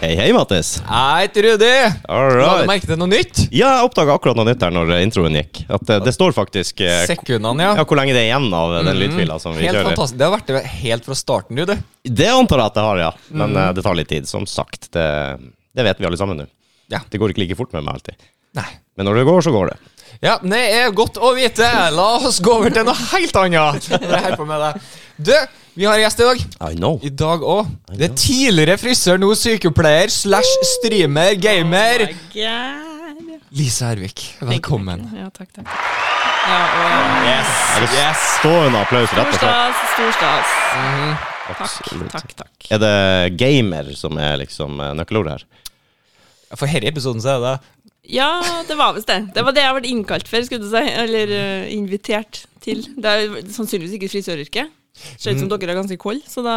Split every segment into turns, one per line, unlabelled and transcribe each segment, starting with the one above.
Hei, hei, Mattis.
Hei, Rudi!
All
La du
right.
merke til noe nytt?
Ja, jeg oppdaga akkurat noe nytt her når eh, introen gikk. At eh, det står faktisk eh,
Sekundene, ja.
ja, hvor lenge det er igjen av eh, den lydfila som vi
Mm. Helt
kjører.
fantastisk. Det har vært det helt fra starten, du. det.
Det antar jeg at det har, ja. Men eh, det tar litt tid. Som sagt, det, det vet vi alle sammen nå.
Ja.
Det går ikke like fort med meg alltid.
Nei.
Men når det går, så går det.
Ja, men det er godt å vite. La oss gå over til noe helt annet. Jeg holder på med det. Du, vi har en gjest i dag.
I know.
I dag òg. Det er tidligere frisør, nå sykepleier slash streamer, gamer. Lise Hervik, velkommen.
Ja, takk, takk. Ja, og
Yes, yes.
Stående applaus, rett
stor
og slett.
stas, stor stas. Takk,
Absolutt.
takk, takk.
Er det gamer som er liksom eh, nøkkelordet her?
For denne episoden så er det
Ja, det var visst det. Det var det jeg ble innkalt for, skulle du si. Eller eh, invitert til. Det er jo sannsynligvis ikke frisøryrket. Ser ut som dere er ganske kolde, så da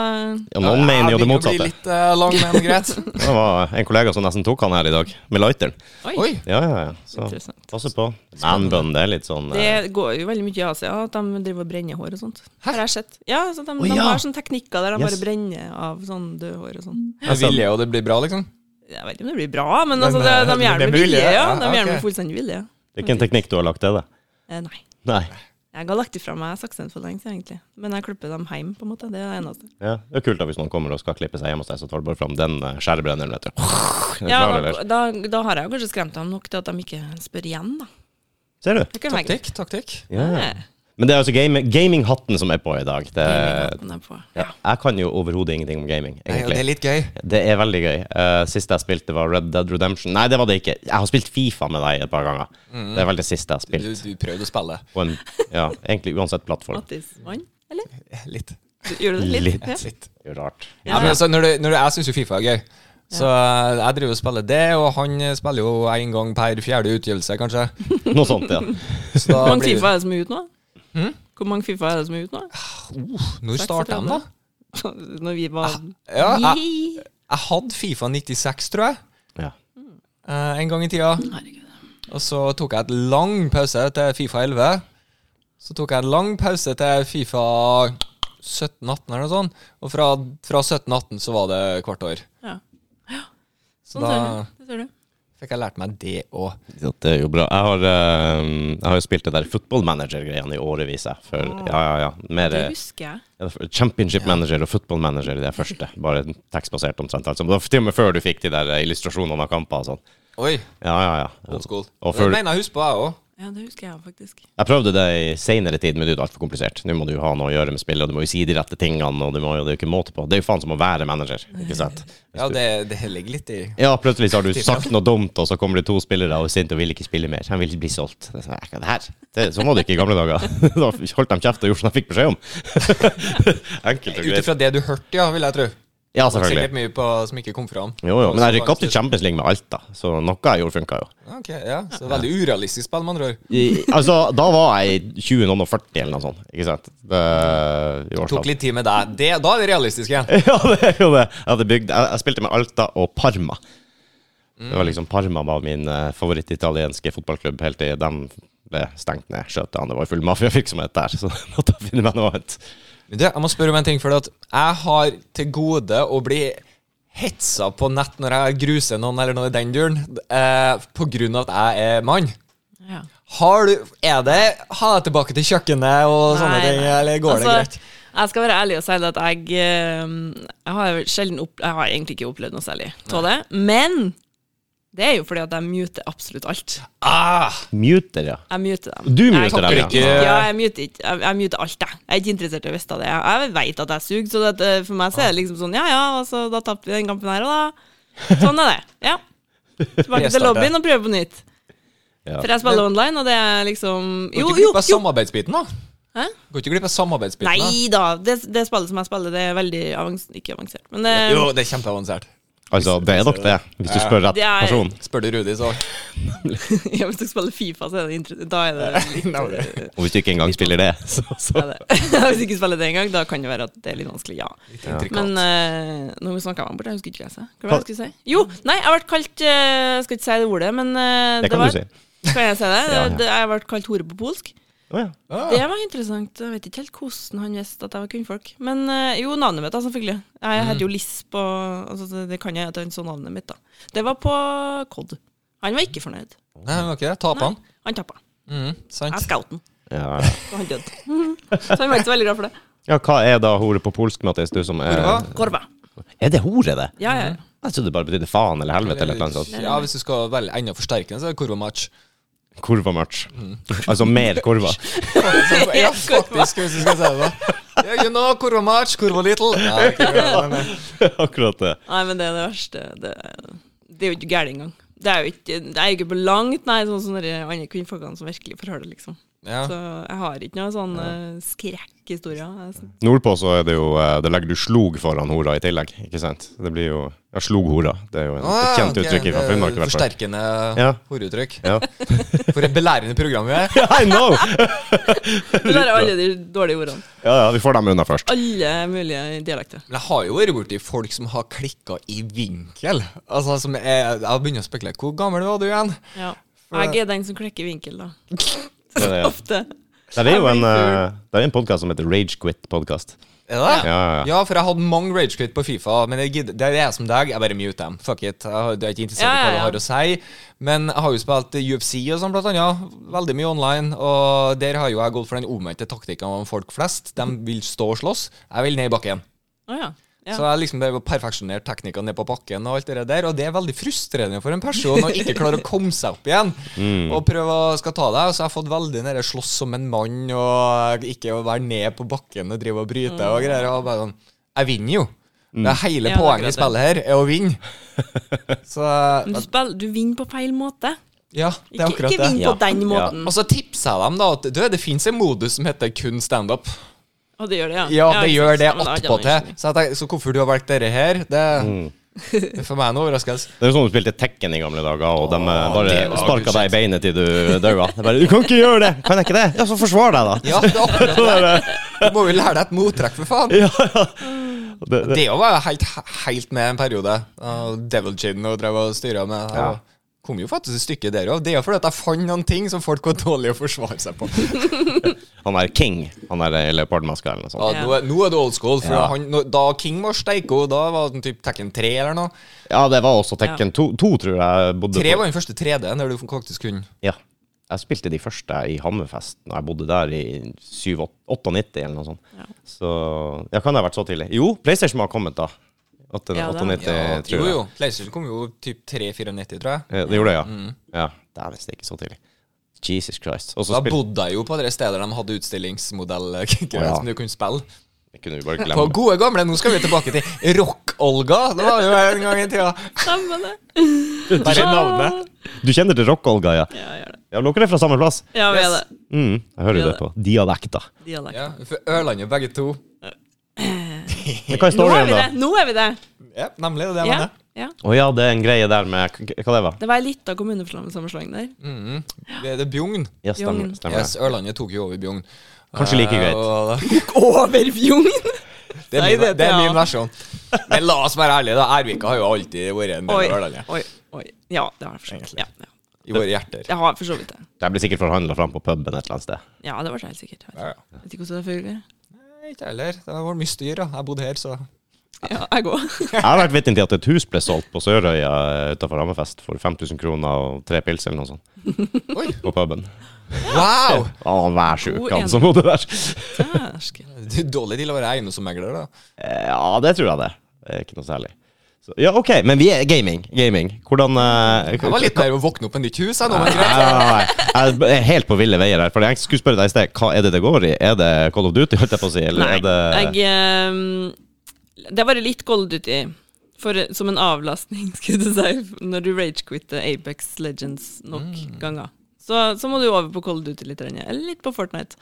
Ja, noen mener jo det
Jeg
motsatte.
blir litt eh, lang, men greit.
Det var en kollega som nesten tok han her i dag, med lighteren.
Oi,
Oi.
Ja, ja, ja. Så
interessant.
passe på. Manbun, det er litt sånn eh,
Det går jo veldig mye i Asia at de driver og brenner hår og sånt. Har jeg sett. Ja, så
Å,
de, de
ja.
har sånne teknikker der de
Yes.
bare brenner av sånn død hår og sånn.
Jeg vil jo det blir bra, liksom.
Jeg vet ikke om det blir bra, men altså,
Men,
det,
eh,
de gjør det
det
med
blir mulig,
vilje. Ja,
ja.
de gjør det
Ok.
med fullstendig vilje.
Det er ikke en
Mm.
teknikk du har lagt til det?
Eh, nei.
Nei.
Jeg har lagt ifra meg saksen for lenge siden, egentlig. Men jeg klipper dem hjem, på en måte. Det er det eneste.
Ja. Det er kult da hvis noen kommer og skal klippe seg hjemme hos deg, så tar du bare fram den eh, skjærebrenneren, vet du. Den
Ja,
klarer,
da,
eller?
da, da har jeg jo kanskje skremt dem nok til at de ikke spør igjen, da.
Ser du?
Det kan være greit.
Taktikk, taktikk.
Ja.
Eh,
Men det er altså game, gaminghatten som er på i dag. Det,
gaminghatten er på.
ja. Jeg kan jo overhodet ingenting om gaming,
Nei, og det
egentlig.
er litt gøy.
Det er veldig gøy. Eh, siste jeg spilte, var Red Dead Redemption. Nei, det var det ikke. Jeg har spilt Fifa med deg et par ganger.
Mm.
Det er vel det siste jeg har
Du,
spilt.
du prøvde å spille
På en, ja, egentlig uansett plattform.
Mattis mann, eller?
litt.
Du- Gjør du det litt?
Litt.
Ja.
litt.
Det er jo rart.
Ja, men altså, når du, når du, jeg syns jo Fifa er gøy. Så eh, jeg driver og spiller det, og han eh, spiller jo én gang per fjerde utgivelse, kanskje.
Noe sånt, ja.
Så da
Hvor mange
blir det- Hm?
Fifa er det som er ute nå? Hvor mange Fifa er det som er ute nå?
Uh, Når starta de, da?
Når vi var
Ja, jeg,
Gi.
jeg hadde Fifa 96, tror jeg,
ja.
eh, en gang i tida.
Herregud.
Og så tok jeg et lang pause til Fifa 11. Så tok jeg en lang pause til Fifa 17-18 eller noe sånt. Og fra, fra 17-18 så var det hvert år.
Ja.
Så
Sånn
da
ser du. Det ser du.
fikk jeg lært meg det òg.
Ja, Det er jo bra. Jeg har, eh, jeg har jo spilt det der football manager-greiene i årevis. jeg, For, ja, ja, ja. Mer,
Det
eh,
husker jeg.
ja, for championship manager og football manager, det er første. Bare tekstbasert omtrent. Altså. Det var til og med før du fikk de der eh, illustrasjonene av kamper og sånn.
Oi,
Ja, ja, ja.
old school.
Og
Det
før,
mener jeg husker på, jeg òg.
Ja, det husker jeg faktisk.
jeg prøvde det i seinere tid, men det er jo altfor komplisert. Nå må du jo ha noe å gjøre med spillet, og du må jo si de rette tingene, og du må jo, det er jo ikke måte på. Det er jo faen som å være manager, ikke sant?
Ja, det, det ligger litt i
Ja, plutselig så har du sagt noe dumt, og så kommer det to spillere og er sint og vil ikke spille mer. Han vil ikke bli solgt. Det er sånn, «Hva er det her, det, sånn var det ikke i gamle dager. Da holdt de kjeft og gjorde som de fikk beskjed om. Enkelt og
Ut
greit.
ifra det du hørte, ja, vil jeg tro.
Ja,
Sikkert
selvfølgelig.
mye på, som ikke kom fram.
Jo, jo, men jeg rykka opp til Champions League med Alta, så noe jeg gjorde, funka jo.
Ok, ja, Så veldig urealistisk spill, med andre ord.
I, altså, da var jeg i 20 noen og 40 eller noe sånt, ikke sant? Det, i årstall.
Tok litt tid med deg. Det, da er det realistisk igjen.
Ja, det er jo det. Jeg, hadde bygd, jeg, jeg spilte med Alta og Parma. Det var liksom Parma var min eh, favorittitalienske fotballklubb helt til de ble stengt ned. Skjøtene. Det var jo full mafiavirksomhet der, så måtte jeg finne meg noe annet.
Men du, jeg må spørre om en ting, for at jeg har til gode å bli hetsa på nett når jeg gruser noen eller noe i den duren, eh, på grunn av at jeg er mann.
Ja.
Har du Er det ha deg tilbake til kjøkkenet og sånne
Nei,
ting,
nei.
eller går det greit?
Altså, Jeg skal være ærlig og si det at jeg, eh, jeg, har sjelden opp, jeg har egentlig ikke opplevd noe særlig av det. Men det er jo fordi at jeg muter absolutt alt.
Ah,
Muter, ja.
Jeg muter dem.
Du muter
takler
dem,
ikke
ja.
Ja, jeg muter, ikke, jeg, jeg muter alt, jeg. Jeg er ikke interessert i å vite av det. Jeg, jeg veit at jeg suger, så det, at, eh, for meg så er det liksom sånn ja ja, altså, da tapte vi den kampen her, og da Sånn er det. Ja. Tilbake til
Restarte.
lobbyen og prøve på nytt.
Ja.
For jeg spiller online, og det er liksom
går ikke
Jo, jo,
glipp av
jo!
samarbeidsbiten, da?
Hæ?
Går ikke glipp av samarbeidsbiten?
Nei da. Det, det spillet som jeg spiller, det er veldig avansert. Ikke avansert, men eh,
da?
det,
Jo, det er kjempeavansert.
Altså, det er nok det, hvis du spør rett
Det er-
person.
Spør du Rudi, så
ja, hvis dere spiller Fifa, så er det inter- da er det litt eh,
Og hvis du ikke engang spiller det, så, så.
ja, det. Hvis du ikke spiller det engang, da kan det være at det er litt vanskelig, ja.
intrikat.
Men uh, nå snakka jeg meg bort, jeg husker ikke hva jeg sa. Hva var det jeg skulle si? Jo, nei, jeg ble kalt eh, Jeg skal ikke si det ordet, men eh,
Det kan
var,
du si.
Kan jeg si det?
Ja, ja.
Det- Jeg ble kalt hore på polsk.
Å ja.
Ah,
Det var interessant. Jeg vet ikke helt hvordan han visste at jeg var kvinnfolk. Men eh, jo, navnet mitt, da, selvfølgelig. Jeg heter jo
Mm.
Lisp, og altså, det- det kan jeg at han så navnet mitt, da. Det var på COD. Han var ikke fornøyd.
Nei, det var ikke det. Tapte han.
Han tappa.
Mm, sant.
Jeg skjøt han,
Ja, ja.
og han døde. Så han var ikke så veldig glad for det.
ja, hva er da hore på polsk, Mattis? Du som er
Kurva?
Korva.
Er det hore, det?
Ja, ja.
Mm.
Jeg trodde det bare betydde faen eller helvete eller noe sånt.
Ja, hvis du skal velge enda forsterkende, så er det kurvamatch.
Kurvamatch.
Mm.
Altså mer kurva.
Ja, faktisk, hvis du skal si det. Yeah, you know, kurvamatch, kurva little. Ja, ikke bra, men, eh,
Akkurat det.
Nei, men det er det verste. Det, det er jo ikke gærent engang. Det er jo ikke, det er jo ikke på langt nei, sånn som de andre kvinnfolkene som virkelig får høre det, liksom.
ja.
Så jeg har ikke noen sånn eh, skrekkhistorier. Jeg s-
Nordpå så er det jo eh, Det legger du slog foran hora i tillegg, ikke sant? Det blir jo Ja, slog hora. Det er jo en, et kjent
Ah,
uttrykk
ok,
fra
det er
Finnmark, i hvert fall.
Forsterkende
Ja.
horeuttrykk.
Ja.
For et belærende program vi er.
I know!
Du lærer alle de dårlige ordene.
Ja, ja, vi får dem unna først.
Alle mulige dialekter.
Men jeg har jo vært borti folk som har klikka i vinkel. Altså, som er, Jeg begynner å spekulere. Hvor gammel var du igjen?
Ja.
For-
Jeg er den som klekker vinkel, da.
Det er, det.
Ofte.
Der er jo en, eh, det er en podkast som heter Rage Quit Podcast.
Er det det?
Ja, ja, ja.
for jeg hadde mange ragequit på Fifa, men jeg gidder, det er jeg som deg. Jeg bare mute dem. Fuck it. Jeg har- det er ikke interessert i hva
Ja, ja,
det
ja.
har å si. Men jeg har jo spilt UFC og sånn, blant annet. Veldig mye online. Og der har jo jeg gått for den omvendte taktikken om folk flest. De vil stå og slåss. Jeg vil ned i bakken.
Å ja.
Så
ja.
jeg liksom bare perfeksjonert teknikken ned på bakken og alt det der. Og det er veldig frustrerende for en person å ikke klare å komme seg opp igjen. Og prøve å skal ta deg. Så jeg har fått veldig den derre slåss som en mann og ikke å være ned på bakken og drive og bryte og greier. Og bare sånn Jeg vinner jo. Det er hele
Mm. Ja, det
poenget
er
i
akkurat
spillet her, er å vinne. Så
Men du, spiller, du vinner på feil måte.
ja, det er
Ikke,
akkurat
ikke
det.
vinn
Ja.
på den
Ja.
måten.
Og så tipser jeg dem da at du, det fins en modus som heter kun standup.
Og det gjør det, ja.
Ja, det
ikke
gjør
sant.
det
Men hadde jeg
attpåtil.
ikke.
Så, jeg tenker- så hvorfor du har valgt dette her, det,
Mm.
det er for meg en overraskelse.
Det er jo sånn du spilte Tekken i gamle dager, og de eh, bare
det var
sparka deg
bullshit.
i beinet til du daua. Det er Bare, 'Du kan ikke gjøre det!' 'Kan jeg ikke det?' Ja, så forsvar deg, da.
Ja, det er akkurat
Så er det,
Du må jo lære deg et mottrekk, for faen.
ja, ja. Det, det.
Det jo var jeg helt, helt med en periode. Og Devil Gin og drev og styra med. Og
Ja.
Kom jo faktisk et stykke der òg. Det er jo fordi at jeg fant noen ting som folk var dårlige å forsvare seg på.
Han er king, han er i leopardmaska eller noe
Ja,
sånt.
nå, er- nå er det old school. For
Ja.
han, nå- da King var steiko, da var den typ Tekken 3 eller noe.
Ja, det var også Tekken 2, to, tror jeg bodde
Tre
på.
var den første 3D-en der du faktisk kunne
Ja. Jeg spilte de første i Hammerfest Når jeg bodde der i 7, 98 eller noe sånt.
Ja.
Så ja, kan det ha vært så tidlig? Jo, PlayStation må ha kommet da. 8,
Ja, det har
98, tror
Jo,
jeg.
jo. PlayStation kom jo typ 3-94, tror jeg.
Ja, Det gjorde det, ja.
Mm.
ja. Dæven stikke, så tidlig. Jesus Christ. Og så
Da
spilte
bodde jeg jo på de steder de hadde utstillingsmodell
Ja.
som du kunne spille.
Det kunne vi bare
På
glemme.
gode gamle, nå skal vi tilbake til Rock-Olga. Det var jo en gang i tida.
Stemmer det.
Bare navnet.
Du kjenner til Rock-Olga, ja?
Ja, gjør det.
Ja, Dere er fra samme plass?
Ja, vi er
Yes.
det.
Mm, jeg hører jo
Ja,
det på dialekta.
Dialekt.
Ja, for Ørlandet, begge to.
Men hva er
Nå er
storyen,
vi
da?
det! Nå er vi det.
Ja, nemlig. Det er det jeg
Ja,
mener.
ja.
Å ja, det er en greie der med k- Hva det var
Det var ei lita kommunesammenslåing der.
Mhm. Det er det Bjugn.
Ja, stemmer,
Jungen.
stemmer
Yes, Eh, Ørlandet tok jo over Bjugn.
Kanskje like greit.
greit.
Over Bjugn!
Det er
Nei,
min,
det-
det er
ja.
min versjon. Men la oss være ærlige, da. Ervika har jo alltid vært en
Oi,
del av Ørlandet.
oi, oi. Ja, det har jeg for så vidt. Ja, ja.
I våre hjerter.
Jeg har for så vidt det.
Det blir sikkert forhandla fram på puben et eller annet sted.
Ja, det var så helt sikkert. Jeg
Ja, ja.
vet ikke hvordan det fungerer.
Nei, Ikke heller. Det var mye styr, da. Jeg bodde her, så
Ja, jeg går.
Jeg har vært vitne til at et hus ble solgt på Sørøya utafor Hammerfest for 5000 kroner og tre pils eller noe sånt.
Oi.
På puben.
Wow!
Å, vær sjuk,
God
han
en-
som bodde der.
Dæsken.
Det er Dårlig til å være eiendomsmegler, da.
Eh, Ja, det tror jeg det. Det er ikke noe særlig. Så, ja, OK, men vi er gaming. Gaming. Hvordan eh,
Jeg var litt nær å våkne opp med nytt hus. Jeg, nå,
Nei,
men greit.
nei, nei. Jeg er helt på ville veier her. For jeg skulle spørre deg i sted, hva er det det går i? Er det Call of Duty, holdt jeg på å si? Eller
Nei,
er det
jeg ehm, Det har vært litt Call of Duty for, som en avlastning, skulle du si, når du ragequitter Apex Legends nok
Mm.
ganger. Så, så må du over på Call of Duty litt, grann, eller litt på Fortnite.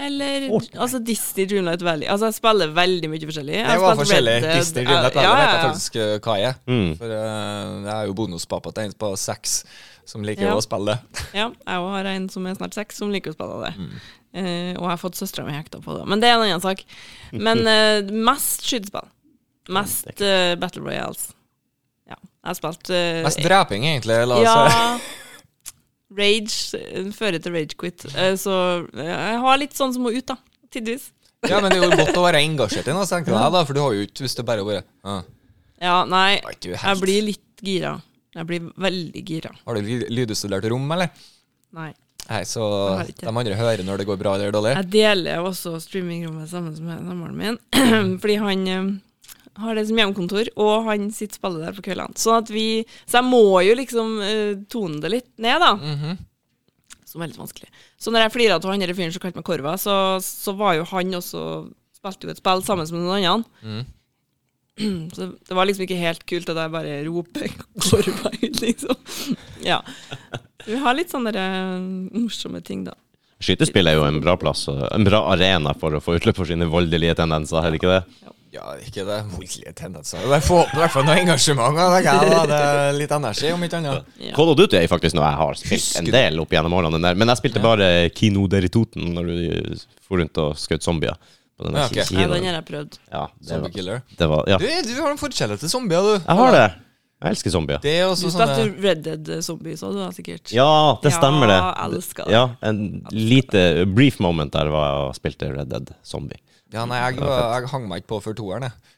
Eller
Fortnite.
altså Disney Dreamlight Valley. Altså, jeg spiller veldig mye forskjellig. Jeg
Det
har
var
spilt
forskjellig.
Red Dead,
Disney Dream Lab, det
ja,
vet
ja,
jeg
ja.
faktisk eh, hva jeg er.
Mm.
For eh, jeg er jo bonuspappa til en på seks som liker
Ja.
å spille det.
Ja, jeg også har en som er snart seks, som liker å spille det. Eh, og jeg har fått søstera mi hekta på det, men det er en annen sak. Men eh, mest skytespill. Mest eh, Battle Royales. Ja. Jeg har spilt eh,
Mest dreping, egentlig. La oss
Ja.
si.
Rage eh, fører til ragequit. Så eh, jeg har litt sånn som må ut, da. Tidvis.
Ja, men det er jo godt å være engasjert i noe, så tenker jeg da, for du har jo ikke hvis det bare bare ah.
Ja, nei,
Var ikke du helt-
jeg blir litt gira. Jeg blir veldig gira.
Har du ly- lydutstudert rom, eller?
Nei.
Nei, så
har ikke.
de andre hører når det går bra eller dårlig.
Jeg deler jo også streamingrommet sammen med samboeren min, fordi han eh, har det som hjemmekontor, og han sitter og spiller der på kveldene. Sånn at vi, så jeg må jo liksom eh, tone det litt ned, da. Som er litt vanskelig. Så når jeg flira av han der fyren som kalte meg Korva, så, så var jo han også Spilte jo et spill sammen med noen andre. Så det var liksom ikke helt kult at jeg bare roper Korva ut, liksom. Ja. Så vi har litt sånne der, eh, morsomme ting, da.
Skytespill er jo en bra plass, og en bra arena for å få utløp for sine voldelige tendenser, er det ikke det?
Ja, ikke det voldelige tendenser. Det får opp i hvert fall noe engasjement. Da, tenker jeg, da. Det er litt energi, om ikke annet.
Ja.
Call of Duty er jo faktisk noe jeg har spilt
Husker
en
du?
del opp gjennom årene, den der. men jeg spilte bare Kino der i Toten når du for rundt og skjøt zombier. På den
Ja,
der
ok.
Ja,
kinoen.
den har jeg prøvd.
Ja, det
Zombie
var,
killer.
det var Ja,
Du, du har en forkjærlighet til zombier, du.
jeg har det. Jeg elsker zombier.
Det er
Du
også sånne
spilte Red Dead Zombies òg, du da, sikkert?
Sånn Ja, det
Ja,
stemmer det.
jeg elsker det.
Ja, en lite brief moment der var jeg og spilte Red Dead Zombie.
Ja, nei, jeg,
Det var
jeg hang meg ikke på før toeren, jeg.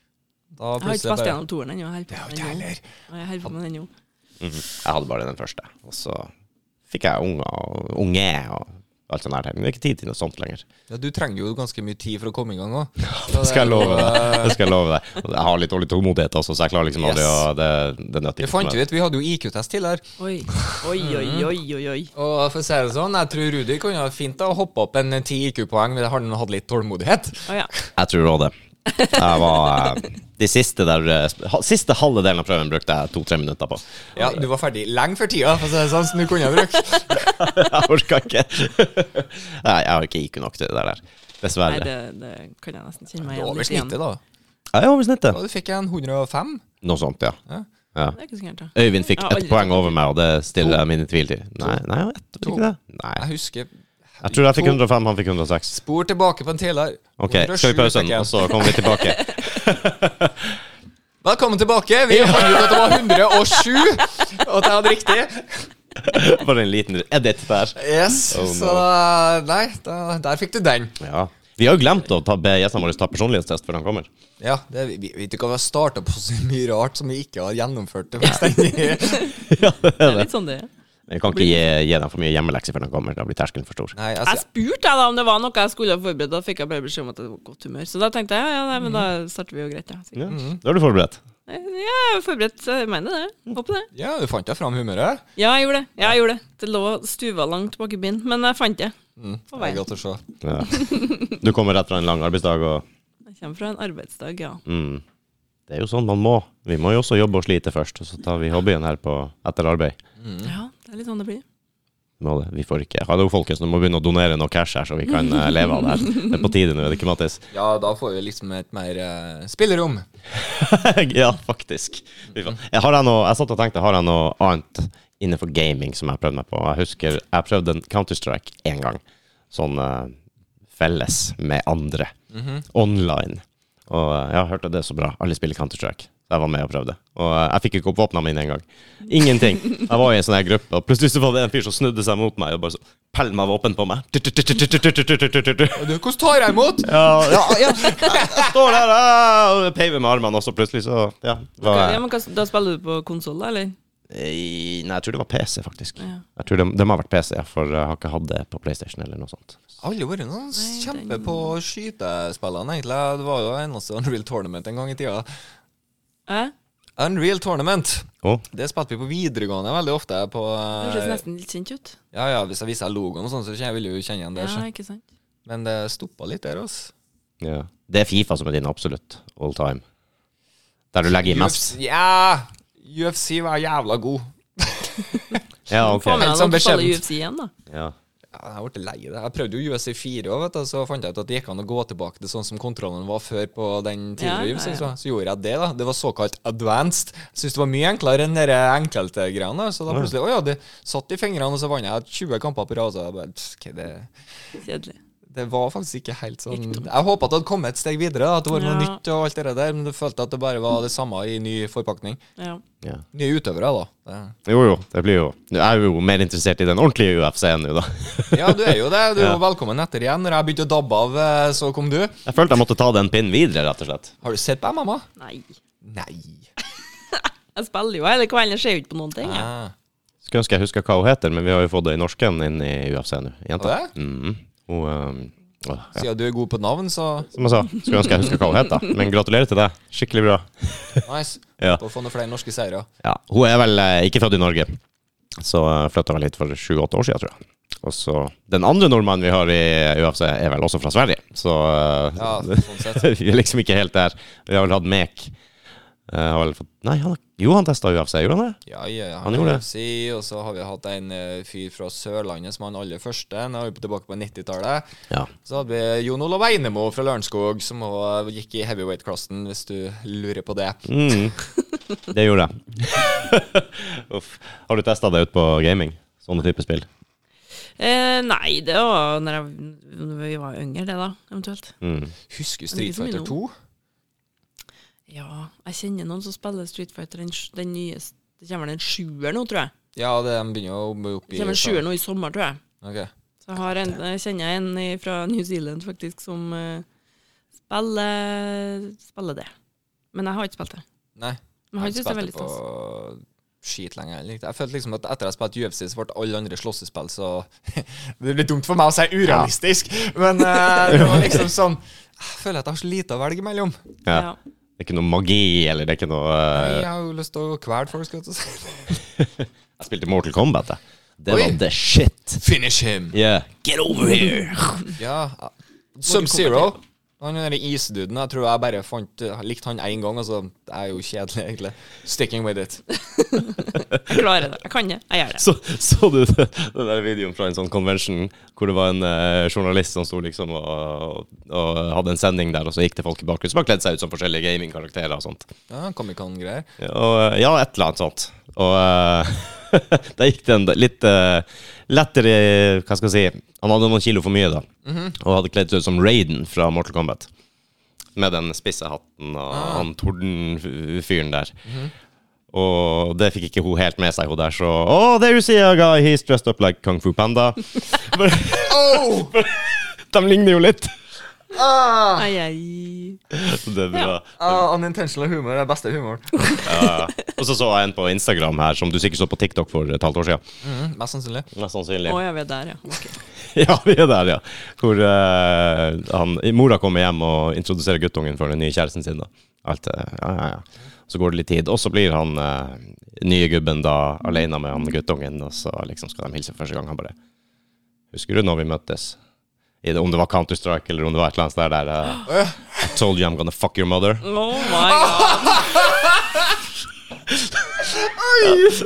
Da
Jeg har ikke
plutselig
spilt
bare
gjennom toeren ennå. Jeg
Det har
holder
ikke
på
jeg
med den ennå.
heller.
Og Jeg holder på med den ennå.
Jeg hadde bare den første. Og så fikk jeg unger og unge og alt sånt. her ting. Det er ikke tid til noe sånt lenger.
Ja, du trenger jo ganske mye tid for å komme i gang òg.
Det skal jeg love deg. Det skal Jeg love deg. Og Jeg har litt dårlig tålmodighet også, så jeg klarer liksom aldri
Yes.
å Det, det nøtter
Det
ikke. for meg.
fant vi ut. Vi hadde jo IQ-test tidligere.
Oi, oi, oi, oi, oi. oi.
Og for å si det sånn, jeg tror Rudi kunne ha fint da hoppe opp en 10 IQ-poeng hvis han hadde litt tålmodighet.
Å ja.
Jeg tror òg det. Jeg var eh, De siste der eh, sp- ha- Siste halve delen av prøven brukte jeg to-tre minutter på.
Ja, du var ferdig lenge før tida, for å si det sånn, som du kunne ha brukt.
Jeg orka ikke. Nei, jeg har ikke IQ nok til det der der.
Nei,
Dessverre.
det, det kan jeg nesten kjenne
Det var
meg igjen
Over
litt igjen.
snittet, da.
Jeg er over snittet.
Og du fikk en 105.
Noe sånt, ja.
Ja.
ja.
Det er ikke så gærent, da.
Øyvind fikk
Jeg har
ett
aldri
poeng
tatt
over meg, og det stiller jeg mine tvil til. Nei, nei, ett, var det ikke det? Nei.
Jeg husker
Jeg tror jeg fikk
To.
105, han fikk 106.
Spor tilbake på en tidligere.
Ok, skal vi
107
pausen,
fikk jeg.
og så kommer vi tilbake.
Velkommen tilbake. Vi fant ut at det var 107, og at jeg hadde riktig.
Bare en liten edit der.
Yes,
Oh, no.
Så da, nei, da, der fikk du den.
Ja. Vi har jo glemt å ta, be gjestene våre ta personlighetstest før han kommer.
Ja, det, vi, vi, Vet du hva, vi har starta på så mye rart som vi ikke har gjennomført. det fullstendig.
Det er litt sånn det er.
Men vi kan ikke gi, gi dem for mye hjemmelekser før han kommer. Da blir terskelen for stor.
Nei,
Jeg
altså,
spurte jeg da om det var noe jeg skulle ha forberedt, da fikk jeg bare beskjed om at det var godt humør. Så da tenkte jeg ja, ja, nei, men da starter vi jo greit, ja. Så,
Mhm. Ja.
Eh,
Da er du forberedt.
ja, jeg er forberedt, så jeg mener det. Håper det.
ja, du fant da fram humøret?
Ja, jeg gjorde det. Ja, jeg gjorde det. Det lå stuva langt bak i bind, men jeg fant det. På
Det er
veien.
godt å se.
Ja. Du kommer rett fra en lang arbeidsdag, og
Jeg kommer fra en arbeidsdag, ja.
mm, det er jo sånn man må. Vi må jo også jobbe og slite først, og så tar vi hobbyen her på etter arbeid.
Ja, det er litt sånn det blir.
Må det. Vi får ikke Hallo, folkens, nå må vi begynne å donere noe cash her, så vi kan eh, leve av det her. Det er på tide nå, er det ikke, Mattis?
Ja, da får vi liksom et mer eh, spillerom.
ja, faktisk. Fy faen. Jeg, har jeg, noe, jeg satt og tenkte, har jeg noe annet innenfor gaming som jeg har prøvd meg på? Jeg husker jeg prøvde en Counter-Strike én gang, sånn eh, felles med andre, online. Og eh, jeg hørte det er så bra. Alle spiller Counter-Strike. Så jeg var med og prøvde. Og eh, jeg fikk ikke opp våpnene mine engang. Ingenting. Jeg var i en sånn her gruppe, og plutselig så var det en fyr som snudde seg mot meg og bare så pælma våpen på meg.
Og du, Hvordan tar jeg imot?
Ja, ja, ja. Jeg står der ah, og peiver med armene, og så plutselig så Ja. Var,
Ja, men hva, da spiller du på konsoll, da, eller?
Eh, Nei, jeg tror det var PC, faktisk.
Ja.
Jeg tror de, de har vært PC, ja, for eh, jeg har ikke hatt det på PlayStation eller noe sånt.
Alle har vært noen kjempe
den-
på skytespillene, egentlig. Det var jo eneste Unreal Tournament en gang i tida.
Hæ?
Unreal Tournament.
Å,
Det spilte vi på videregående veldig ofte. På, eh,
Det høres nesten litt kjent ut.
ja, ja, hvis jeg viser deg logoen, og sånn, så kjenner- vil du jo kjenne igjen det.
Ja,
så.
ikke sant?
Men det stoppa litt der, altså.
ja. Det er Fifa som er din absolutt all time. Der du legger i mest.
Ja! UFC var jævla god.
Ja, ok.
Få med
Som
deg noen som
bekjent.
spiller UFC igjen, da.
Ja.
Ja, jeg ble lei av det. Jeg prøvde jo UFC 4 òg, vet du. Så fant jeg ut at det gikk an å gå tilbake til sånn som kontrollen var før på den tidligere
Ja,
UFC.
ja,
Så,
ja.
så gjorde jeg det, da. Det var såkalt advanced. Jeg Syns det var mye enklere enn de enkelte greiene. da. Så da plutselig Å ja, det satt i fingrene, og så vant jeg 20 kamper på rad. Så jeg bare, pff, hva er det
Kjedelig.
Det var faktisk ikke helt sånn Jeg håpa at det hadde kommet et steg videre, da, at det var noe
Ja.
nytt og alt det der, men jeg følte at det bare var det samme i ny forpakning.
Ja.
Ja.
Nye utøvere, da.
Jo, jo. Det blir jo Jeg er jo mer interessert i den ordentlige UFC-en nå, da.
Det- Ja, du er jo det. Du
Ja.
er jo velkommen etter igjen. Når jeg begynte å dabbe av, eh, så kom du.
Jeg følte jeg måtte ta den pinnen videre, rett og slett.
Har du sett på MMA?
Nei.
Nei.
Jeg spiller jo hele kvelden, jeg ser jo ikke på noen ting. Jeg.
Ah.
Skulle ønske jeg huska hva hun heter, men vi har jo fått ei norsken inn i UFC nå. Jenta.
Har du
Mhm. Hun eh, åh, ja.
Siden du er god på navn, så
Som jeg sa, skulle ønske jeg huska hva hun heter. Men gratulerer til deg. Skikkelig bra.
nice.
Ja.
På å få noen flere norske seire.
Ja, hun er vel eh, ikke født i Norge, så eh, flytta vel hit for sju-åtte år siden, tror jeg. Og så Den andre nordmannen vi har i UFC, er vel også fra Sverige, så eh,
Ja, sånn sett.
vi er liksom ikke helt der. Vi har vel hatt Mek. Eh, har vel fått, nei, han, jo, han testa UFC, gjorde han det?
Ja, ja, ja.
Han gjorde det.
Si, og så har vi hatt en eh, fyr fra Sørlandet som var den aller første. Han er jo tilbake på 90-tallet.
Ja.
Så hadde vi Jon Olav Einemo fra Lørenskog, som også gikk i heavyweight-klassen, hvis du lurer på det.
Mm. Det gjorde jeg. Uff. Har du testa det ut på gaming? Sånne type spill?
Eh, nei, det var når, jeg, når vi var yngre, det da, eventuelt.
Mm.
Husker du
Men
Street
ikke så mye
Fighter
nå.
2?
Ja, jeg kjenner noen som spiller Street Fighter, den, sj- den nyeste. Det kommer vel en sjuer nå, tror jeg.
Ja, det, de begynner jo opp
Det
i
kommer en sjuer nå i sommer, tror jeg.
Ok.
Så jeg, har en, jeg kjenner en i- fra New Zealand faktisk som eh, spiller, spiller det. Men jeg har ikke spilt det.
Nei.
Men han
jeg
syns det er veldig
spilte
stas.
på skit lenge. Jeg, likte. jeg følte liksom at etter jeg spilte UFC, så ble alle andre slåssespill så Det blir dumt for meg å si urealistisk, men eh, det var liksom sånn Jeg føler at jeg har så lite å velge mellom.
Ja.
Ja.
Det er ikke noe magi, eller det er ikke noe eh,
Jeg har jo lyst til å kvele folk. Skal jeg til å si.
Jeg spilte Mortal Kombat, jeg. Det
Oi.
var the shit.
Finish him!
Yeah. Get over here!
Ja. ah, Sub-Zero. Han der isduden. Jeg tror jeg bare fant likte han én gang. Altså, det er jo kjedelig, egentlig. Sticking with it.
Jeg klarer det. Jeg kan det. Jeg gjør det.
Så, så du det- den der videoen fra en sånn convention hvor det var en eh, journalist som sto liksom og, og hadde en sending der, og så gikk det folk i bakgrunnen som har kledd seg ut som forskjellige gamingkarakterer og sånt.
Ja, Comic-Con-greier.
Og, eh, ja, et eller annet sånt. Og eh, da gikk det en litt eh, lettere Hva skal jeg si Han hadde noen kilo for mye, da. Og hadde kledd seg ut som Raiden fra Mortal Kombat. Med den spisse hatten og han tordenfyren der. Og det fikk ikke hun helt med seg, hun der, så Oh, there you see a guy, he's dressed up like Kung Fu Panda. For-
Oh!
De ligner jo litt.
Ah!
Ai, ai.
Så det er bra.
Ah, unintentional humor er beste humoren.
Ja. Og så så jeg en på Instagram her, som du sikkert så på TikTok for et halvt år siden.
Mm, mest sannsynlig.
Mest sannsynlig.
Å ja, vi er der, ja. Ok.
Ja, vi er der, ja. Hvor eh, han, mora kommer hjem og introduserer guttungen for den nye kjæresten sin. da. Alt, eh, ja, ja, ja. Så går det litt tid, og så blir han eh, nye gubben da alene med han guttungen, og så liksom skal de hilse for første gang. Han bare Husker du når vi møttes? I det, om det var Counter-Strike eller om det var et eller annet sted der eh, I told you I'm gonna fuck your mother.
Oh my god.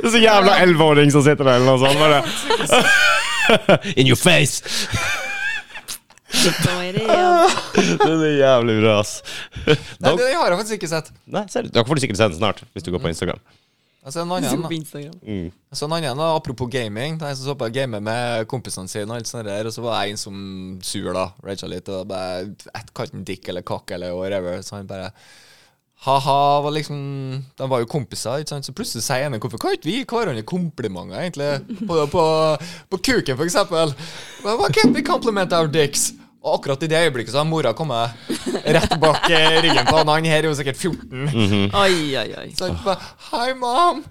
Så jævla elleveåring som sitter der, eller noe sånt. Bare. In your face!
Da er det igjen.
Den er jævlig bra, ass.
Nei,
Da-
det har jeg faktisk ikke sett.
Nei, ser du. Dere får sikkert se den snart, hvis du går på Instagram.
Jeg ser en annen,
Så på
da.
Instagram.
Jeg så en annen da, Apropos gaming. Da jeg så på game med kompisene sine, og alt sånt der, og så var det en som sur, da. Raga litt. Og bare jeg kalte han Dick eller Kakk eller whatever. Så han bare Ha-ha. var liksom De var jo kompiser, ikke sant. Så plutselig sier en hvorfor kan ikke vi gi hverandre komplimenter, egentlig? På, på, på kuken, for eksempel. Well, Why can't we compliment our dicks? Og akkurat i det øyeblikket så har mora kommet rett bak eh, ryggen på han. Han her er jo sikkert 14.
Mm.
Ai, ai, ai.
Så han bare Hi, mom.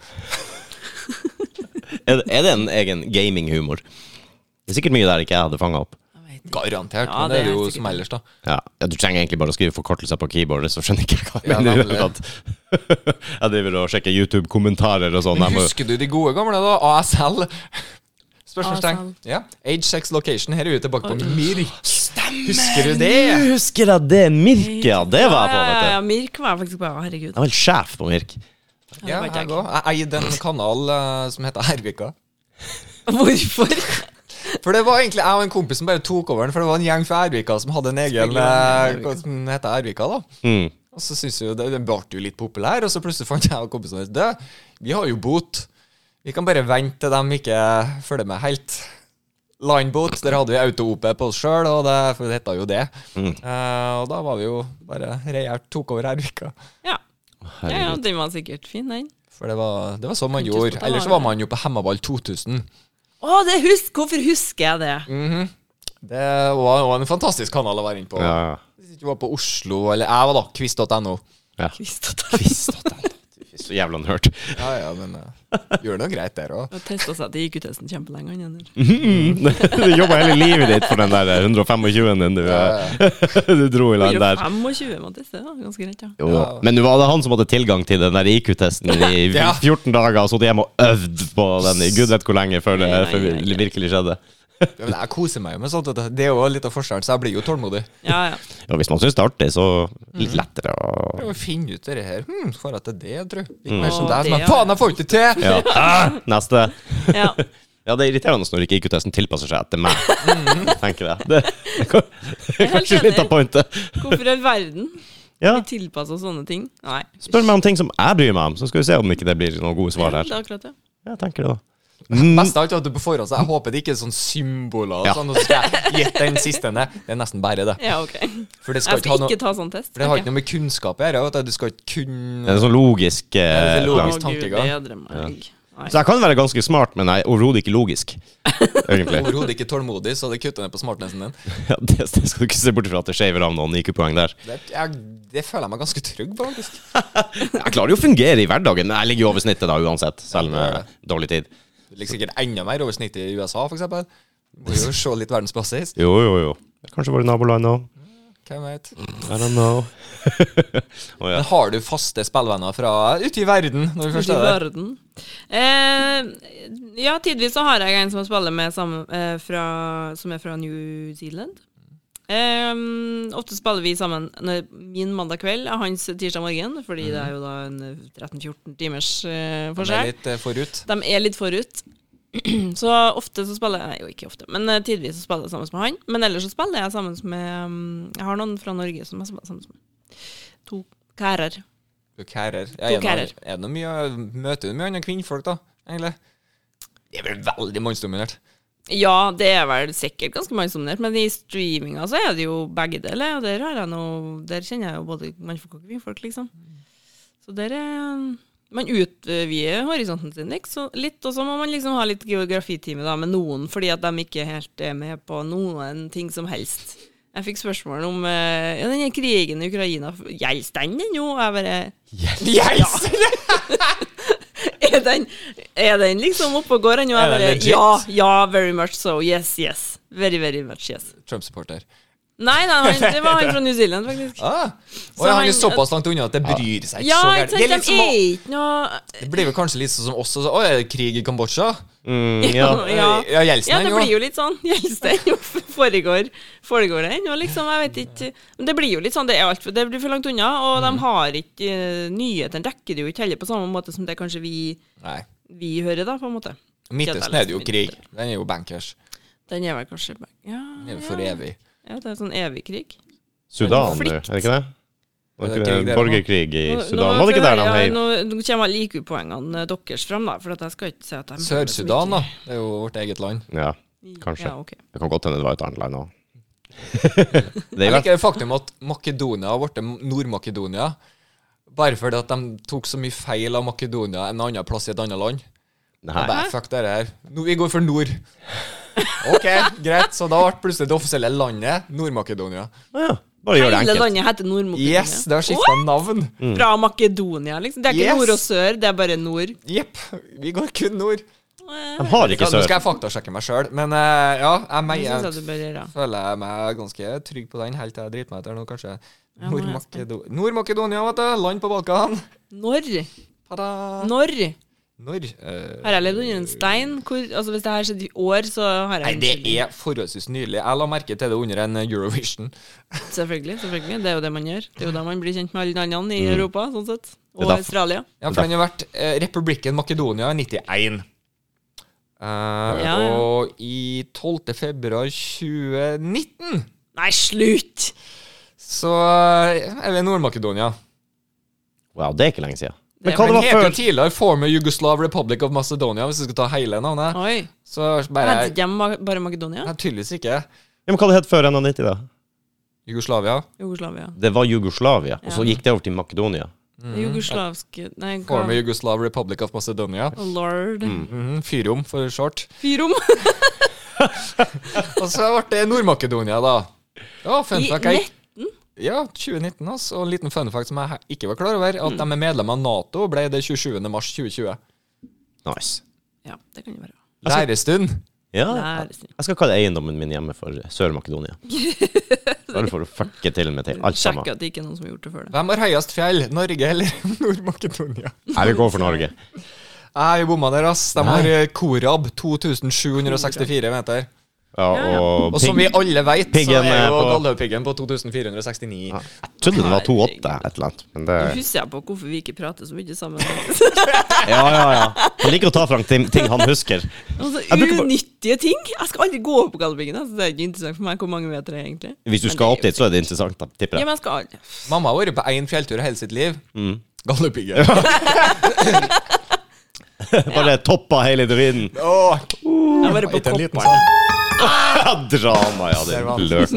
Er, er det en egen gaminghumor? Det er sikkert mye der ikke jeg hadde fanga opp.
Jeg vet ikke.
Garantert.
Ja,
men det
det
er
er
jo
sikkert.
som ellers, da.
Ja, ja, Du trenger egentlig bare å skrive forkortelser på keyboardet, så skjønner jeg ikke hva jeg
Ja,
mener. i det
nemlig.
hele tatt. jeg driver og sjekker YouTube-kommentarer og sånn.
Men
Jeg må-
husker du de gode gamle, da? ASL? Spørsmålstegn.
ASL.
Ja. Age, sex, location. Her er vi tilbake på
Oi.
Mirk.
Stemmer!
Husker du
Nå
det?
Husker jeg det Mirket, ja! Det var jeg på,
Ja, ja,
vet
ja,
du.
Mirk var jeg faktisk på. Herregud.
Jeg var helt sjef på Mirk.
Ja,
var ikke
jeg
jeg.
òg. Jeg eide en kanal eh, som heter Hervika.
Hvorfor?
For det var egentlig jeg og en kompis som bare tok over den, for det var en gjeng fra Ervika som hadde en egen
Spiller den
eh,
i Ervika.
Hva som heter Ervika, da.
Mm.
Og så synes jo, det- Den ble jo litt populær, og så plutselig fant jeg og kompisene ut det. Vi har jo bot. Vi kan bare vente til de ikke følger med helt. Lineboat, der hadde vi auto-OP på oss sjøl, og det, for det heta jo det.
Mm.
Eh, og da var vi jo bare reelt tok over Hervika.
Ja. ja, ja,
Herregud.
den var sikkert fin, den.
For det var, det var sånn man
Fantes
gjorde.
på
Ellers så
Tavare.
var man jo på Hemmaball 2000.
Å, det husk, hvorfor husker jeg det?
Mm. Det var, var en fantastisk kanal å være inne på.
Ja,
Hvis ikke du var på Oslo, eller jeg var da, quiz.no.
ja.
Visst at
Fy, Så jævla nerd.
Ja, ja, men eh, gjør det noe greit der òg.
han testa seg til IQ-testen kjempelenge. han Ender.
Du jobba hele livet ditt for den der 125-en din du, eh, du dro i land
Blir
der.
jo 25 man tester, ja. Ganske greit, ja.
Jo, jo. Men nå var det han som hadde tilgang til den der IQ-testen i
Ja.
14 dager og sittet hjemme og øvd på den i gud vet hvor lenge før det
Nei, nei,
før
nei,
det virkelig skjedde.
Men jeg koser meg jo med sånt. vet du. Det er jo litt av forskjellen, så jeg blir jo tålmodig.
Ja, ja.
Og hvis man syns det er artig, så
Mm.
litt lettere å
Prøv å finne ut det her. Hm, får jeg til det, tru? Litt mer som
Å,
deg, som
det,
er faen, jeg får ikke til!
ja. Ah, Neste.
ja.
Ja, det er irriterende når ikke IQ-testen tilpasser seg etter meg.
Mm.
Tenker jeg. Det er kanskje
enig.
litt av pointet.
Hvorfor i all verden?
Ja.
Vi tilpasser sånne ting. Nei.
Spør meg om ting som jeg bryr meg om, så skal vi se om ikke det blir noen gode svar
Ja,
her.
det er akkurat det.
Jeg tenker det da. Mm,
Mest av alt at du på forhånd så Jeg håper det ikke er sånn symboler og
Ja.
sånn, og så skal jeg gjette den siste ned. Det er nesten bare det.
Ja, ok.
For det skal
Jeg
ikke ha
skal
noe
ikke ta sånn test.
For det har
Ok.
ikke noe med kunnskap å gjøre. vet du. Du skal ikke kunne
Det er en sånn logisk
det
eh,
er
plan.
logisk
Å, Gud
tankegang.
bedre meg. Nei.
Så jeg kan være ganske smart, men jeg er overhodet ikke logisk. Egentlig.
Overhodet ikke tålmodig, så det kutter ned på smartnessen din.
Ja, det, det skal du ikke se bort ifra at det skjever av noen IQ-poeng der.
Det, jeg, det føler jeg meg ganske trygg på, faktisk.
Jeg klarer jo å fungere i hverdagen, men jeg ligger jo over snittet da uansett, selv med dårlig tid.
Det ligger sikkert enda mer over snittet i USA, for eksempel. Må jo se litt verdensbasis.
Jo, jo, jo. Kanskje våre naboland òg.
Hvem vet.
I don't know. Å ja.
Men har du faste spillvenner fra ute i verden, når vi først
Ute i
er der?
verden. Eh, ja, tidvis så har jeg en som jeg spiller med sammen, eh, fra, som er fra New Zealand. Eh, ofte spiller vi sammen når min mandag kveld og hans tirsdag morgen, fordi det er jo da en 13-14 timers eh,
Vi Mm. er
forskjell.
litt eh, forut.
De er litt forut. Så ofte så spiller jeg Nei, jo ikke ofte, men eh, tidvis så spiller jeg sammen med han. Men ellers så spiller jeg sammen med mm, Jeg har noen fra Norge som jeg spiller sammen med. To kærer.
Du kærer. Ja, er det
To
noe-
kærer.
Er det noe mye, møter du mye andre kvinnfolk, da? Egentlig? Det er vel veldig mannsdominert.
Ja, det er vel sikkert ganske mannsdominert, men i streaminga så er det jo begge deler, og der, har jeg noe, der kjenner jeg jo både mannfolk og kvinnfolk, liksom. Så der er Man utvider horisonten sin ikke så litt, og så må man liksom ha litt geografitime da, med noen, fordi at de ikke helt er med på noen ting som helst. Jeg fikk spørsmål om eh, ja, denne krigen i Ukraina, gjelder den ennå? Og Jeg bare
Yes!
er den, er den liksom oppe og går ennå? Jeg
Er den
bare,
legit?
Ja, ja, very much so. Yes, yes. Very, very much yes.
Trump-supporter.
Nei, nei, nei, det var han fra New Zealand, faktisk.
Ah, og ja, han er
han-
såpass langt unna at det bryr seg ikke
Ja,
så
ikke
gærent.
sant,
Det, er
de
litt som å-
er ikke noe
det blir vel kanskje litt sånn som oss. og så- Å, er det krig i Kambodsja?
Mm, ja.
Ja.
Ja, Gjelsen
Ja, det
ennå.
blir jo litt sånn. Gjelstein jo foregår, foregår det ennå, liksom. Jeg vet ikke. Men det blir jo litt sånn, det er alt for, det blir for langt unna, og de har ikke eh, Nyhetene dekker det jo ikke heller på samme måte som det kanskje vi,
Nei.
vi hører, da, på en måte.
Midtøsten er det jo krig. Den er jo bankers.
Den er vel kanskje Ja,
Den er jo for
ja,
evig.
ja det er sånn evig krig.
Sudan, du. Er
Konflikt.
det ikke det? Var det
Er det
ikke
krig der
det?
også?
Borgerkrig i
Nå- nå
Sudan.
må
Var det
jeg
ikke der
få
de
høre-
heiv
Nå, nå kommer IQ-poengene eh, deres fram, da, for at jeg skal ikke si at de
Sør-Sudan, da. Det er jo vårt eget land.
Ja, kanskje.
Ja, ok.
Det kan godt hende det var et annet land òg. Det
Jeg
er jo
liker det faktum at Makedonia har blitt Nord-Makedonia bare fordi at de tok så mye feil av Makedonia en annen plass i et annet land.
Nei.
Bare, fuck det her. No, vi går for nord. OK, greit. Så da ble plutselig det offisielle landet Nord-Makedonia.
Ja, bare gjør det
Hele
enkelt.
landet heter Nord-Makedonia.
Yes, det har skifta navn.
Mm.
Fra Makedonia, liksom. Det er ikke
Yes.
nord og sør, det er bare nord.
Jepp. Vi går kun nord.
De har
Nå
ikke
skal
sør.
jeg faktasjekke meg sjøl, men eh, ja, jeg,
Det synes
meg,
jeg du bør gjøre.
føler jeg meg ganske trygg på den helt til jeg driter meg ut her nå, kanskje.
Ja, nå er jeg spent.
Nord-Makedo- Nord-Makedonia, vet du. Land på Balkan.
Når?
Tada.
Når?
Når? eh,
Har jeg levd under en stein? Hvor, altså, hvis det her skjedde i år, så har
Nei,
jeg en
det
unnskyldning.
er forholdsvis nylig. Jeg la merke til det under en eh, Eurovision.
Selvfølgelig, selvfølgelig. Det er jo det man gjør. Det er jo da man blir kjent med alle landene i Europa, sånn sett.
Mm. Det
Og
er derfor-
Australia.
Ja, for den har vært eh, Republikken Makedonia i 91. Eh,
ja.
Og i 12. februar 2019
Nei, slutt!
så eh, er vi i Nord-Makedonia.
Wow, det er ikke lenge siden. Men hva
Det er
det
Den
var
heter jo
før?
tidligere Former Yugoslav Republic of Macedonia, hvis du skal ta hele navnet.
Oi.
Så bare
Heter de ma- bare Makedonia?
Nei, tydeligvis ikke.
Ja, men hva det het før 91, da?
Jugoslavia.
Jugoslavia.
Det var Jugoslavia, og så
Ja.
gikk det over til Makedonia.
Det Jugoslavske Nei, hva?
Former Yugoslav Republic of Macedonia.
Oh, Lord.
Mm.
Mhm, Fyrom, for short.
Fyrom.
Og så ble det Nord-Makedonia, da. Ja, fun
I
fact. Jeg, ja, 2019, altså. Og en liten fun fact som jeg he- ikke var klar over, at de er medlem av Nato, ble det 27. mars 2020.
Nice.
Ja, det kan jo være.
Lærestund.
Ja.
Lærestund.
Jeg skal kalle eiendommen min hjemme for Sør-Makedonia. Bare for å fucke til med til alt sammen.
Sjekk at det ikke er noen som har gjort det før det.
Hvem har høyest fjell? Norge eller Nord-Makedonia?
Nei, vi går for Norge.
Jeg bomma der, ass. De har
Nei.
eh, Korab 2764 meter.
Ja, og
Og som vi
Pig-
alle vet, så
Piggen
er
er
jo
på-
Galdhøpiggen på 2469.
Ja. Jeg trodde det var 2,8 et eller annet, men det
Nå husker jeg på hvorfor vi ikke prater så mye sammen.
Ja, ja, ja. Han liker å ta fram ting ting han husker.
Altså,
Jeg bruker bare-
Unyttige ting! Jeg skal aldri gå opp på Galdhøpiggen. Altså, det er ikke interessant for meg hvor mange meter det er, egentlig.
Hvis du
Men
skal
det-
opp dit, så er det interessant, da, tipper
Ja,
jeg.
men jeg skal aldri.
Mamma har vært på én fjelltur hele sitt liv.
Mm.
Galdhøpiggen.
Bare toppa hele driten.
Åh,
Jeg har vært på
ikke en liten
Koppa.
sånn.
Drama, ja,
Der
din
var han.
løk.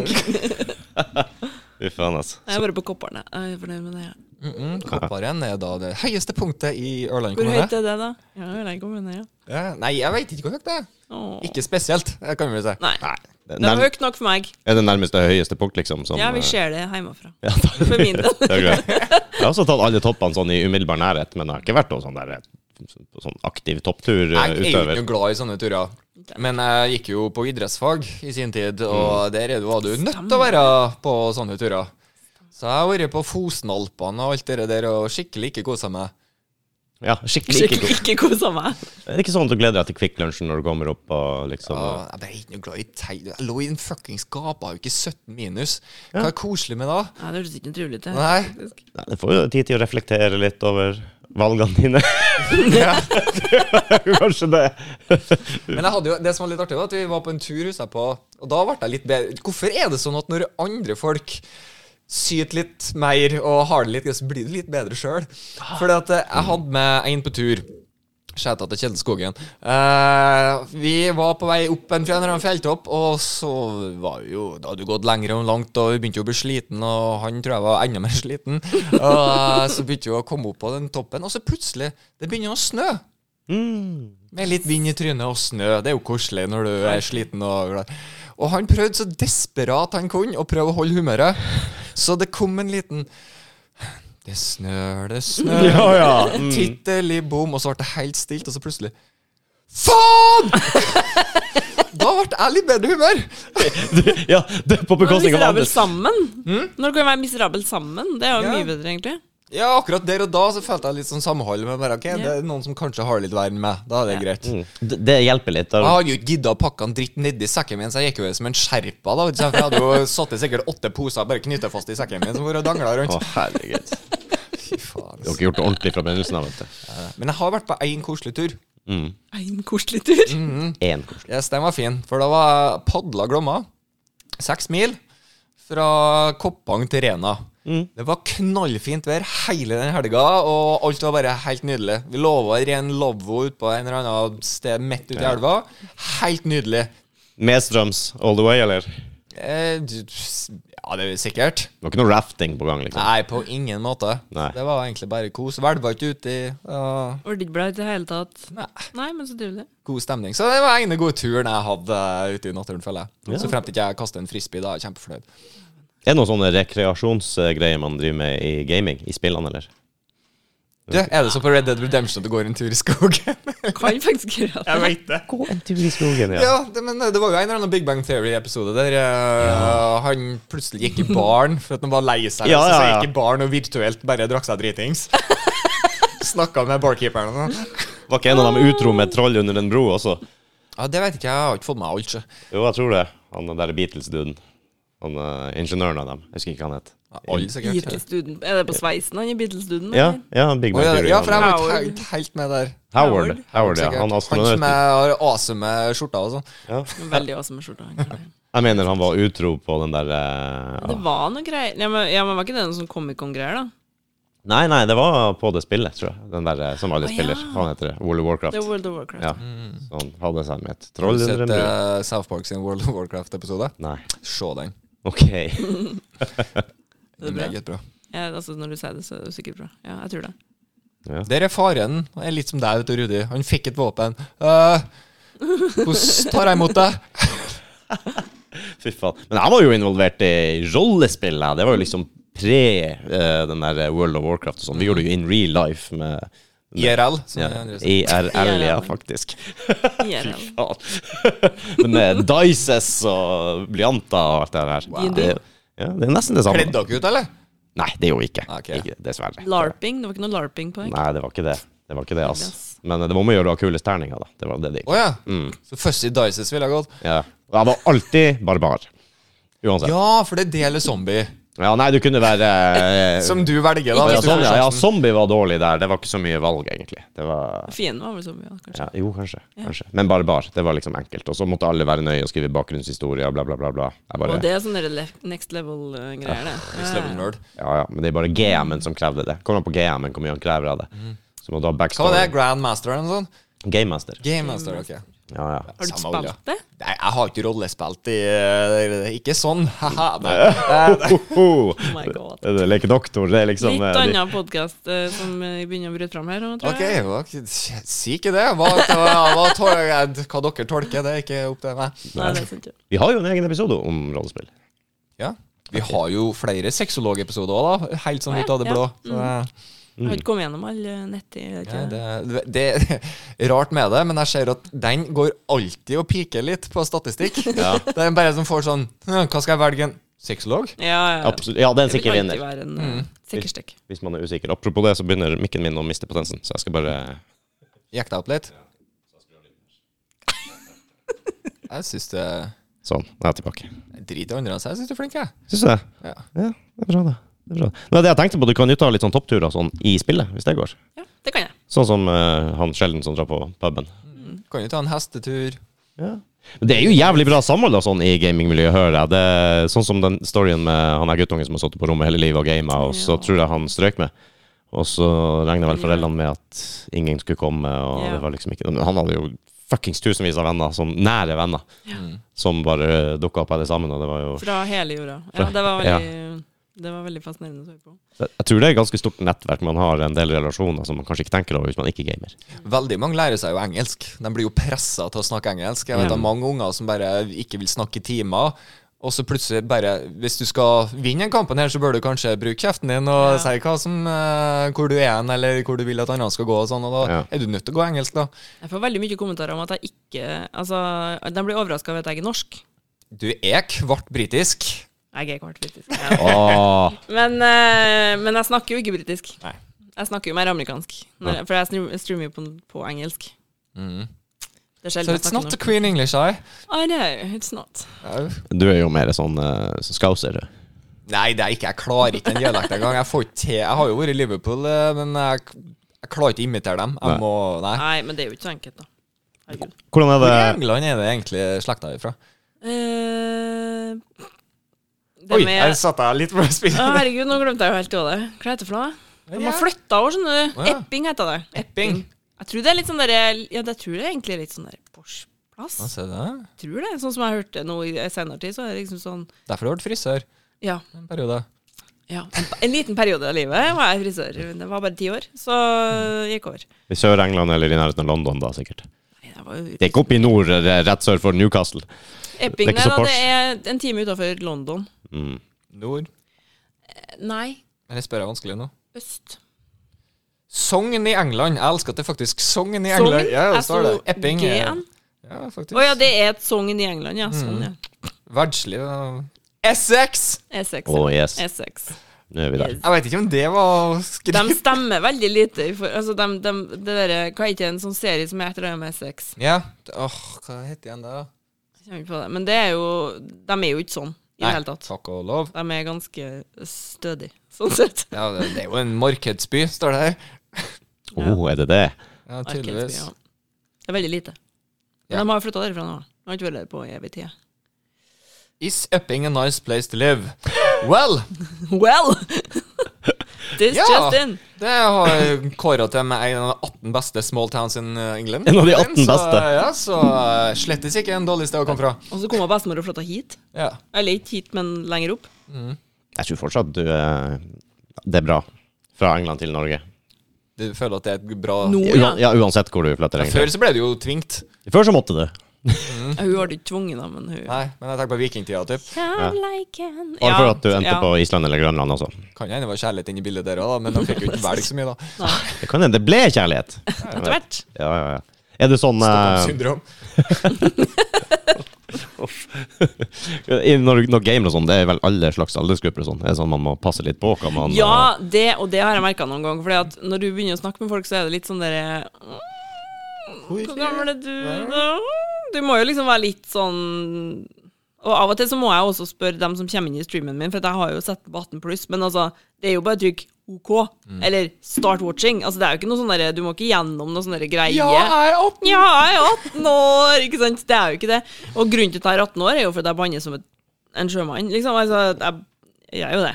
Fy faen, altså.
Jeg har vært på Kopparne. Jeg er fornøyd med det. Ja.
Mm, Kopparen er da det høyeste punktet i Ørland
Hvor høyt
kommune.
er det, da? Ja, Ørland kommune, ja.
Ja, nei, jeg veit ikke hvor høyt det er.
Åh.
Ikke spesielt, eh, kan vi vel si.
Nei.
Det
Det
er
var
nær-
høyt nok for meg.
er det nærmeste høyeste punkt, liksom? Som,
Ja, vi
eh,
ser det hjemmefra.
Ja, da-
For min del.
det er greit. Jeg har også tatt alle toppene sånn i umiddelbar nærhet, men jeg har ikke vært noen sånn, der, eh, sånn aktiv eh,
Jeg er jo
toppturutøver.
ikke noe glad i sånne turer. Men jeg gikk jo på idrettsfag i sin tid, og der er du, var du nødt til å være på sånne turer. Så jeg har vært på Fosenalpene og alt det der og skikkelig ikke kosa meg.
Ja, skikkelig ikke
Skikkelig ikke kosa meg.
Er det ikke sånn at du gleder deg til Kvikk Lunsjen når du kommer opp og liksom
Og jeg ble ikke noe glad i tei. Jeg lå i en fuckings gapehauk i 17 minus. Hva er koselig med da?
Nei, det høres ikke trivelig ut.
Nei.
Nei, Du får jo tid til å reflektere litt over valgene dine. Kanskje det.
Men jeg hadde jo, det som var litt artig, var at vi var på en tur, husker jeg på, og da ble jeg litt bedre. Hvorfor er det sånn at når andre folk syter litt mer og har det litt gøy, så blir du litt bedre sjøl? Fordi at eh, jeg hadde med en på tur. Skjæta til Kjell Skogen. Eh, vi var på vei opp en fjell- eller annen fjelltopp, og så var vi jo Da hadde vi gått lenger og langt, og vi begynte jo å bli sliten, og han tror jeg var enda mer sliten. Og eh, så begynte vi å komme opp på den toppen, og så plutselig Det begynner å snø.
Mm.
Med litt vind i trynet og snø. Det er jo koselig når du er sliten og glad. Og han prøvde så desperat han kunne å prøve å holde humøret. Så det kom en liten Det snør, det snør.
Ja, ja. Mm.
Titteli bom. Og så ble det helt stilt, og så plutselig Faen! da ble jeg litt bedre humør.
Ja, det er på
Når er
bekostning av
miserabel
andres.
sammen? Når kan vi være miserabel sammen? Det er jo
Hmm? Ja.
mye bedre, egentlig.
Ja, akkurat der og da så følte jeg litt sånn samhold med bare, ok,
Ja.
det er noen som kanskje har det litt verre enn meg. Da er det greit.
Mm. Det det hjelper litt.
Jeg
Da.
hadde jo ikke gidda å pakke en dritt nedi sekken min, så jeg gikk jo som en sherpa. da, vet du, så Jeg hadde jo satt i sikkert åtte poser bare knyttet fast i sekken min, som bare
Å,
dangla rundt.
herregud. Du
Fy faen.
har ikke gjort det ordentlig fra begynnelsen av, vet du.
Men jeg har vært på én koselig tur.
En koselig tur.
Mm.
Én koselig.
Yes, den var fin, for da var jeg padla Glomma. Seks mil fra Koppang til Rena. Det var knallfint vær hele den helga, og alt var bare helt nydelig. Vi lova i ren lavvo ute på en eller annen sted midt ute i elva. Helt nydelig.
Medstrøms all the way, eller? Det
Eh, du- ja, det er sikkert.
var ikke noe rafting på gang, liksom?
Nei, på ingen måte.
Nei.
Det var egentlig bare kos. Hvelva ikke uti. og-
Ble ikke blaut i det hele tatt.
Nei,
Nei, men så trivelig.
god stemning. Så det var ene gode turen jeg hadde eh, ute i naturen, føler jeg.
Ja.
Så frem til ikke jeg kaster en frisbee, da er jeg kjempefornøyd.
Er det noen sånne rekreasjonsgreier man driver med i gaming? I spillene, eller?
Du, er det så på Red Dead Redemption at du går en tur i skogen?
Kan faktisk gjøre det.
veit det.
Gå en tur i skogen, ja.
Ja, det, men eh, det var jo en eller annen Big Bang Theory-episode der eh, han plutselig gikk i baren for at han var lei seg.
Ja,
og Så, så
ja, ja.
gikk i baren og virtuelt bare drakk seg dritings. Snakka med barkeeperen og sånn.
Var ikke en av dem utro med et troll under en bro også?
Ja, det vet ikke jeg. Jeg har ikke fått med alt. så.
Jo, jeg tror det. Han der Beatles-duden. Han eh, ingeniøren av dem. Jeg husker ikke hva han het.
Ja, Alle sikkert.
Beatles-duden. Er det på sveisen han er Beatles-duden?
Ja,
eller?
ja Big
Å,
Bang
ja,
Theory.
ja, for jeg
han-
var ikke
Howard.
helt, helt med der.
Howard. Howard, ja.
Sikkert.
Han
som
astronauten.
er awesome skjorta og sånn.
Ja.
Veldig awesome skjorte. han kan det.
Jeg mener han var utro på den der eh,
Det var noe greier. Ja, men, ja, men var ikke det noe sånn Comic-Con-greier, da?
Nei, nei, det var på det spillet, tror jeg. Den der eh, som alle
Å,
spiller.
ja.
Hva heter det? World of Warcraft.
Det er World of Warcraft.
Ja. Så han hadde seg med et
Har
troll
du
under
sett
en bru.
Mm. eh, South Park sin World of Warcraft-episode?
Nei.
Se den.
Ok.
Er det bra?
Meget bra.
Ja, altså, når du sier det, så er det sikkert bra. Ja, jeg tror det.
Ja.
Der er faren. Han er litt som deg, vet du, Rudi. Han fikk et våpen. Eh, Hvordan tar jeg imot det?
Fy faen. Men jeg var jo involvert i rollespill. jeg. Det var jo liksom pre eh, den der World of Warcraft og sånn. Vi gjorde det jo in real life med
IRL. Som
ja,
de andre sier.
IRL, ja,
IRL.
faktisk. Fy
IRL.
faen. Med dices og blyanter og alt det der.
Wow.
Det, ja, det er nesten det
Kledde
samme.
dere ut, eller?
Nei, det er jo ikke.
Ok.
ikke dessverre.
Larping? Det var ikke noe larping på
Nei, det var ikke det. Det var ikke det, ass.
Yes.
Men eh, det var om å gjøre å ha kulest terninger, da. Det var det det
Å
gikk.
ja.
Mm.
Så Fussy Dices ville ha gått.
Ja. Og Jeg var alltid barbar. Uansett.
Ja, for det er det eller zombie.
Ja, nei, du kunne være eh,
Som du velger, da.
ja,
Hvis du
sånn,
får
ja, ja,
sjansen.
zombie var dårlig der. Det var ikke så mye valg, egentlig. Det var
Fienden var vel så mye, kanskje.
ja, Jo, kanskje. kanskje. Men barbar. Det var liksom enkelt. Og så måtte alle være nøye og skrive bakgrunnshistorie og bla, bla, bla. bla. Jeg
Og
bare,
det er sånne der le- next level-greier, det.
Next level nerd.
ja, ja, men det er bare GM-en som krevde det. Kommer an på GM-en hvor mye han krever av det. Så må du ha
Mm. Hva var
backstory.
det? Grandmaster eller noe sånt?
Game Master.
Game Master, ok.
Ja, ja.
Eh, Har du ikke
Samme olja.
spilt det?
Nei, jeg har ikke rollespilt i eh, Ikke sånn, haha. Nei. Eh,
Ho, ho.
Oh my god.
Det er Lekedoktor, det er liksom
Litt
eh, de-
annen podkast som eh, begynner å bryte fram her. nå, Tror
Ok,
jeg.
ok, si ikke det. Hva, hva, hva, tol- eh, hva dere tolker, det er ikke opp til meg.
Nei, det er sant, ja.
Vi har jo en egen episode om rollespill.
Ja. Vi har jo flere sexologepisoder òg, da. Helt sånn ut av det blå. Så, eh,
Jeg
Mm.
har ikke kommet gjennom eh, alle netti. jeg vet
Nei,
ikke.
det, det er rart med det, men jeg ser at den går alltid og piker litt på statistikk. Det er bare som får sånn «Hm, Hva skal jeg velge? En sexolog?
Ja, ja. ja.
Absolutt. Ja, det er en
Det
sikker
vil alltid
vinner.
være en eh, sikker stikk.
Hvis man er usikker. Apropos det, så begynner mikken min å miste potensen, så jeg skal bare
Jekk deg opp litt. Jeg syns det jeg
Sånn, nå er jeg tilbake.
driter i andre, så jeg syns du er flink, jeg.
Syns du det?
Ja.
Ja, det er bra, det. Det er bra. Nei, det jeg tenkte på, du kan jo ta litt sånn toppturer og sånn i spillet, hvis det går.
Ja, det kan jeg.
Sånn som eh, han Sheldon som drar på puben.
Kan jo ta en hestetur.
Ja. Men det er jo jævlig bra samhold og sånn i gamingmiljøet, hører jeg. Det er sånn som den storyen med han her guttungen som har sittet på rommet hele livet og gama, og så
Ja.
tror jeg han strøk med. Og så regna vel
Ja.
foreldrene med at ingen skulle komme, og
Ja.
det var liksom ikke Men han hadde jo fuckings tusenvis av venner, som nære venner,
Mm.
som bare dukka opp her sammen, og det var jo
Fra hele jorda. Ja,
Fra-
det var veldig, det var veldig fascinerende å høre på.
Jeg tror det er et ganske stort nettverk man har en del relasjoner som man kanskje ikke tenker over hvis man ikke gamer.
Veldig mange lærer seg jo engelsk. De blir jo pressa til å snakke engelsk. Jeg
Ja.
vet det er mange unger som bare ikke vil snakke i timer. Og så plutselig bare Hvis du skal vinne den kampen her, så bør du kanskje bruke kjeften din og
Ja.
si hva som, eh, hvor du er hen, eller hvor du vil at andre skal gå, og sånn. Og da
Ja.
er du nødt til å gå engelsk, da.
Jeg får veldig mye kommentarer om at jeg ikke Altså, de blir overraska over at jeg er norsk.
Du er kvart britisk.
Jeg er kvart britisk. Ja.
Åh,
Men, eh, men jeg snakker jo ikke britisk.
Nei.
Jeg snakker jo mer amerikansk. Når, jeg- For jeg stream- streamer jo på, på engelsk. Det er
So
sjelden jeg
Mm. it's
snakker
not the
noe.
Queen English, I.
I know, it's not.
Au.
du er jo mer sånn uh, skauser, du.
Nei, det er ikke, jeg klarer ikke den dialekten engang. Jeg, får ikke til- jeg har jo vært i Liverpool, eh, men jeg, jeg klarer ikke å imitere dem. Jeg
Nei.
må, nei.
Nei, men det er jo ikke så enkelt, da. Herregud.
Hvordan er
Hvor i
det
England er det egentlig slekta ifra?
Eh, det
Oi,
med
jeg satte jeg litt for å
Å,
spille.
herregud, nå glemte jeg jo helt av det. Hva heter det for noe? De har flytta over, skjønner du.
Å, ja.
Epping heter det.
Epping.
Jeg tror det er litt sånn derre Ja, jeg tror det er egentlig litt sånn der Porsplass.
Ja, se der.
Jeg tror det. Sånn som jeg hørte nå i senere tid, så er det liksom sånn
Derfor har du vært frisør
Ja.
en periode.
ja. En, en liten periode av livet var jeg frisør. Det var bare ti år, så gikk over.
i Sør-England eller i nærheten av London, da, sikkert?
Nei, det var jo
Det er ikke oppe i nord, eh, rett sør for Newcastle.
Epping,
det er ikke
nei
så
da.
Porsche.
Det er en time utafor London.
Mm.
Nord.
Nei,
Eller spør jeg vanskelig nå?
øst.
Sogn i England. Jeg elsker at det er faktisk Sogn i
Sogn?
England. Ja, det
Jeg
står det.
sto
Epping. er-
G-en.
Ja, faktisk.
Å ja, det er et sogn i England, ja. Sånn,
Mm.
ja. E
Verdslig. ja. Essex!
E6.
Å, yes.
ja. E6.
Nå er vi der.
Yes.
Jeg vet ikke om det var
De
skrevet
stemmer veldig lite. i For, altså, de, de, det der, hva er ikke en sånn serie som heter det med sex?
Ja. Åh, hva heter den da?
Jeg kommer ikke på det. Men det er jo, de er jo ikke sånn i det hele tatt.
Takk og lov.
De er ganske stødige, sånn sett.
Ja, det, det er jo en markedsby, står det her.
Å, Oh, er det det?
Ja,
Arkelsby,
tydeligvis.
ja. Det er veldig lite. Men
Ja.
de har flytta derfra nå. De har ikke vært der på evig tid.
Is Epping a nice place to live? Well,
Well! This
Ja.
just in.
Det har kåra til meg en av de 18 beste small towns in uh, England.
En av de 18 beste.
Så, ja, så eh, slettes ikke en dårlig sted å komme fra.
Og så kommer bestemor og flytta hit.
Ja.
Eller ikke hit, men lenger opp.
Jeg tror fortsatt du eh, Det er bra. Fra England til Norge.
Du føler at det er et bra
Nå, ja.
Uan, ja, uansett hvor du flytter.
Før
egentlig.
så ble du jo tvingt.
Før så måtte du.
Hun har det ikke tvunget, da, men hun
Nei, men jeg tenker på vikingtida, typ.
Bare for at du endte
ja.
på Island eller Grønland også.
Kan hende det var kjærlighet inni bildet der òg, men de fikk jo ikke velge så mye, da.
Det kan hende det ble kjærlighet.
Etter hvert.
Ja, ja, ja. Er du sånn eh,
Stockholm-syndrom.
i når, når gamer og sånn, det er vel alle slags aldersgrupper og sånn. Det er sånn man må passe litt på hva man
Ja, det, og det har jeg merka noen ganger. Fordi at når du begynner å snakke med folk, så er det litt sånn derre Hvor gammel er du, da? Du må jo liksom være litt sånn Og av og til så må jeg også spørre dem som kommer inn i streamen min, for at jeg har jo sett på 18 pluss, men altså, det er jo bare trykk OK, eller start watching. Altså, det er jo ikke noe sånn derre Du må ikke gjennom noe sånn derre greie.
Ja, jeg er 18!
Ja, jeg er 18 år! Ikke sant? Det er jo ikke det. Og grunnen til at jeg er 18 år, er jo fordi jeg banner som et, en sjømann. Liksom, altså, jeg, jeg er jo det.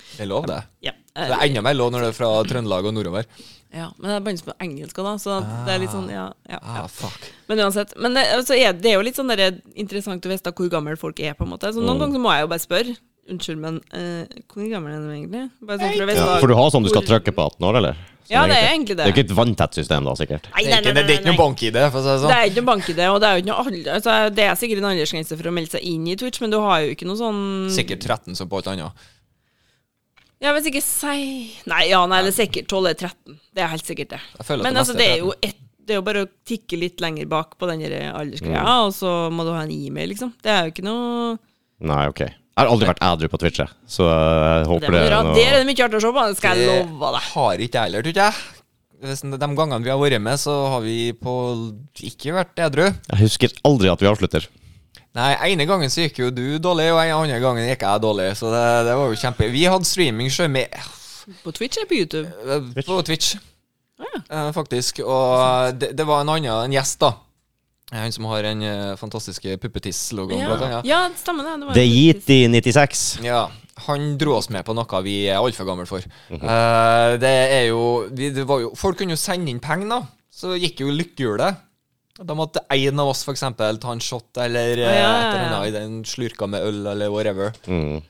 Det er lov, det.
Ja.
Det er enda mer lov når det er fra Trøndelag og nordover.
ja. Men jeg banner som på engelsk også, da, så at det er litt sånn, ja. ja, ja.
Ah, fuck.
Men uansett. Men det, altså, er, det er jo litt sånn der, interessant å vite hvor gammel folk er, på en måte. Så
Mm.
noen ganger så må jeg jo bare spørre. Unnskyld, men eh, hvor gammel er du egentlig? Bare sånn for å vite
Ja, For du har sånn du skal trykke på 18 år, eller? Sånn
Ja, det er egentlig det.
Det er ikke et vanntett system, da, sikkert.
Nei,
Det er
nei, nei,
ikke,
nei,
det er ikke noe
nei.
bank i det, for å si det
Det
sånn.
er ikke noe bank i det, og det er jo ikke noe alder, altså, det er sikkert en aldersgrense for å melde seg inn i Twitch, men du har jo ikke noe sånn
Sikkert 13 som på alt annet.
Ja, hvis ikke si Nei, ja, nei, det er sikkert 12 eller 13. Det er helt sikkert det.
Jeg føler at
Men
det
altså,
meste
det
er
er jo ett det er jo bare å tikke litt lenger bak på den der aldersgreia, og så må du ha en e-mail, liksom. Det er jo ikke noe
Nei, ok. Jeg har aldri vært ædru på Twitch, jeg. så eh, jeg
Det
håper det
må du
er
gjøre.
noe
Der er det mye artig å se på, det skal jeg love deg.
har ikke jeg heller, tror ikke jeg. Hvis De de gangene vi har vært med, så har vi på ikke vært edru.
Jeg husker aldri at vi avslutter.
Nei, ene gangen så gikk jo du dårlig, og den andre gangen gikk jeg dårlig. Så det, det var jo kjempe... Vi hadde streaming sjø med
På Twitch eller på YouTube?
eh, på Twitch,
Ah, Ja.
eh, faktisk. Og eh, det, det var en annen en gjest, da. Eh, Han som har den eh, fantastiske puppetiss-logoen, blant
Ja,
annet.
ja det stemmer det. var
Det er
faktisk-
gitt i 96.
Ja. Han dro oss med på noe vi er altfor gamle for.
Mhm.
Eh, det er jo, vi, det var jo Folk kunne jo sende inn penger, da. Så gikk jo lykkehjulet. Da måtte en av oss for eksempel ta en shot eller eh,
Ja, ja,
et eller
ja.
annet i den slurka med øl eller whatever.
Mm.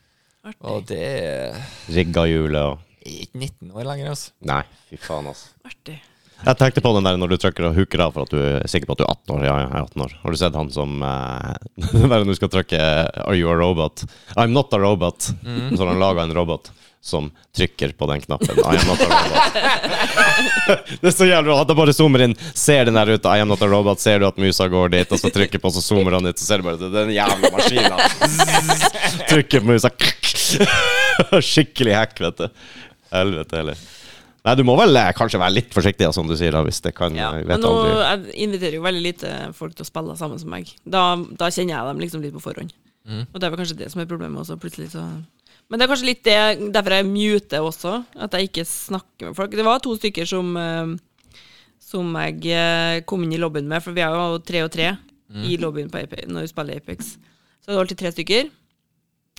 Og det er
Rigga hjulet og
ikke 19 år lenger, altså.
Nei, fy faen, altså.
Artig.
Jeg tenkte på den der når du trykker og hooker av for at du er sikker på at du er 18 år. Ja, ja, jeg er 18 år. Har du sett han som eh, Den der når du skal trykke eh, 'Are you a robot?' 'I'm not a robot'. Så har han laga en robot som trykker på den knappen. 'I am not a robot'. det er så jævlig bra at han bare zoomer inn, ser den der ute, 'I am not a robot', ser du at musa går dit, og så trykker på, så zoomer han ut, så ser du bare det, den jævla maskina. Zzz, trykker på musa. Skikkelig hack, vet du. Helvete heller. Nei, du må vel eh, kanskje være litt forsiktig, ja, som du sier, da, hvis det kan
Ja.
jeg
Men
vet
nå eh,
aldri.
jeg inviterer jo veldig lite folk til å spille sammen som meg. Da, da kjenner jeg dem liksom litt på forhånd. Og det er vel kanskje det som er problemet også, plutselig så Men det er kanskje litt det derfor jeg muter også, at jeg ikke snakker med folk. Det var to stykker som eh, som jeg eh, kom inn i lobbyen med, for vi er jo tre og tre i lobbyen på Ape- når vi spiller Apex. Så det var alltid tre stykker.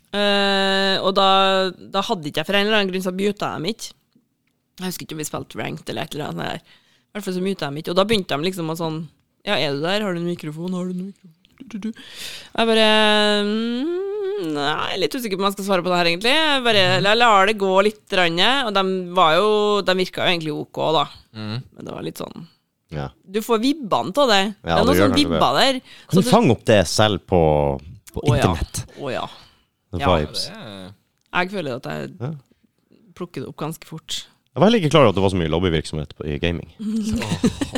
Eh, og da, da hadde ikke jeg for en eller annen grunn så muta jeg dem ikke. Jeg husker ikke om vi spilte ranked eller et eller annet. sånt der. I hvert fall så muta jeg dem ikke. Og da begynte de liksom å sånn Ja, er du der? Har du en mikrofon? Har du en mikrofon? Du, du, du. Jeg bare mm, Nei, jeg er litt usikker på om jeg skal svare på det her, egentlig. Jeg bare
Mhm.
jeg lar det gå litt. grann, Og de, var jo, de virka jo egentlig OK, da.
Mhm.
Men det var litt sånn
Ja.
du får vibbene av det. det
Ja,
er
du
noen
gjør
sånne
kanskje
vibber der.
Kan du fange opp det selv på, på
Å, ja.
internett?
Å ja.
The
Ja.
Vibes.
Jeg føler at jeg
Ja.
plukker det opp ganske fort.
Jeg var heller ikke klar over at det var så mye lobbyvirksomhet på, i gaming.
Mhm.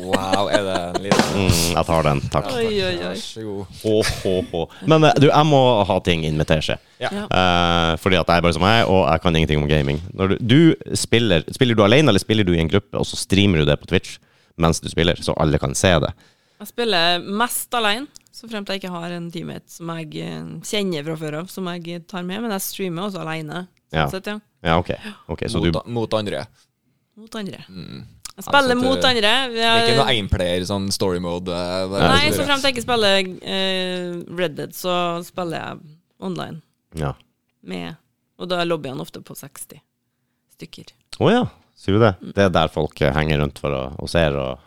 wow, er det en liten
Mm, jeg tar den, takk.
Oi, oi, oi.
Vær så god.
Hå, hå, hå. Men eh, du, jeg må ha ting inn med teskje.
Ja.
Ja.
Eh, fordi at jeg er bare som jeg, er, og jeg kan ingenting om gaming. Når du, du spiller, spiller du alene, eller spiller du i en gruppe, og så streamer du det på Twitch mens du spiller, så alle kan se det?
Jeg spiller mest alene, så fremt jeg ikke har en teammate som jeg eh, kjenner fra før av, som jeg tar med. Men jeg streamer også alene.
Ja,
Sånn sett, ja.
ja ok. Ok, så du
Mot, mot andre.
Mot andre. Jeg
Altså,
spiller
det-
mot andre. Vi
Det er ikke
er-
noe aimplayer, sånn story mode. eh, det er
Nei,
bare-
så fremt jeg ikke spiller eh, Red Dead, så spiller jeg online
Ja.
med Og da er lobbyene ofte på 60 stykker.
Å ja, sier du det? Det er der folk eh, henger rundt for å, og ser og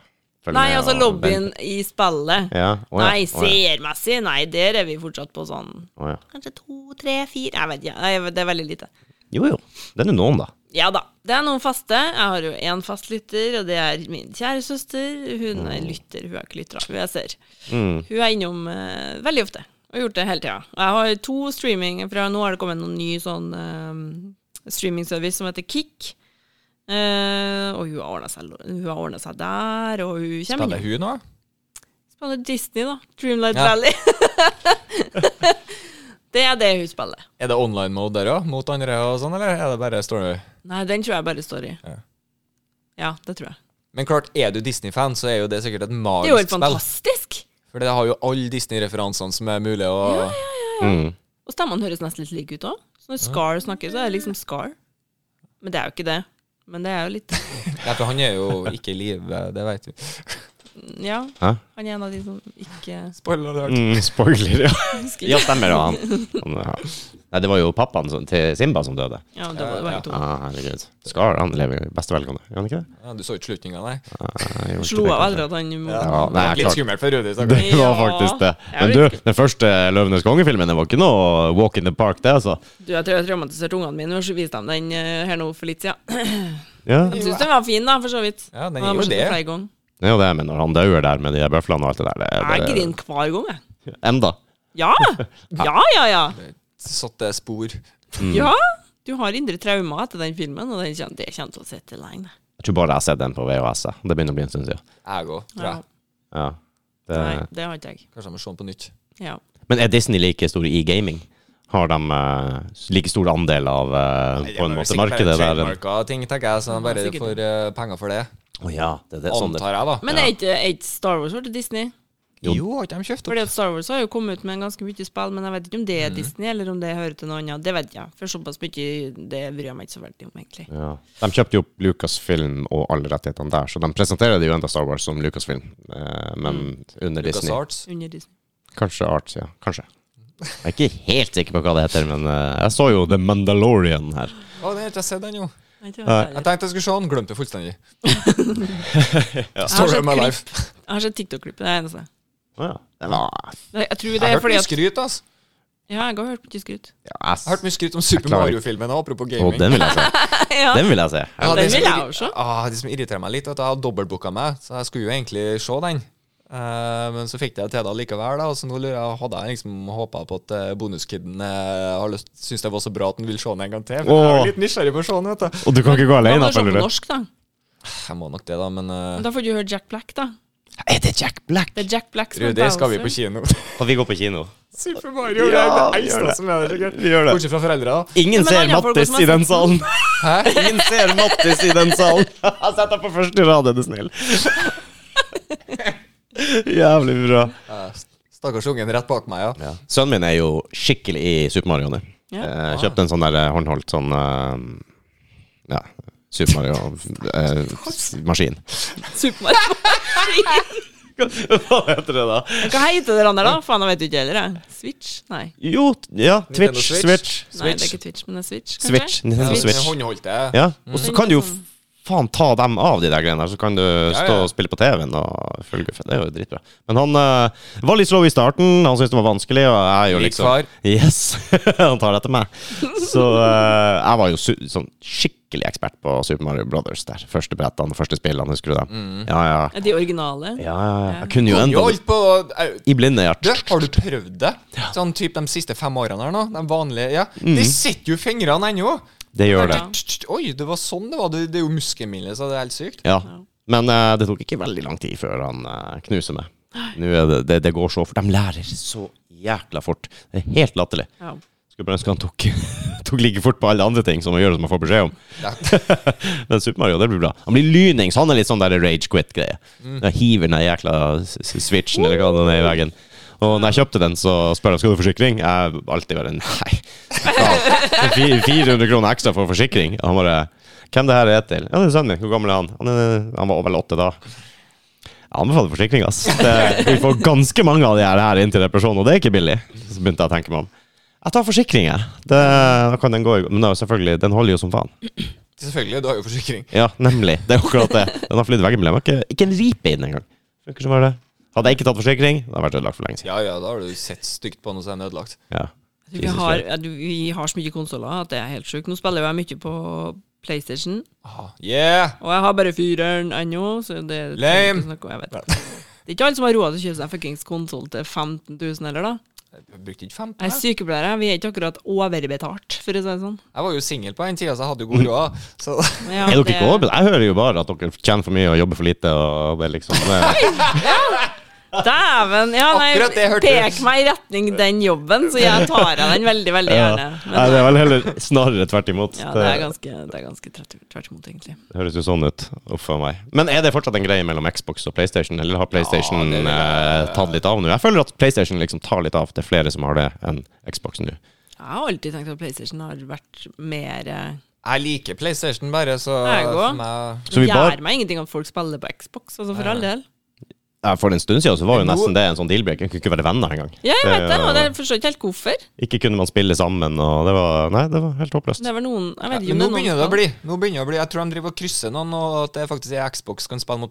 følger
Nei,
med
altså
og
lobbyen i spillet.
venter. Ja. å ja, å
Nei,
ja,
seermessig, nei, der er vi fortsatt på sånn
å ja.
Kanskje to, tre, fire Jeg vet ikke, nei, det er veldig lite.
Jo jo, den er noen, da.
Ja da. Det er noen faste. Jeg har jo én fast lytter, og det er min kjære søster. Hun
Mm.
er lytter, hun er ikke lytter, hun er ser. Hun er innom eh, veldig ofte, og har gjort det hele tida. Jeg har to streaming, for nå har det kommet noen ny sånn eh, streamingservice som heter Kick. Eh, og hun har ordna seg, hun har ordnet seg der, og hun kommer
Spiller hun nå?
Spiller Disney, da. Dreamlight
Ja.
Valley. det er det hun spiller.
Er det online mode der òg, mot andre og sånn, eller er det bare story?
Nei, den tror jeg bare står i.
Ja.
Ja, det tror jeg.
Men klart, er du Disney-fan, så er jo det sikkert et
Det er jo
magisk
helt
spill.
fantastisk!
For det har jo alle Disney-referansene som er mulig å
Mm.
Og stemmene høres nesten litt like ut òg. Så når Scar snakker, så er det liksom Scar. Men det er jo ikke det. Men det er jo litt
Ja, for han er jo ikke i live, det vet vi.
mm, Ja,
Hæ?
han er en av de som ikke
Spoiler alert.
Mm, spoiler, ja.
husker.
Ja, stemmer det. Han. Han, ja. Nei, det var jo pappaen som, til Simba som døde.
Ja, det var, det var jo to.
Ah, herregud. Scar han lever i beste velgående, gjør han ikke det?
Ja, du så ikke slutninga, nei?
Ah, jeg gjorde ikke
Slo
det,
av
kanskje.
aldri at han må
Ja, nei,
Litt
klart.
skummelt for Rudi. stakkar.
Det var
Ja.
faktisk det.
Jeg
Men
vet
du, den første Løvenes konge-filmen det var ikke noe walk in the park, det, altså.
Du, jeg tror jeg traumatiserte ungene mine ved å vise dem den eh, her nå for litt siden.
Ja,
De syns den var fin, da, for så vidt.
Ja, den
Og de
er
har
jo
sett
det.
Flere ganger.
det er jo det, men når han dauer der med de der bøflene og alt det der,
Jeg
det,
griner hver gang, jeg.
det Enda.
Ja! Ja, ja, ja.
Satt det spor.
Ja! Du har indre traumer etter den filmen, og den kjem- det kommer til å sitte lenge.
Jeg tror bare jeg har sett den på VHS. jeg. Det begynner å bli en stund siden.
Jeg òg, tror
Ja.
jeg.
Ja. Eh. Det,
Nei, det har ikke jeg.
Kanskje jeg må se den på nytt.
Ja.
men er Disney like store i gaming? Har de eh, like stor andel av eh, på en måte markedet der? Å
Trademarka ting, tenker jeg, så de bare
sikkert.
får eh, penger for det.
ja, det, det er sånn det
Antar jeg, da.
Men er ikke er ikke Star Wars vært til Disney?
Jo.
Jo, har ikke de kjøpt opp?
Fordi at Star Wars har jo kommet ut med ganske mye spill, men jeg vet ikke om det er Disney, eller om det hører til noe annet. Det vet jeg, for såpass mye det bryr jeg meg ikke så veldig om, egentlig.
ja. De kjøpte jo opp Lucasfilm og alle rettighetene der, så de presenterer det jo enda Star Wars som Lucasfilm, eh, men under
Lucas
Disney.
Arts.
Under Disney.
Kanskje Arts, ja. Kanskje. Jeg er ikke helt sikker på hva det heter, men eh, jeg så jo The Mandalorian her.
Å, den har ikke jeg sett ennå.
Nei, det
Nei.
var
Jeg
det.
tenkte jeg skulle se den, glemte det fullstendig.
Jeg har
Story of
sett
my
klipp.
life.
Jeg har sett TikTok-klipp, det er det eneste.
Å ja. Det var
Nei, Jeg tror
Jeg
det
har
er
hørt
fordi
mye
at
skryt, ass.
Ja, jeg har hørt mye skryt.
ja, jeg s-
Jeg har hørt mye skryt om
Jeg
Super
klarer ikke.
Mario-filmen, og apropos
Å,
gaming.
den vil jeg se.
Ja.
Den vil jeg se.
Ja,
Den
det som
vil jeg
irri-
også.
Ah, det som irriterer meg litt, er at jeg har dobbeltbooka meg, så jeg skulle jo egentlig se den. Eh, men så fikk jeg til det likevel, da, og så nå lurer jeg, hadde jeg liksom håpa på at eh, bonuskiden eh, har lyst- syns det var så bra at han vil se den en gang til. Men jeg er
Åh.
jo litt nysgjerrig på å se den, vet du.
Og du kan ikke gå
Da
alene,
må du se
føler
sånn
på
du?
norsk, da.
Jeg må nok det, da, men eh,
Men da får du høre Jack Black, da.
Er det Jack Black?
Det er Jack Black som er
Rudi, skal vi
Bowser.
på kino?
Kan vi gå på kino?
Super Mario
Ja, vi
det er det
gjør det.
eneste som er der, sikkert.
Vi gjør det.
Bortsett fra foreldra, da.
Ingen
Ja, men
ser
han har folk
Mattis
som er
i den salen.
Hæ?
Ingen ser Mattis i den salen. Sett deg på første rad, er du snill. Jævlig bra.
Eh, Stakkars ungen rett bak meg, ja.
Sønnen min er jo skikkelig i Super Mario nå.
Ja.
Eh, kjøpte en sånn der eh, håndholdt sånn eh, Ja, Super eh, Mario-maskin.
Super Mario.
Hva heter det da?
Hva heter det andre, da? Faen, jeg vet jo ikke heller. jeg. Switch? Nei.
Jo, t- ja,
Nintendo
Twitch.
Switch.
Switch.
Nei, det er ikke Twitch, men det er Switch, kanskje?
Switch. Nintendo
Ja,
Switch.
Håndholdte.
Ja, og så kan du jo f- faen ta dem av, de der greiene der. Så kan du stå og spille på TV-en og følge for Det er jo dritbra. Men han eh, var litt slow i starten. Han syntes det var vanskelig, og jeg er jo
Lik
liksom
far.
Yes, han tar det etter meg. Så eh, jeg var jo su sånn skikkelig ekspert på Super Mario Brothers der. Første brettene, første spillene, husker du dem? Ja, ja.
Ja, De originale?
Ja, ja, ja. Jeg kunne jo
Kan jo
enda det.
alt på au,
I blinde, ja.
Du, har du prøvd det? Sånn typ de siste fem årene her nå? De vanlige, ja. De sitter jo i fingrene ennå!
Det gjør det.
Mhm. Ja.
Oi, det var sånn det var. Det, det er jo muskelminne, så det er helt sykt.
Ja. Men eh, det tok ikke veldig lang tid før han eh, knuser meg. Nå er det, det, det går så fort. De lærer så jækla fort. Det er helt latterlig.
Ja.
Skulle bare ønske han tok, tok like fort på alle andre ting som han gjør som han får beskjed om.
Ja.
Men Super Mario, det blir bra. Han blir lynings. Han er litt sånn der rage quit-greie. Da Hiver den der jækla s- s- switchen eller hva den er i veggen. Og når jeg kjøpte den, så spør han skal du ha forsikring. Jeg alltid bare nei. faen. Fi- 400 kroner ekstra for forsikring. Og han bare Hvem det her er til? Ja, det er sønnen min. Hvor gammel er han? Han, er, han var vel åtte da. Jeg anbefaler forsikring, ass. Det, vi får ganske mange av de her, her inntil depresjon, og det er ikke billig. Så begynte jeg å tenke meg om. Jeg tar forsikring her. Det, da kan den gå i Men da, selvfølgelig, den holder jo som faen.
Selvfølgelig, du har jo forsikring.
Ja, nemlig. Det er akkurat det. Den har flydd veggimellom. Ikke, ikke en ripe i den engang. Funker som bare det. Hadde jeg ikke tatt forsikring, det hadde vært ødelagt for lenge siden.
Ja ja, da har du sett stygt på noe som er ødelagt.
Ja.
Jeg tror Vi
Jesus
har,
Christ.
ja, du, vi har så mye konsoller at det er helt sjukt. Nå spiller jo jeg mye på PlayStation,
Ah, yeah!
og jeg har bare fyreren ennå, så det er
Lame.
Noe, jeg vet. ikke. Det er ikke alle som har råd til å kjøpe seg fuckings konsoll til 15 000 heller, da.
Jeg brukte ikke 15.
Jeg er
Jeg,
sykepleiere, vi er ikke akkurat overbetalt, for å si det sånn.
jeg var jo singel på den tida, så jeg hadde jo god råd. Så
Men ja,
Er dere
det-
ikke overbevist? Jeg hører jo bare at dere tjener for mye og jobber for lite. Og det er liksom det.
Dæven! Ja,
Akkurat det
nei,
hørte
pek
du.
meg i retning den jobben, så jeg tar av den veldig, veldig
Ja.
gjerne.
Nei, det
Men,
er vel heller snarere tvert imot.
ja, det er ganske, det er ganske tvert, tvert imot, egentlig.
Det høres jo sånn ut. Uff a meg. Men er det fortsatt en greie mellom Xbox og PlayStation, eller har PlayStation
det vil jeg-
eh, tatt litt av nå? Jeg føler at PlayStation liksom tar litt av. Det er flere som har det enn Xbox nå.
Jeg har alltid tenkt at PlayStation har vært mer eh,
jeg liker PlayStation bare, så
Jeg går.
for meg
Så vi
Det
bare-
gjør meg ingenting at folk spiller på Xbox, altså for
Nei,
all del.
Ja, For en stund siden så var jo
Men nå-
nesten det en sånn deal-breaker. Kunne ikke være venner engang.
Ja, jeg
Det er
vet det,
jo-
og jeg forstår ikke helt hvorfor.
Ikke kunne man spille sammen, og det var Nei, det var helt håpløst.
Det er vel noen Jeg
ja,
vet ikke
men nå
om det er
begynner det å
noen
bli. Nå begynner det å bli Jeg tror de driver og krysser noen, og at det faktisk er Xbox kan spille mot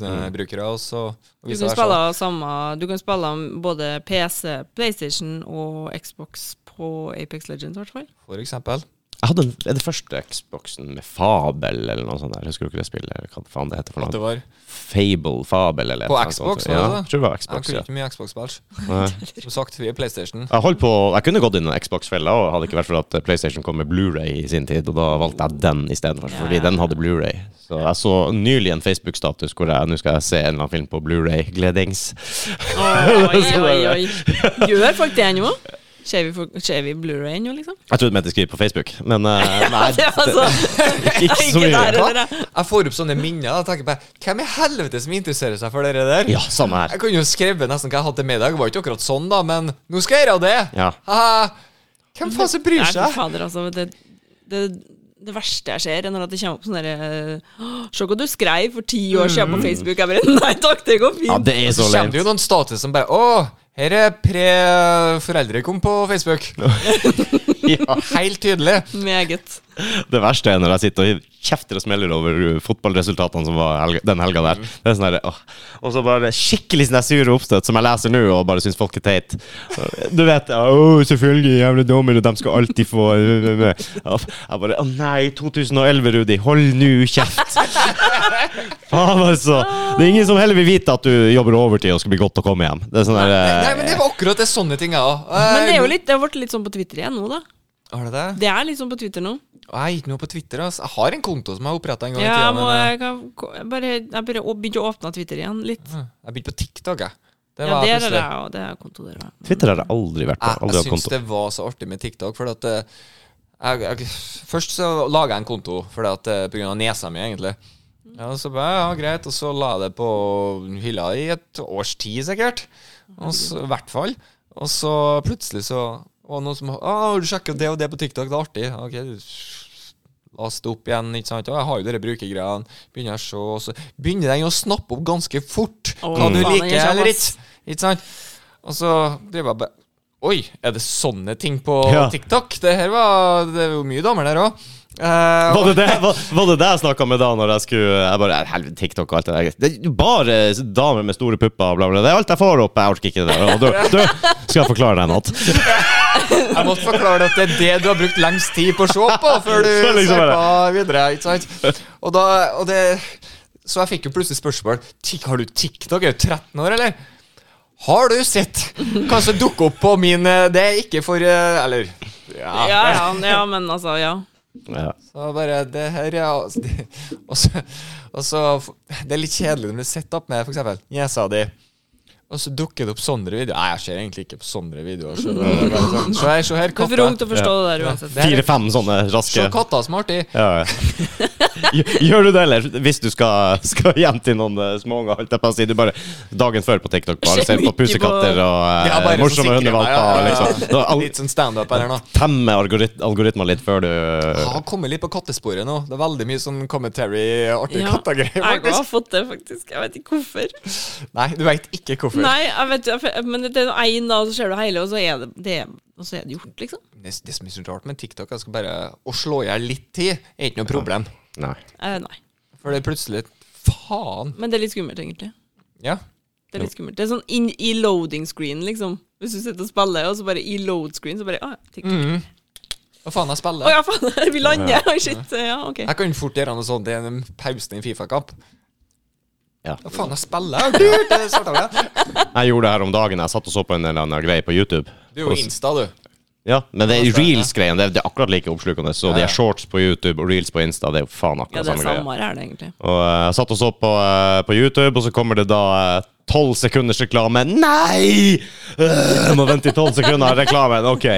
PlayStation-brukere. Og så og
Mm. Du
vice
kan
versa.
spille samme Du kan spille om både PC, PlayStation og Xbox på Apex Legends, i hvert fall.
For eksempel.
Jeg hadde en, er det første Xboxen med Fabel eller noe sånt der. Husker du ikke det spillet? eller Hva faen det heter for
At
noe?
det var
Fable, Fabel eller et
På
eller annet
Xbox,
sånt.
var det
Ja,
det?
jeg tror det var
Jeg
Xbox,
kunne
ja.
ikke mye Xbox-spill.
Nei.
Som sagt, vi er PlayStation.
Jeg, holdt på, jeg kunne gått inn i en Xbox-felle, og hadde ikke vært for at PlayStation kom med Blu-ray i sin tid, og da valgte jeg den istedenfor,
Ja,
fordi
ja.
den hadde Blu-ray. Så jeg så nylig en Facebook-status hvor jeg nå skal jeg se en eller annen film på Blu-ray, gledings.
Oi,
Så det
oi,
er-
oi. Gjør folk det nå? Ser vi, folk- ser vi Blu-ray nå, liksom?
Jeg trodde du mente skrive på Facebook, men eh, nei,
Det altså- var så
ikke så
Ikke
mye.
der.
Hva?
eller det?
Jeg får opp sånne minner og tenker på Hvem i helvete som interesserer seg for dere der?
Ja, samme her.
Jeg kunne jo skrevet nesten hva jeg hadde til middag. Det var ikke akkurat sånn, da, men nå skal jeg gjøre det!
Ja.
Haha. Hvem faen som bryr
Nei, fy
seg?
fader, altså. Det, det, det verste jeg ser, er når at det kommer opp sånn derre «Åh, Se hva du skrev for ti år siden på Facebook. Jeg bare Nei takk, det går fint.
Mm. Ja, det er
Så
så
kommer det
lame.
jo noen status som bare Å, her er pre-foreldrekom på Facebook.
Ja.
Helt tydelig.
Meget.
Det verste er når jeg sitter og kjefter og smeller over uh, fotballresultatene som var helga, den helga der. Det er sånn der, åh. Og så bare skikkelig sånn der sure oppstøt som jeg leser nå og bare syns folk er teit. Du vet ja, Å, selvfølgelig, jævla dommer, og de skal alltid få øh, Ja, Jeg bare Å nei, 2011, Rudi, hold nå kjeft. Faen, altså. Det er ingen som heller vil vite at du jobber overtid og skal bli godt å komme hjem. Det er sånn der eh,
Nei, men det var akkurat det sånne ting, jeg òg.
Men det er jo litt, det har blitt litt sånn på Twitter igjen nå, da.
Har du det?
Det er litt sånn på Twitter nå.
Å, Jeg er ikke noe på Twitter. ass. Jeg har en konto som jeg oppretta en gang
Ja,
i tida.
jeg, må,
Men jeg,
jeg, kan, jeg bare Jeg bare å- begynte å åpne Twitter igjen litt.
jeg begynte på TikTok, jeg. Det
Ja,
var
det
jeg
er det,
plutselig.
ja, det er konto der, ja.
Twitter har jeg aldri vært på.
Jeg,
Aldri
jeg
hatt
syns
konto.
det var så artig med TikTok, for at eh, jeg, jeg, Først så laga jeg en konto fordi at, eh, på grunn av nesa mi, egentlig. Ja, så ba jeg, ja, greit, og så la jeg det på hylla i et års tid, sikkert. Og så, I hvert fall. Og så plutselig så var det noen som Å, du sjekker det og det på TikTok, det er artig. Ok, du laste opp igjen, ikke sant. Å, jeg har jo dere brukergreiene. Begynner jeg å se, og så begynner den jo å snappe opp ganske fort
Å,
hva du
faen,
liker
jeg kjenner
eller
ass.
ikke. Ikke sant? Og så driver jeg bare Oi, er det sånne ting på
Ja.
TikTok? Det her var Det er jo mye damer der Eh, òg.
Var det det, var, var det det jeg snakka med da når jeg skulle Jeg bare Helvete, TikTok og alt det der. Det er jo bare damer med store pupper og bla, bla. Det er alt jeg får opp. Jeg orker ikke det der. Og du, du, skal jeg forklare deg en natt?
jeg måtte forklare deg at det er det du har brukt lengst tid på å se på før du
Så liksom
ser
bare-
på videre. Ikke sant? Og da, og det, så jeg fikk jo plutselig spørsmål «Tik- Har du TikTok? Er du 13 år, eller? Har du sett? Kanskje dukke opp på min eh, Det er ikke for eh, Eller
Ja, ja, ja, men altså, ja.
Ja.
Så bare det her, ja. Og så, og så, og så Det er litt kjedelig når du setter opp med for eksempel Gjesa di. Og så dukker det opp sånne videoer. Nei, jeg ser egentlig ikke på sånne videoer. Så, det er bare sånn, så her, så her,
Du er for ung
katta.
til å forstå det der uansett.
Fire-fem sånne raske
Se katta som er artig.
ja. ja. Gjør- Gjør du det, eller? Hvis du skal, skal hjem til noen eh, småunger, holdt jeg på å si. Du bare dagen før på TikTok bare ser på pusekatter og eh,
Ja, bare så
morsomme
sikrer jeg meg,
hundevalper.
ja, ja, ja.
Liksom. Da, al-
Litt sånn standup her nå.
Temme algorit algoritmer litt før du
Jeg har kommet litt på kattesporet nå. Det er veldig mye sånn commentary, artige
Ja, jeg
kattegreier,
har
faktisk.
fått det, faktisk. Jeg vet ikke hvorfor.
Nei, du veit ikke hvorfor.
Nei, jeg vet, jeg, men det er én dag, så ser du hele, og så er det, det er og så er det gjort, liksom.
Det, det som er så rart med TikTok, jeg skal bare å slå i hjel litt tid, er ikke noe problem.
Nei.
Eh, nei.
For det er plutselig Faen!
Men det er litt skummelt, egentlig.
Ja.
Det er litt skummelt. Det er sånn inn i loading screen, liksom. Hvis du sitter og spiller, og så bare i load screen, så bare ah, TikTok.
Hva faen, jeg
Å
spiller?
ja, faen! Vi lander! Oi, shit! Ja, OK.
Jeg kan fort gjøre noe sånt i en pause i en Fifa-kamp.
Ja.
Hva faen, jeg spiller? Du, det startet med.
Jeg gjorde det her om dagen. Jeg satt og så på en eller annen greie på YouTube.
du er jo Insta, du.
Ja, Men det er
Ja, det er det.
reels-greien. Det, er- det er akkurat like oppslukende. Så
Ja,
de
ja.
er shorts på YouTube og reels på Insta. Det er jo faen
Ja,
akkurat
det er
samme greie.
samme her, er det egentlig.
Og eh, jeg satt og så på, eh, på YouTube, og så kommer det da eh, tolv sekunders reklame. Nei! Øh, jeg må vente i tolv sekunder av reklamen. OK.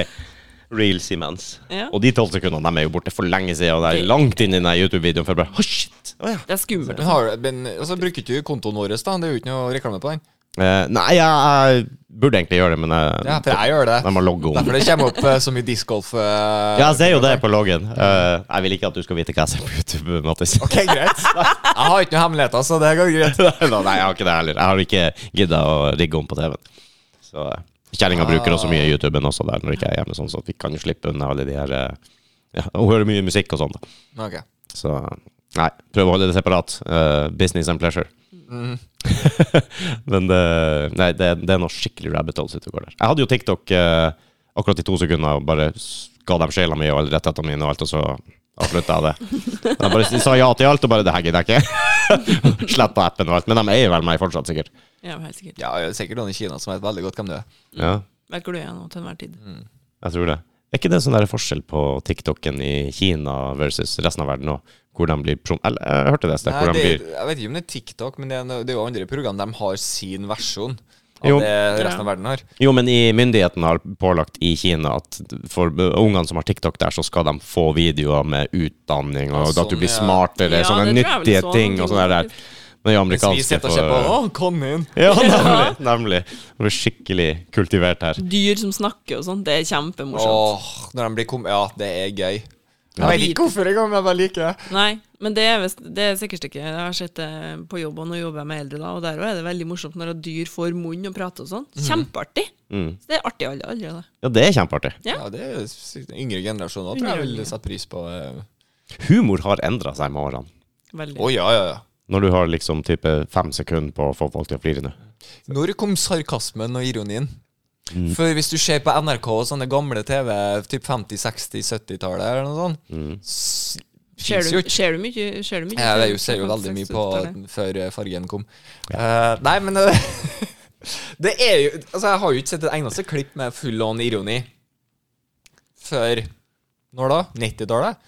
Reels imens.
Ja.
Og de tolv sekundene de er jo borte for lenge siden, og det er langt inn i den her YouTube-videoen før jeg bare oh, shit. Å, ja.
Det er skummelt.
Men, har, men altså, bruker ikke du kontoen vår, da? Det er jo ikke noe reklame på den.
Eh, nei, jeg, jeg burde egentlig gjøre det, men jeg,
Ja, for jeg gjør det.
de har logget om.
Derfor det kommer opp eh, så mye discgolf. Uh,
Ja, jeg ser jo det på loggen. Eh, jeg vil ikke at du skal vite hva jeg ser på YouTube, Mattis.
Ok, greit. Jeg har ikke noen hemmeligheter, så det går greit.
Da, Nei, jeg har ikke det heller. Jeg har ikke gidda å rigge om på TV-en. Så eh, Kjerringa bruker også mye YouTube-en også der når ikke jeg er hjemme, sånn, så vi kan jo slippe unna alle de her eh, ja, Hun hører mye musikk og sånn, da.
Ok.
Så nei, prøv å holde det separat. Eh, business and pleasure.
Mm,
Men det, nei, det, det er noe skikkelig rabbit holes ute og går der. Jeg hadde jo TikTok eh, akkurat i to sekunder og bare s- ga dem sjela mi og alle rettighetene mine og alt, og så avslutta jeg det. Jeg bare s- sa ja til alt og bare 'det her gidder jeg ikke'. Sletta appen og alt. Men de eier vel meg fortsatt, sikkert.
Ja, helt sikkert.
Ja, det er sikkert noen i Kina som vet veldig godt hvem du er.
Ja,
Vet hvor du er nå til enhver tid.
Mm.
jeg tror det. Er ikke det en sånn der forskjell på TikTok-en i Kina versus resten av verden nå? Hvor de blir prom... Eller, jeg hørte det et sted.
Nei,
Hvor de
det,
blir
jeg vet ikke om det er TikTok, men det er, no- det er jo andre program. De har sin versjon av
Jo.
det
Ja.
resten av verden har.
Jo, men i myndigheten har pålagt i Kina at for ungene som har TikTok der, så skal de få videoer med utdanning og
Ja, sånn,
at du blir
ja.
smartere,
Ja,
sånne
det tror jeg vel
nyttige
så,
ting og sånne der.
faktisk.
Men de
Mens vi
amerikanske
sitter og ser på Å, kanin!
Ja, nemlig. nemlig. Det blir skikkelig kultivert her.
Dyr som snakker og sånn, det er kjempemorsomt.
Åh, når de blir kom... Ja, det er gøy.
Ja.
Jeg vet ikke hvorfor engang, men jeg bare liker det.
Nei, men det er, visst- det er sikkert ikke Jeg har sett det på jobb, og nå jobber jeg med eldre, da, og der også er det veldig morsomt når at dyr får munn og prater og sånn.
Mhm.
Kjempeartig! Så det er artig alle allerede.
Mm. Ja, det er kjempeartig.
Ja.
Ja, det er s- yngre generasjoner tror jeg vil sette pris på. eh.
Humor har endra seg med årene.
Veldig.
Å ja, ja, ja.
Når du har liksom type fem sekunder på å få folk til å flire nå.
Når kom sarkasmen og ironien? For hvis du ser på NRK og sånne gamle TV, typ 50-, 60-, 70-tallet eller noe sånt, s-
Ser
finnes
du,
jo ikke.
ser du mye? Ser du mye
Jeg vet jo- ser jo veldig mye på før eh, fargen kom. Eh, nei, men eh, Det er jo Altså, jeg har jo ikke sett et eneste klipp med full on ironi før Når da? 90-tallet?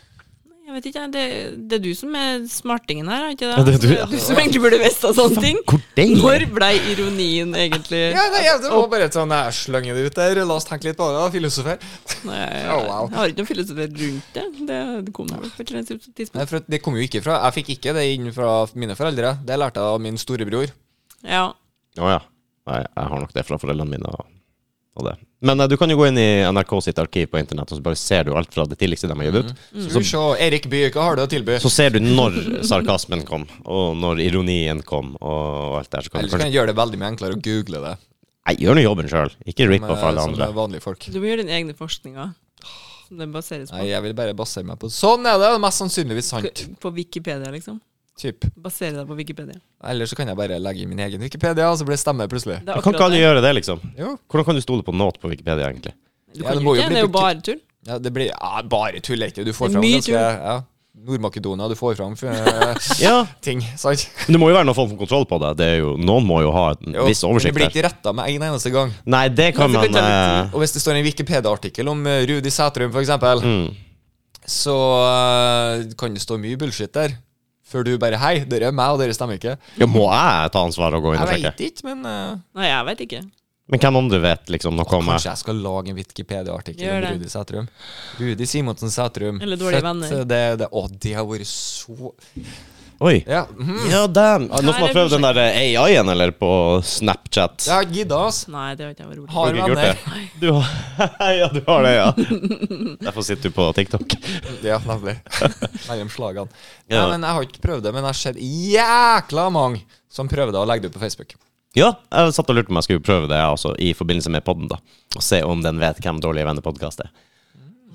Jeg vet ikke, jeg. det, det er du som er smartingen her, er ikke det?
Ja, det er du, ja.
du som egentlig burde visst av sånne ting.
Hvor deilig!
Når blei ironien egentlig
Ja, nei, ja, det var bare et sånn Jeg slenger det ut der. La oss tenke litt på det, da, filosofer.
Nei, jeg,
Oh, wow.
jeg har ikke noe filosofer rundt det. Det, det kom vel på et eller annet tidspunkt.
Nei, for det kom jo ikke fra Jeg fikk ikke det inn fra mine foreldre. Det lærte jeg av min storebror.
Ja.
Å ja. Nei, jeg har nok det fra foreldrene mine. Og, og det. Men eh, du kan jo gå inn i NRK sitt arkiv på internett, og så bare ser du alt fra det tidligste de har gitt ut.
Skal vi se, Erik Bye, hva har du å tilby?
Så ser du når sarkasmen kom, og når ironien kom, og alt det der. Så kan
Eller
du
så kan
kanskje
jeg gjøre det veldig mye enklere å google det.
Nei, gjør nå jobben sjøl. Ikke rip
Med,
off alle
eh, som
andre.
vanlige folk.
Du må gjøre dine egne forskninger. Som den baseres
Nei,
på.
jeg vil bare basere meg på Sånn er det! det er Mest sannsynligvis sant.
På Wikipedia, liksom.
Typ.
Basere deg på Wikipedia.
Eller så kan jeg bare legge i min egen Wikipedia, og så blir det stemme plutselig.
Det er
Kan ikke
akkurat
alle
det.
gjøre det, liksom?
Jo.
Hvordan kan du stole på noe på Wikipedia, egentlig?
Du
Ja,
kan
det
jo
må jo
ikke,
bli
det er jo
brukt.
bare tull.
Ja, det blir ja, bare tull, ikke? Du får
Det er
fram
mye
ganske ja. Nord-Makedonia, du får fram eh,
Ja,
ting, sant?
men Det må jo være noen form for kontroll på det. det er jo, noen må jo ha en
Jo,
viss
men Det
oversikt
blir
der.
ikke retta med en eneste gang.
Nei, det kan
Men
man
det kan ta
eh,
Og hvis det står en Wikipedia-artikkel om eh, Rudi Sætrum, f.eks.,
mm.
så eh, kan det stå mye bullshit der. Før du bare Hei, dere er meg, og dere stemmer ikke.
ja, Må jeg ta ansvaret og gå inn og
Jeg
sjekke?
veit ikke, men eh,
Nei, jeg vet ikke.
Men hvem andre vet liksom noe om meg?
Kanskje jeg skal lage en Wikipedia-artikkel
Gjør
om
det.
Rudi Sætrum. Rudi Simonsen Sætrum.
Eller dårlige venner.
Det, det, å, det har vært så
Oi.
Ja, mhm.
Ja, damn. Er det Noen som har
Her Mm. er
prøvd den der AI-en, eller, på Snapchat?
jeg har gidda, ass.
Nei, det har ikke jeg vært rolig.
Har
Har ikke
venner.
gjort det? Du har, ja, du har det, ja. Derfor sitter du på TikTok.
Ja, nemlig. Mellom slagene.
Ja.
Nei, men jeg har ikke prøvd det, men jeg har sett jækla mange som prøvde å legge det ut på Facebook.
Ja, jeg satt og lurte på om jeg skulle prøve det jeg også, i forbindelse med podden. da Og se om den vet hvem Dårlige venner-podkast er.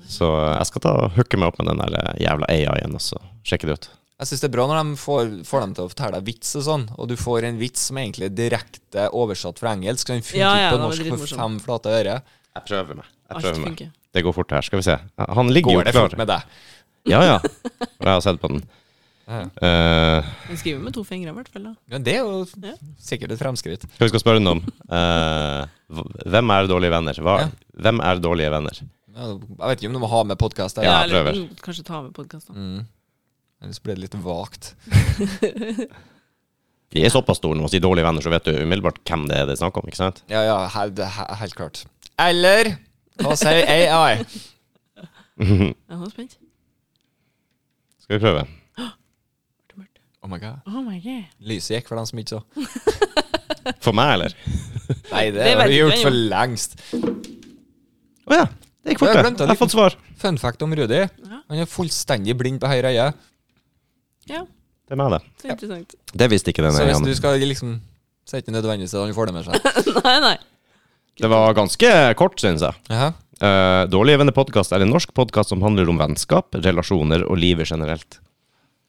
Så eh, jeg skal ta og hooke meg opp med den der eh, jævla AI-en og så sjekke det ut.
Jeg syns det er bra når de får, får dem til å fortelle deg vits og sånn, og du får en vits som egentlig er direkte oversatt fra engelsk. så Den funker
Ja, ja,
ikke
den
på
var
norsk med
dritmorsom.
fem flate øre.
Jeg prøver meg. Jeg
Alt
prøver meg.
funker.
Det går fort her. Skal vi se. Han ligger
Går
jo
det fort
klar.
med deg?
Ja, ja. Jeg har sett på den.
Ja, ja.
Eh,
Den skriver med to fingre, i hvert fall. da.
Men det er jo
Ja.
sikkert et fremskritt.
hva vi skal spørre den om? Eh, hv- hvem er dårlige venner? Hva,
Ja.
Hvem er dårlige venner?
Ja, Jeg vet ikke om du må ha med podkast her,
Ja,
Eller,
prøver.
mm, Kanskje ta med podkasten.
Mm. ellers blir det litt vagt.
De er såpass store når man sier dårlige venner, så vet du umiddelbart hvem det er det er snakk om. ikke sant?
Ja, ja, he- det he- helt klart. Eller hva sier AI?
Jeg er spent.
Skal vi prøve?
Ble det mørkt?
Oh my god.
Oh my god.
Lyset gikk for dem som ikke så.
For meg, eller?
Nei, det,
Det
har
vet
vi
ikke
gjort
jeg,
for lengst.
Å ja. Det gikk fort,
Jeg
det.
glemte
Jeg
en
har
liten-
fått svar.
Fun fact om Rudi. Han er fullstendig blind på høyre øye.
Ja,
Det er meg, det.
så interessant.
Det visste ikke den
Så hvis du
ene.
skal liksom Så er det ikke nødvendigvis at han får det med seg.
Nei, nei.
Det var ganske kort, syns jeg.
Jaha.
Eh, Dårlige venner podkast er en norsk podkast som handler om vennskap, relasjoner og livet generelt.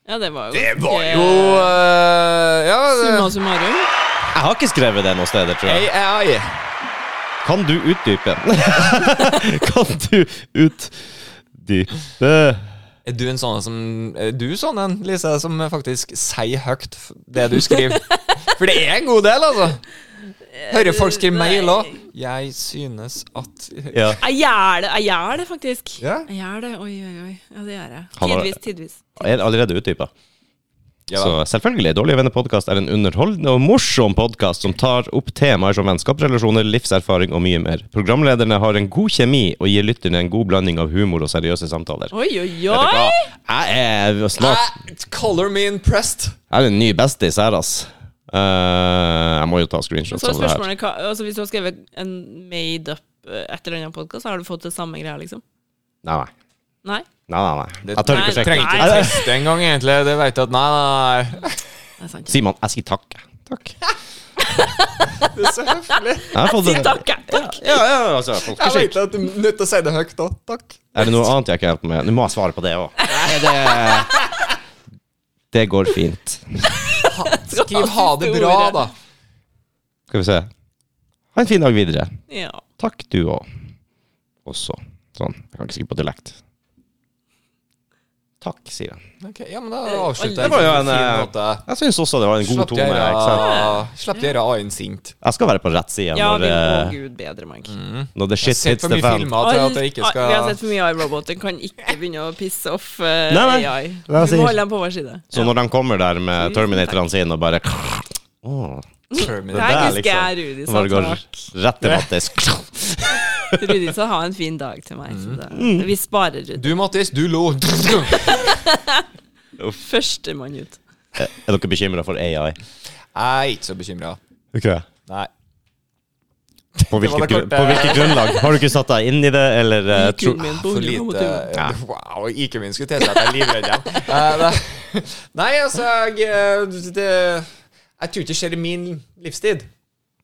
Ja, det var jo
Det var
ganske-
jo eh, Ja,
Summa
det-
summarum.
Jeg har ikke skrevet det noen steder, tror jeg.
AI.
Kan du utdype? kan du utdype
Er du en sånn som Er du sånn en, Lise, som faktisk sier høyt f- det du skriver? For det er en god del, altså. Hører folk skrive
Eh, Nei.
mail òg. Jeg synes at
ja.
Jeg gjør det, jeg gjør det faktisk.
Ja.
Jeg gjør det, oi, oi, oi. Ja, det gjør jeg.
Han har-
Tidvis, tidvis.
Er allerede utdypa.
Ja.
Så selvfølgelig, Dårlige venner podkast er en underholdende og morsom podkast som tar opp temaer som vennskap, relasjoner, livserfaring og mye mer. Programlederne har en god kjemi og gir lytterne en god blanding av humor og seriøse samtaler.
Oi, oi,
Vet du
oi!
hva? Jeg er snart
Eh, Color me impressed.
Jeg er en ny bestis her, ass. Eh, jeg må jo ta screenshots
Så er
av Sånn det her.
spørsmålet hva, altså, Hvis du har skrevet en made up eh, et eller annet podkast, har du fått det samme greia, liksom?
Nei, nei.
Nei?
Nei, nei, nei. Jeg tør ikke å
Nei,
sjekke.
Trenger ikke
Nei.
teste engang, egentlig. Det vet jeg at Nei, nei, nei.
Det er sant.
Simon, jeg sier takk. Takk.
Det er så høflig.
Jeg har fått
Si takk, jeg. takk.
Ja, ja, altså, folk skal
Jeg
sjekke.
vet at du er nødt til å si det høyt òg. Takk.
Er det noe annet jeg ikke hjelper med? Nå må jeg svare på det òg. Det, det går fint.
Skriv 'ha det
siste
bra',
ordet.
da.
Skal vi se. Ha en fin dag videre.
Ja.
Takk, du òg. Også. Sånn. Jeg kan ikke skrive på dialekt. Takk, sier han.
Ok, ja, men da avslutter
Det
jeg
var jo
på
en,
fin
eh,
måte.
Jeg syns også det var en god
Slapp
tone. Ikke sant?
Slapp de gjøre A-en sint.
Jeg skal være på rett side
ja, vi
når,
må
eh,
gud bedre meg.
når the
Jeg har
shit
sett
hits
for
the
mye
fan.
filmer til at jeg ikke
ah, Vi har
skal
sett for mye AI-robot. Den kan ikke begynne å pisse off uh,
Nei, nei.
AI.
Det er
Vi
sikkert.
må holde dem på vår side.
Så når de kommer der med Terminatoren sin og bare Åh, det
Terminator.
Her
der,
husker jeg Rudi
liksom.
sa
Bare går
takk.
rett til mattis.
Rudi sa ha en fin dag til meg.
Mm.
Så det, vi sparer Rudi.
Du, Mattis, du lo. Jeg
Førstemann ut.
Er dere bekymra for AI?
er ikke så bekymra.
Okay.
Nei.
På
Det var
hvilket,
det
gru-
korte-
på hvilket grunnlag? Har du ikke satt deg inn i det, eller eh, tro...
IQ-en min på
For
100
lite
motiver.
Ja.
Wow, IQ-en min skulle tilsi at jeg er livredd igjen. Eh, nei. Nei, altså jeg, eh, det, jeg tror ikke det skjer i min livstid.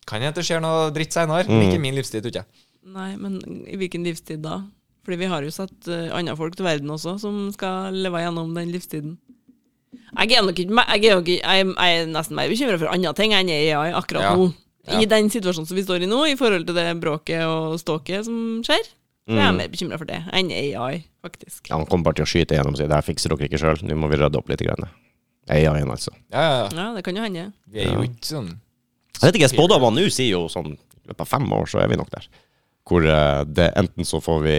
Kan hende det skjer noe dritt seinere, men ikke i min livstid, tror jeg.
Nei, men i hvilken livstid da? Fordi vi har jo satt eh, andre folk til verden også, som skal leve gjennom den livstiden. Jeg er nok ikke me- Jeg er, nok ikke, jeg, jeg er nesten mer bekymra for andre ting enn jeg er i AI akkurat
Ja.
nå.
Ja.
I den situasjonen som vi står i nå, i forhold til det bråket og ståket som skjer, så
Mm.
er jeg mer bekymra for det enn AI, faktisk.
Ja, han kommer bare til å skyte igjennom og si det her fikser dere ikke sjøl, nå må vi rydde opp litt. Grann. AI-en, altså.
Ja, ja, ja.
Ja, det kan jo hende.
Vi er jo ikke sånn
Jeg vet ikke, spådommene nå sier jo sånn i løpet av fem år så er vi nok der. Hvor eh, det enten så får vi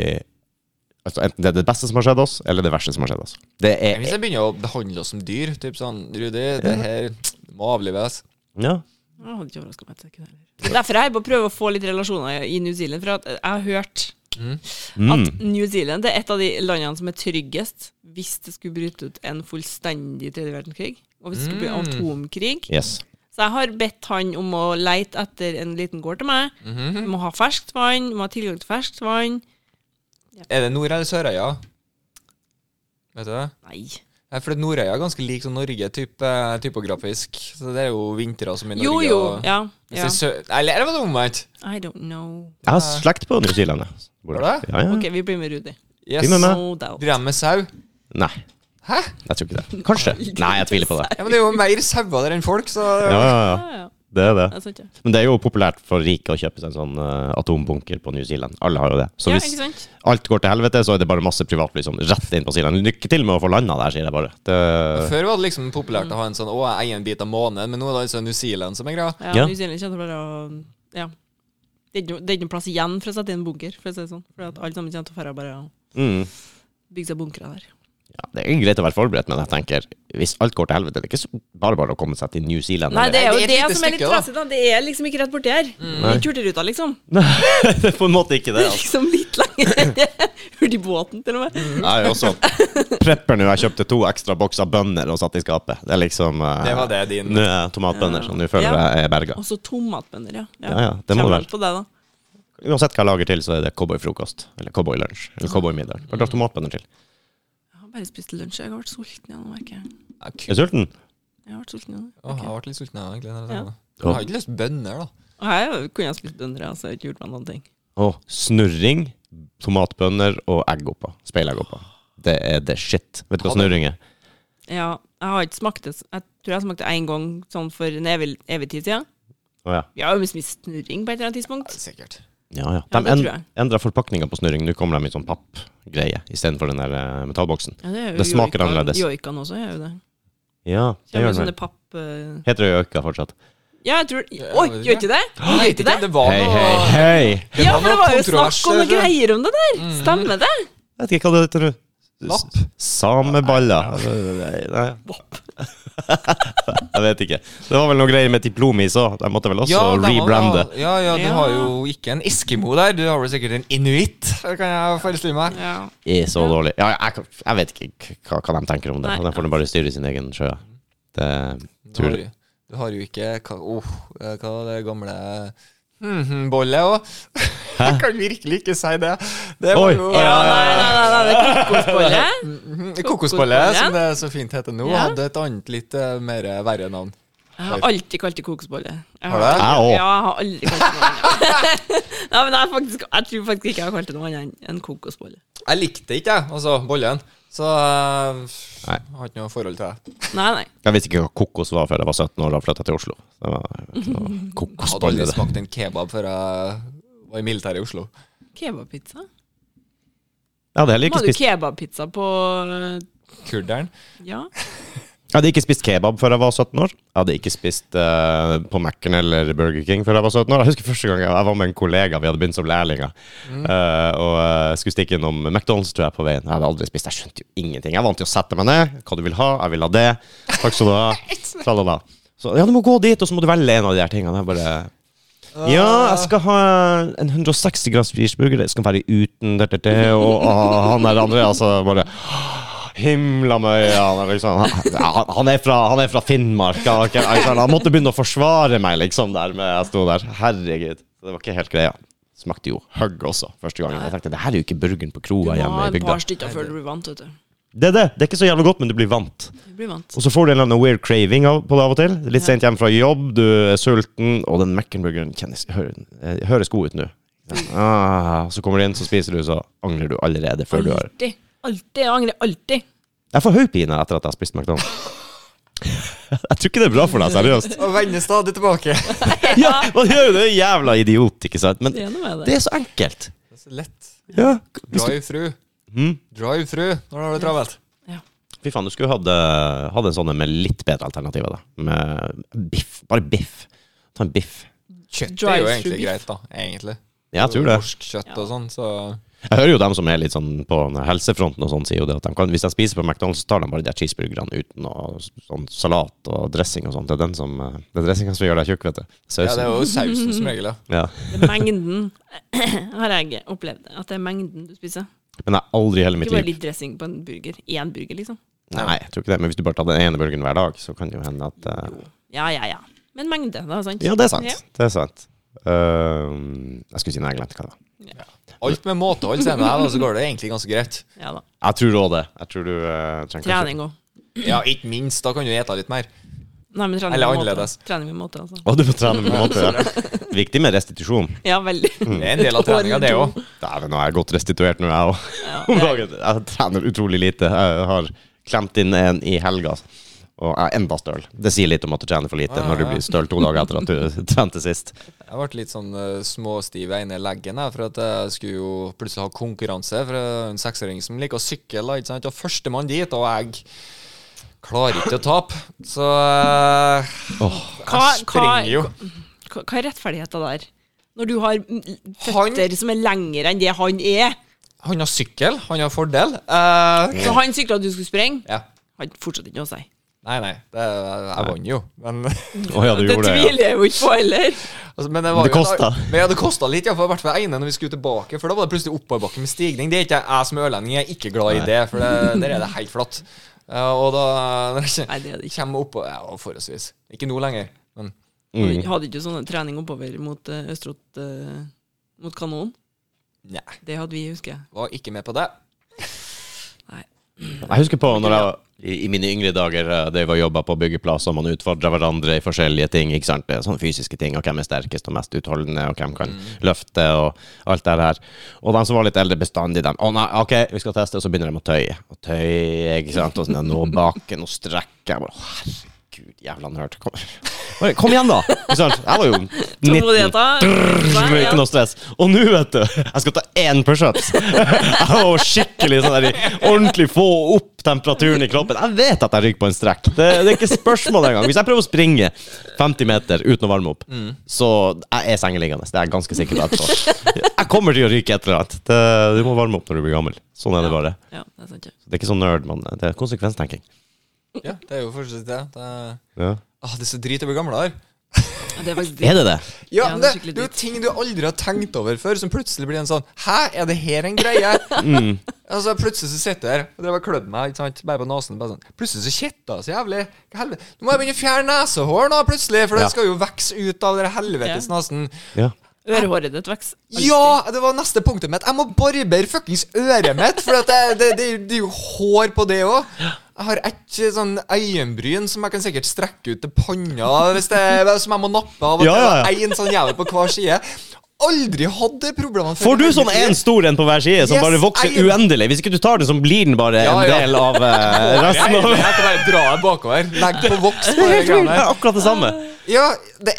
Altså enten det er det beste som har skjedd oss, eller det verste som har skjedd oss. Det er
Hvis jeg begynner å behandle oss som dyr, typ sånn Rudi, det her må avlives.
Ja.
Jeg hadde ikke overraska meg et sekund heller. Derfor er jeg på å prøve å få litt relasjoner i New Zealand, for at jeg har hørt
Mm.
Mm.
at New Zealand det er et av de landene som er tryggest hvis det skulle bryte ut en fullstendig tredje verdenskrig. Og hvis det skulle bli
Mm.
atomkrig.
Yes.
Så jeg har bedt han om å leite etter en liten gård til meg.
Mhm.
Vi må ha ferskt vann, vi må ha tilgang til ferskt vann.
Er det Nord- eller Sørøya? Vet du det?
Nei.
Eh, For Nordøya er ganske lik som Norge typ, eh, typografisk. Så det er jo vintre som i Norge.
Jo, jo.
og-
Ja.
Hvis det
ja.
er sø- Eller er det omvendt?
I don't know.
Jeg har slekt på New Zealand. jeg. Bor
Har
der. Ja, ja.
Ok, vi blir med Rudi.
Yes.
Finn med meg.
No doubt.
Driver de med sau?
Nei,
Hæ?
jeg tror ikke det. Kanskje. Nei, jeg tviler på det.
Ja, men det er jo mer sauer der enn folk, så
Ja, ja, ja.
Ja, ja.
Det er det.
Jeg sa ikke.
Men det er jo populært for rike å kjøpe seg en sånn eh, atombunker på New Zealand. Alle har jo det. Så
Ja,
hvis
ikke sant?
alt går til helvete, så er det bare masse privatfly som rett inn på Zealand. Lykke til med å få landa der, sier jeg bare. Det,
Før var det liksom populært å ha en sånn 'Å, jeg eier en bit av månen', men nå er det altså New Zealand som er greia.
Ja,
Ja.
New Zealand kommer til å bare å- Ja. Det er ikke noe- det er ikke noe plass igjen for å sette inn bunker, for å si det sånn. For at alle sammen kommer til å dra bare og
mm,
bygge seg bunkere der.
ja, det er greit å være forberedt, men jeg tenker hvis alt går til helvete, det er ikke så bare bare å komme seg til New Zealand.
Nei, det er jo
Nei,
det,
det er et lite
som er litt
stykke, da.
trasig, da. Det er liksom ikke rett borti her.
Nei.
Den Hurtigruta, liksom.
det er på en måte ikke det. Altså.
Liksom litt lenger. Hurtigbåten, til og med.
Jeg er jo også prepper nå. Jeg kjøpte to ekstra bokser bønner og satt i skapet. Det er liksom eh,
Det var det din-
Nå er jeg tomatbønner, så nå føler
Ja.
jeg jeg er berga.
Og så tomatbønner, ja.
Ja, ja, det må
Kommer
det være.
an På det, da.
Uansett hva jeg lager til, så er det cowboyfrokost. Eller cowboylunsj. Eller cowboymiddag. Hva slags tomatbønner til?
Jeg har bare spist lunsj. Jeg har vært sulten igjen, merker jeg.
Ja, ku-
Er du sulten?
Jeg har vært sulten igjen.
Åh, jeg ble litt sulten, jeg, egentlig. når jeg
Ja.
tenker på det. Jeg har ikke lyst på bønner, da.
Og her kunne jeg spist bønner, altså. Jeg har ikke gjort meg noen ting.
Og snurring, tomatbønner og egg oppå. Speilegg oppå. Det er the shit. Vet du hva
Ha det.
snurring er?
Ja, jeg har ikke smakt det. s- Jeg tror jeg smakte én gang sånn for en evig, evig tid siden.
Å ja.
Vi har jo mye snurring på et eller annet tidspunkt.
Sikkert.
Ja, ja.
Ja,
De
det tror
en,
jeg.
endra forpakninga på snurring. Nå kommer de i sånn pappgreie istedenfor den der eh, metallboksen.
Ja, det, er jo
Det smaker
joikan-
annerledes.
Joikan også gjør jo det.
Ja, det
Kjører
gjør den
sånne
vel.
papp... eh,
Heter det joika fortsatt?
Ja, jeg tror
Ja,
Oi,
vet ikke.
gjør ikke det? Gjør
Jeg vet
ikke
ikke
det?
om det var
Hei, hei,
noe
hei!
Ja, for det var jo
kontrovers Mm.
snakk om noen
der, tror jeg.
greier om det der. Stemmer det?
Jeg vet ikke hva det heter nå.
Napp.
Sameballer. Nei, nei. Jeg vet ikke. Det var vel noe greier med diplomis òg. De måtte vel også
de har-
rebrande.
Ja, ja, du
Ja.
har jo ikke en Eskimo der, du har vel sikkert en inuitt, kan jeg forestille meg.
Ja.
er så dårlig. Ja, jeg, kan- jeg vet ikke k- hva, hva de tenker om det.
Nei,
de får nå bare styre sin egen sjø. Det
Du
tror
har,
jeg.
jo- du har jo ikke hva, oh, eh, hva var det gamle Hmm, mhm-bollet òg. Jeg kan virkelig ikke si det. Det var
Oi.
jo eh,
ja, nei, nei, nei, nei, det er kokosbolle.
Mhm,
kokosbollet.
Kokosbollet, som det så fint heter nå,
Ja.
hadde et annet litt eh, mer verre navn.
Jeg har alltid kalt det kokosbolle. Jeg
Har du det?
Jeg òg.
Ja, jeg har aldri kalt det noe annet. Nei, men jeg, har faktisk, jeg tror faktisk ikke jeg har kalt det noe annet enn- enn kokosbolle.
Jeg likte det ikke, jeg, altså bollen. Så eh,
Nei.
jeg har ikke noe forhold til det.
Nei, nei.
Jeg visste ikke hva kokos var før jeg var 17 år og flytta til Oslo. Det var noe
Jeg hadde aldri
kokosbolle. det.
smakt en kebab før jeg var i militæret i Oslo.
Kebabpizza?
Jeg hadde heller
Må
ikke
du
spist,
kebabpizza på eh,
Kurderen.
Ja.
jeg hadde ikke spist kebab før jeg var 17 år. Jeg hadde ikke spist eh, på Mac-en eller Burger King før jeg var 17 år. Jeg husker første gang jeg, jeg var med en kollega, vi hadde begynt som lærlinger, Eh, og eh, skulle stikke innom McDonald's tror jeg, på veien. Jeg hadde aldri spist, jeg skjønte jo ingenting. Jeg er vant til å sette meg ned. Hva du vil ha, jeg vil ha det. Takk skal du ha. Tralala. Så ja, du må gå dit, og så må du velge en av de her tingene. Jeg bare Ja, jeg skal ha en 160 grams cheeseburger. Det skal være uten det, det, det. Og ah, han der andre, altså bare Himla med øynene, liksom. Han, han, han, er fra, han er fra Finnmark. Han, var ikke- altså, han måtte begynne å forsvare meg, liksom, der med jeg sto der. Herregud. Så det var ikke helt greia. Smakte jo hugg også, første gangen. Jeg tenkte, det her er jo ikke burgeren på
Du må
kroa
ha
hjemme i
et
bygda.
par stykker før du blir vant, vet du.
Det er det. Det er ikke så jævlig godt, men du blir vant.
Du blir vant.
Og så får du en eller annen weird craving av, på det av og til. Litt
Ja.
sent hjemme fra jobb, du er sulten, og den Mac-burgeren kjennes- hø- eh, høres god ut nå. Ah, så kommer du inn, så spiser du, så angrer du allerede før du har
Alltid. Alltid. Jeg angrer alltid.
Jeg får hodepine etter at jeg har spist McDonald's. jeg tror ikke det er bra for deg, seriøst.
Og vender stadig tilbake.
Ja, Man gjør jo det, jævla idiot, ikke sant? Men
Det er noe med
det
det.
er så enkelt.
Det er så lett.
Ja. Hvis du,
Drive-thru.
Mhm.
Drive-thru når du har det travelt.
fy faen, du skulle hatt eh, hatt en sånn en med litt bedre alternativer, da. Med biff. Bare biff. Ta en biff.
Kjøtt er jo
Drive-thru
egentlig
beef.
greit, da. Egentlig.
Ja, jeg tror det.
Norsk kjøtt
Ja.
og sånn, så
Jeg hører jo dem som er litt sånn på helsefronten og sånn, sier jo det at de kan, hvis de spiser på McDonald's, så tar de bare de der cheeseburgerne uten noe sånn salat og dressing og sånt. Det er den som eh, Det er dressingen som gjør deg tjukk, vet du.
Ja, det
Sausen.
er jo sausen som regel, ja.
Ja.
Det er mengden har jeg opplevd. At det er mengden du spiser.
Men jeg har aldri i hele mitt
Ikke bare
liv
litt dressing på en burger. Én burger, liksom.
Nei, jeg tror ikke det. Men hvis du bare tar den ene burgeren hver dag, så kan det jo hende at eh,
Ja, ja, ja. Men mengde, da, sant?
Ja, det er sant.
Ja.
Det er sant. Ehm, jeg skulle si noe, jeg glemte hva det var.
Alt med måtehold, sier jeg, og så går det egentlig ganske greit.
Ja da.
Jeg tror òg det. Jeg tror du eh, trenger kanskje-
Trening òg.
Ja, ikke minst. Da kan du ete litt mer.
Nei, men trening
Eller
med måte.
annerledes.
Trening med måte, altså.
Og du må trene på en måte. ja. Viktig med restitusjon.
Ja, veldig.
Det er en del av
Et år
treninga, det
eller
òg.
to.
Dæven, nå er jeg godt restituert nå, jeg òg. Om dagen. Jeg trener utrolig lite. Jeg har klemt inn en i helga, altså. og jeg er enda støl. Det sier litt om at du trener for
Ah,
lite når du blir støl to dager etter at du trente sist.
Jeg ble litt sånn eh, småstiv i ene leggen, jeg, for at jeg skulle jo plutselig ha konkurranse fra en seksåring som liker å sykle. da, Ikke sant? Og førstemann dit, og jeg klarer ikke å tape. Så eh,
Hva,
jeg springer jo.
hva, hva, hva er rettferdigheten der? Når du har mm,
Han-
føtter som er lengre enn det han er.
Han har sykkel, han har fordel. Eh,
Så han sykla at du skulle sprenge,
ja.
hadde fortsatt ikke noe å si.
Nei, nei, det, jeg vant jo. Men,
Å ja, du
Det
gjorde det. Ja. Mm.
tviler jeg jo ikke på heller.
altså, men det, var
Det
jo en-
kostet.
Men ja, det kosta litt, iallfall. I hvert fall ene når vi skulle tilbake. For da var det plutselig oppoverbakke med stigning. Det er ikke jeg, jeg som ørlending, jeg er ikke glad i
Nei.
det, for det, der er det helt flatt. Eh, og da når jeg
Nei, det er det ikke.
kommer oppå Ja, forholdsvis. Ikke nå lenger. Men
Mm.
Hadde ikke- Hadde ikke du sånn trening oppover mot eh, Østerot eh, mot kanon?
nei, jeg
Det hadde vi, husker jeg.
var ikke med på det.
Jeg husker på når jeg i, i mine yngre dager eh, det var jobba på byggeplass, og man utfordra hverandre i forskjellige ting. ikke sant? Det er Sånne fysiske ting, og hvem er sterkest og mest utholdende, og hvem kan løfte, og alt det her. Og de som var litt eldre, bestandig dem. Å nei, OK, vi skal teste, og så begynner de å tøye. Og tøye, ikke sant. Og sånn, ja, nå baken, og strekke. Jeg bare, å, herregud, jævla nerd. Kom, Bare, kom igjen, da! Ikke sant? Jeg var jo 19
Tålmodigheten
uten noe stress. Og nå, vet du, jeg skal ta én pushups. Jeg var skikkelig sånn der i Ordentlig få opp temperaturen i kroppen. Jeg vet at jeg ryker på en strekk. Det, det er ikke spørsmål engang. Hvis jeg prøver å springe 50 meter uten å varme opp, så jeg er sengeliggende. Det er jeg ganske sikker på etterpå. Jeg kommer til å ryke et eller annet. Det, du må varme opp når du blir gammel. Sånn er det bare.
Ja, det er sant. ja.
Det er ikke sånn nerd, men det er konsekvenstenking.
Ja, det er jo fortsatt det. det er-
Ja.
ah, det er så drit å bli gamlere.
Ja, Det er faktisk
Er det det?
Ja,
Ja,
men
det er
det,
skikkelig
det er jo ting du aldri har tenkt over før, som plutselig blir en sånn Hæ, er det her en greie?
Mm.
Altså, plutselig så sitter jeg her og drev og klødde meg, ikke sant, bare på nesen. Bare sånn. Plutselig så kitter jeg så jævlig. Hva helvete? Nå må jeg begynne å fjerne nesehår nå, plutselig, for
Ja.
det skal jo vokse ut av den helvetes nesen.
Ja.
Ørehåret ditt vokser. alltid.
Ja! Det var neste punktet mitt. Jeg må barbere fuckings øret mitt, for at det, det, det, det er jo hår på det òg. Jeg har et sånn øyenbryn som jeg kan sikkert strekke ut til panna, hvis det, som jeg må nappe av. og
Ja,
til,
ja, ja.
og En sånn jævel på hver side. Aldri hatt det problemet før.
Får du sånn én stor en på hver side som
Yes,
bare vokser
jeg-
uendelig? Hvis ikke du tar den, så blir den bare
Ja,
en
ja.
del av eh,
Jeg
resten av
jeg kan bare dra den bakover. Legg på voks på
Det
det
er
greiene der.
akkurat det samme.
Ja, det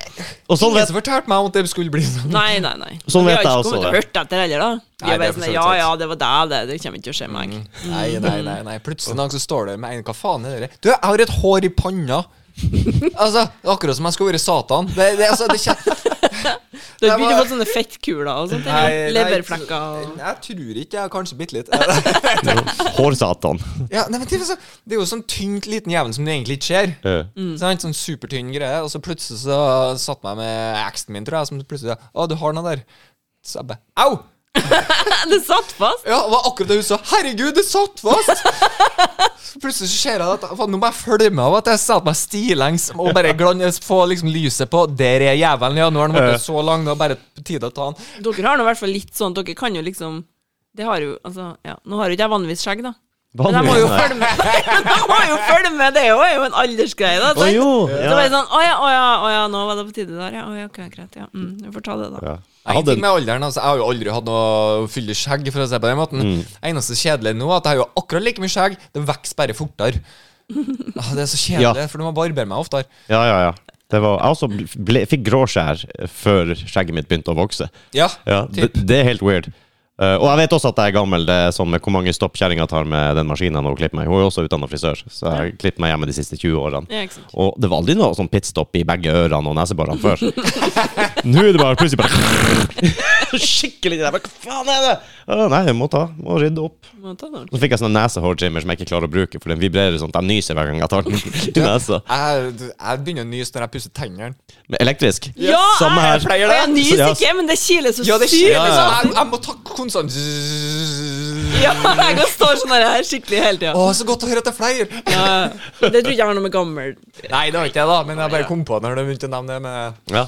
Og sånn
Ingen
vet,
som fortalte meg om at det skulle bli sånn.
Nei, nei, nei.
Sånn vet
vi
jeg
har
også
ikke kommet til å
det.
høre etter heller, da. Vi
Nei,
er
det er
bare
for
sånn
så vidt
Ja,
sant.
ja, det var deg, det. Det kommer ikke til å skje meg.
Nei, nei, nei, nei. Plutselig en dag så står det med en Hva faen er det der? Du, jeg har et hår i panna! altså, det er akkurat som jeg skulle vært Satan. Det, det, altså, det kjen-
Du har
Nei,
ikke
men-
fått sånne fettkuler og sånt?
Nei,
eller?
nei,
Leverflekker og
Jeg tror ikke jeg har kanskje bitte litt.
hårsatan.
ja, nei, men det, er så, det er jo sånn tynt liten jævel som det egentlig ikke ser.
Eh,
Sant? Sånn supertynn greie. Og så plutselig så satt meg med eksen min, tror jeg, som plutselig sa 'Å, du har noe der'. Så jeg bare 'Au!'
Det satt fast!
Ja, det var akkurat det hun sa. 'Herregud, det satt fast!' Så Plutselig så ser jeg at faen, nå må jeg følge med av at jeg satte meg stilllengs og bare glans, få liksom lyset på. Der er jævelen, ja. Nå har han
Eh.
vært så lang, nå er det bare på tide å ta han.
Dere har nå i hvert fall litt sånn Dere kan jo liksom Det har jo Altså, ja. Nå har jo ikke jeg vanligvis skjegg, da. Men jeg må jo følge med. Jeg må jo følge med, det er jo- er jo en aldersgreie, da.
Å
sant?
jo,
Så
ja.
var jeg sånn Å ja, å ja, å ja, nå var det på tide der, ja. Å ja, ok, greit, ja. Mm, vi får ta det, da.
Ja. Jeg
Nei,
hadde
ting med alderen, altså, Jeg har jo aldri hatt noe fyldig skjegg. for å si det på den måten
Mm.
Eneste kjedelige nå er at jeg har jo akkurat like mye skjegg, det vokser bare fortere. Ah, det er så kjedelig, for du må barbere meg oftere.
Ja, ja, ja. Det var, jeg også ble, fikk gråskjær eh, før skjegget mitt begynte å vokse.
Ja,
Ja, det,
typ.
det er helt weird. Eh, og jeg vet også at jeg er gammel. Det er sånn med hvor mange stopp kjerringa tar med den maskinen og klipper meg. Hun er jo også utdanna frisør, så jeg har klippet meg hjemme de siste 20 årene.
Ja, ikke sant.
Og det var aldri noe sånn pitstop i begge ørene og neseborene før. Nå er det bare plutselig bare Skikkelig det der. Hva faen er det? Å, nei, jeg må ta. Må rydde opp.
Må ta det ordentlig.
Så fikk jeg sånn nesehårtrimmer som jeg ikke klarer å bruke, for den vibrerer sånn at jeg nyser hver gang jeg tar den i nesa.
Jeg, jeg begynner å nyse når jeg pusser tennene.
Men Elektrisk.
Ja,
Samme her.
jeg pleier det. Jeg nyser ikke, men det kiler så
Ja, det
sykt.
skjer.
Ja,
liksom.
ja.
Jeg, jeg må ta konstant
Ja, jeg kan stå sånn her skikkelig
Å,
hele tida.
så godt å høre at det er flere!
Ja, det tror jeg ikke har noe med gammel
Nei, det var ikke det, da, men jeg bare kom på det når du begynte å nevne det. med
Ja.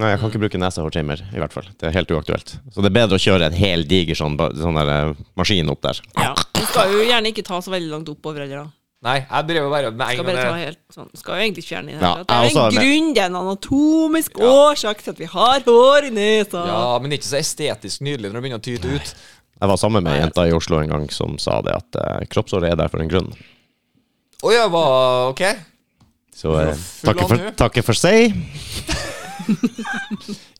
Nei, jeg kan ikke bruke nesehårtrimmer, i hvert fall. Det er helt uaktuelt. Så det er bedre å kjøre en hel diger sånn, ba- sånn der, eh, maskin opp der.
ja. Du skal jo gjerne ikke ta så veldig langt oppover heller, da.
Nei, jeg prøver bare med en
Skal
gang
bare ta
det-
helt sånn. Skal jo egentlig ikke fjerne det. i det
Ja,
hele tatt. det
jeg også
er
har
en
med-
grunn, det er en anatomisk årsak til at vi har hår i nesa.
Ja, men det er ikke så estetisk nydelig når det begynner å tyte ut.
Jeg var sammen med ei jente i Oslo en gang som sa det at eh, kroppsåret er der for en grunn.
Å ja, hva Ok.
Så eh,
Full
takke
av
for,
nu.
takke for seg.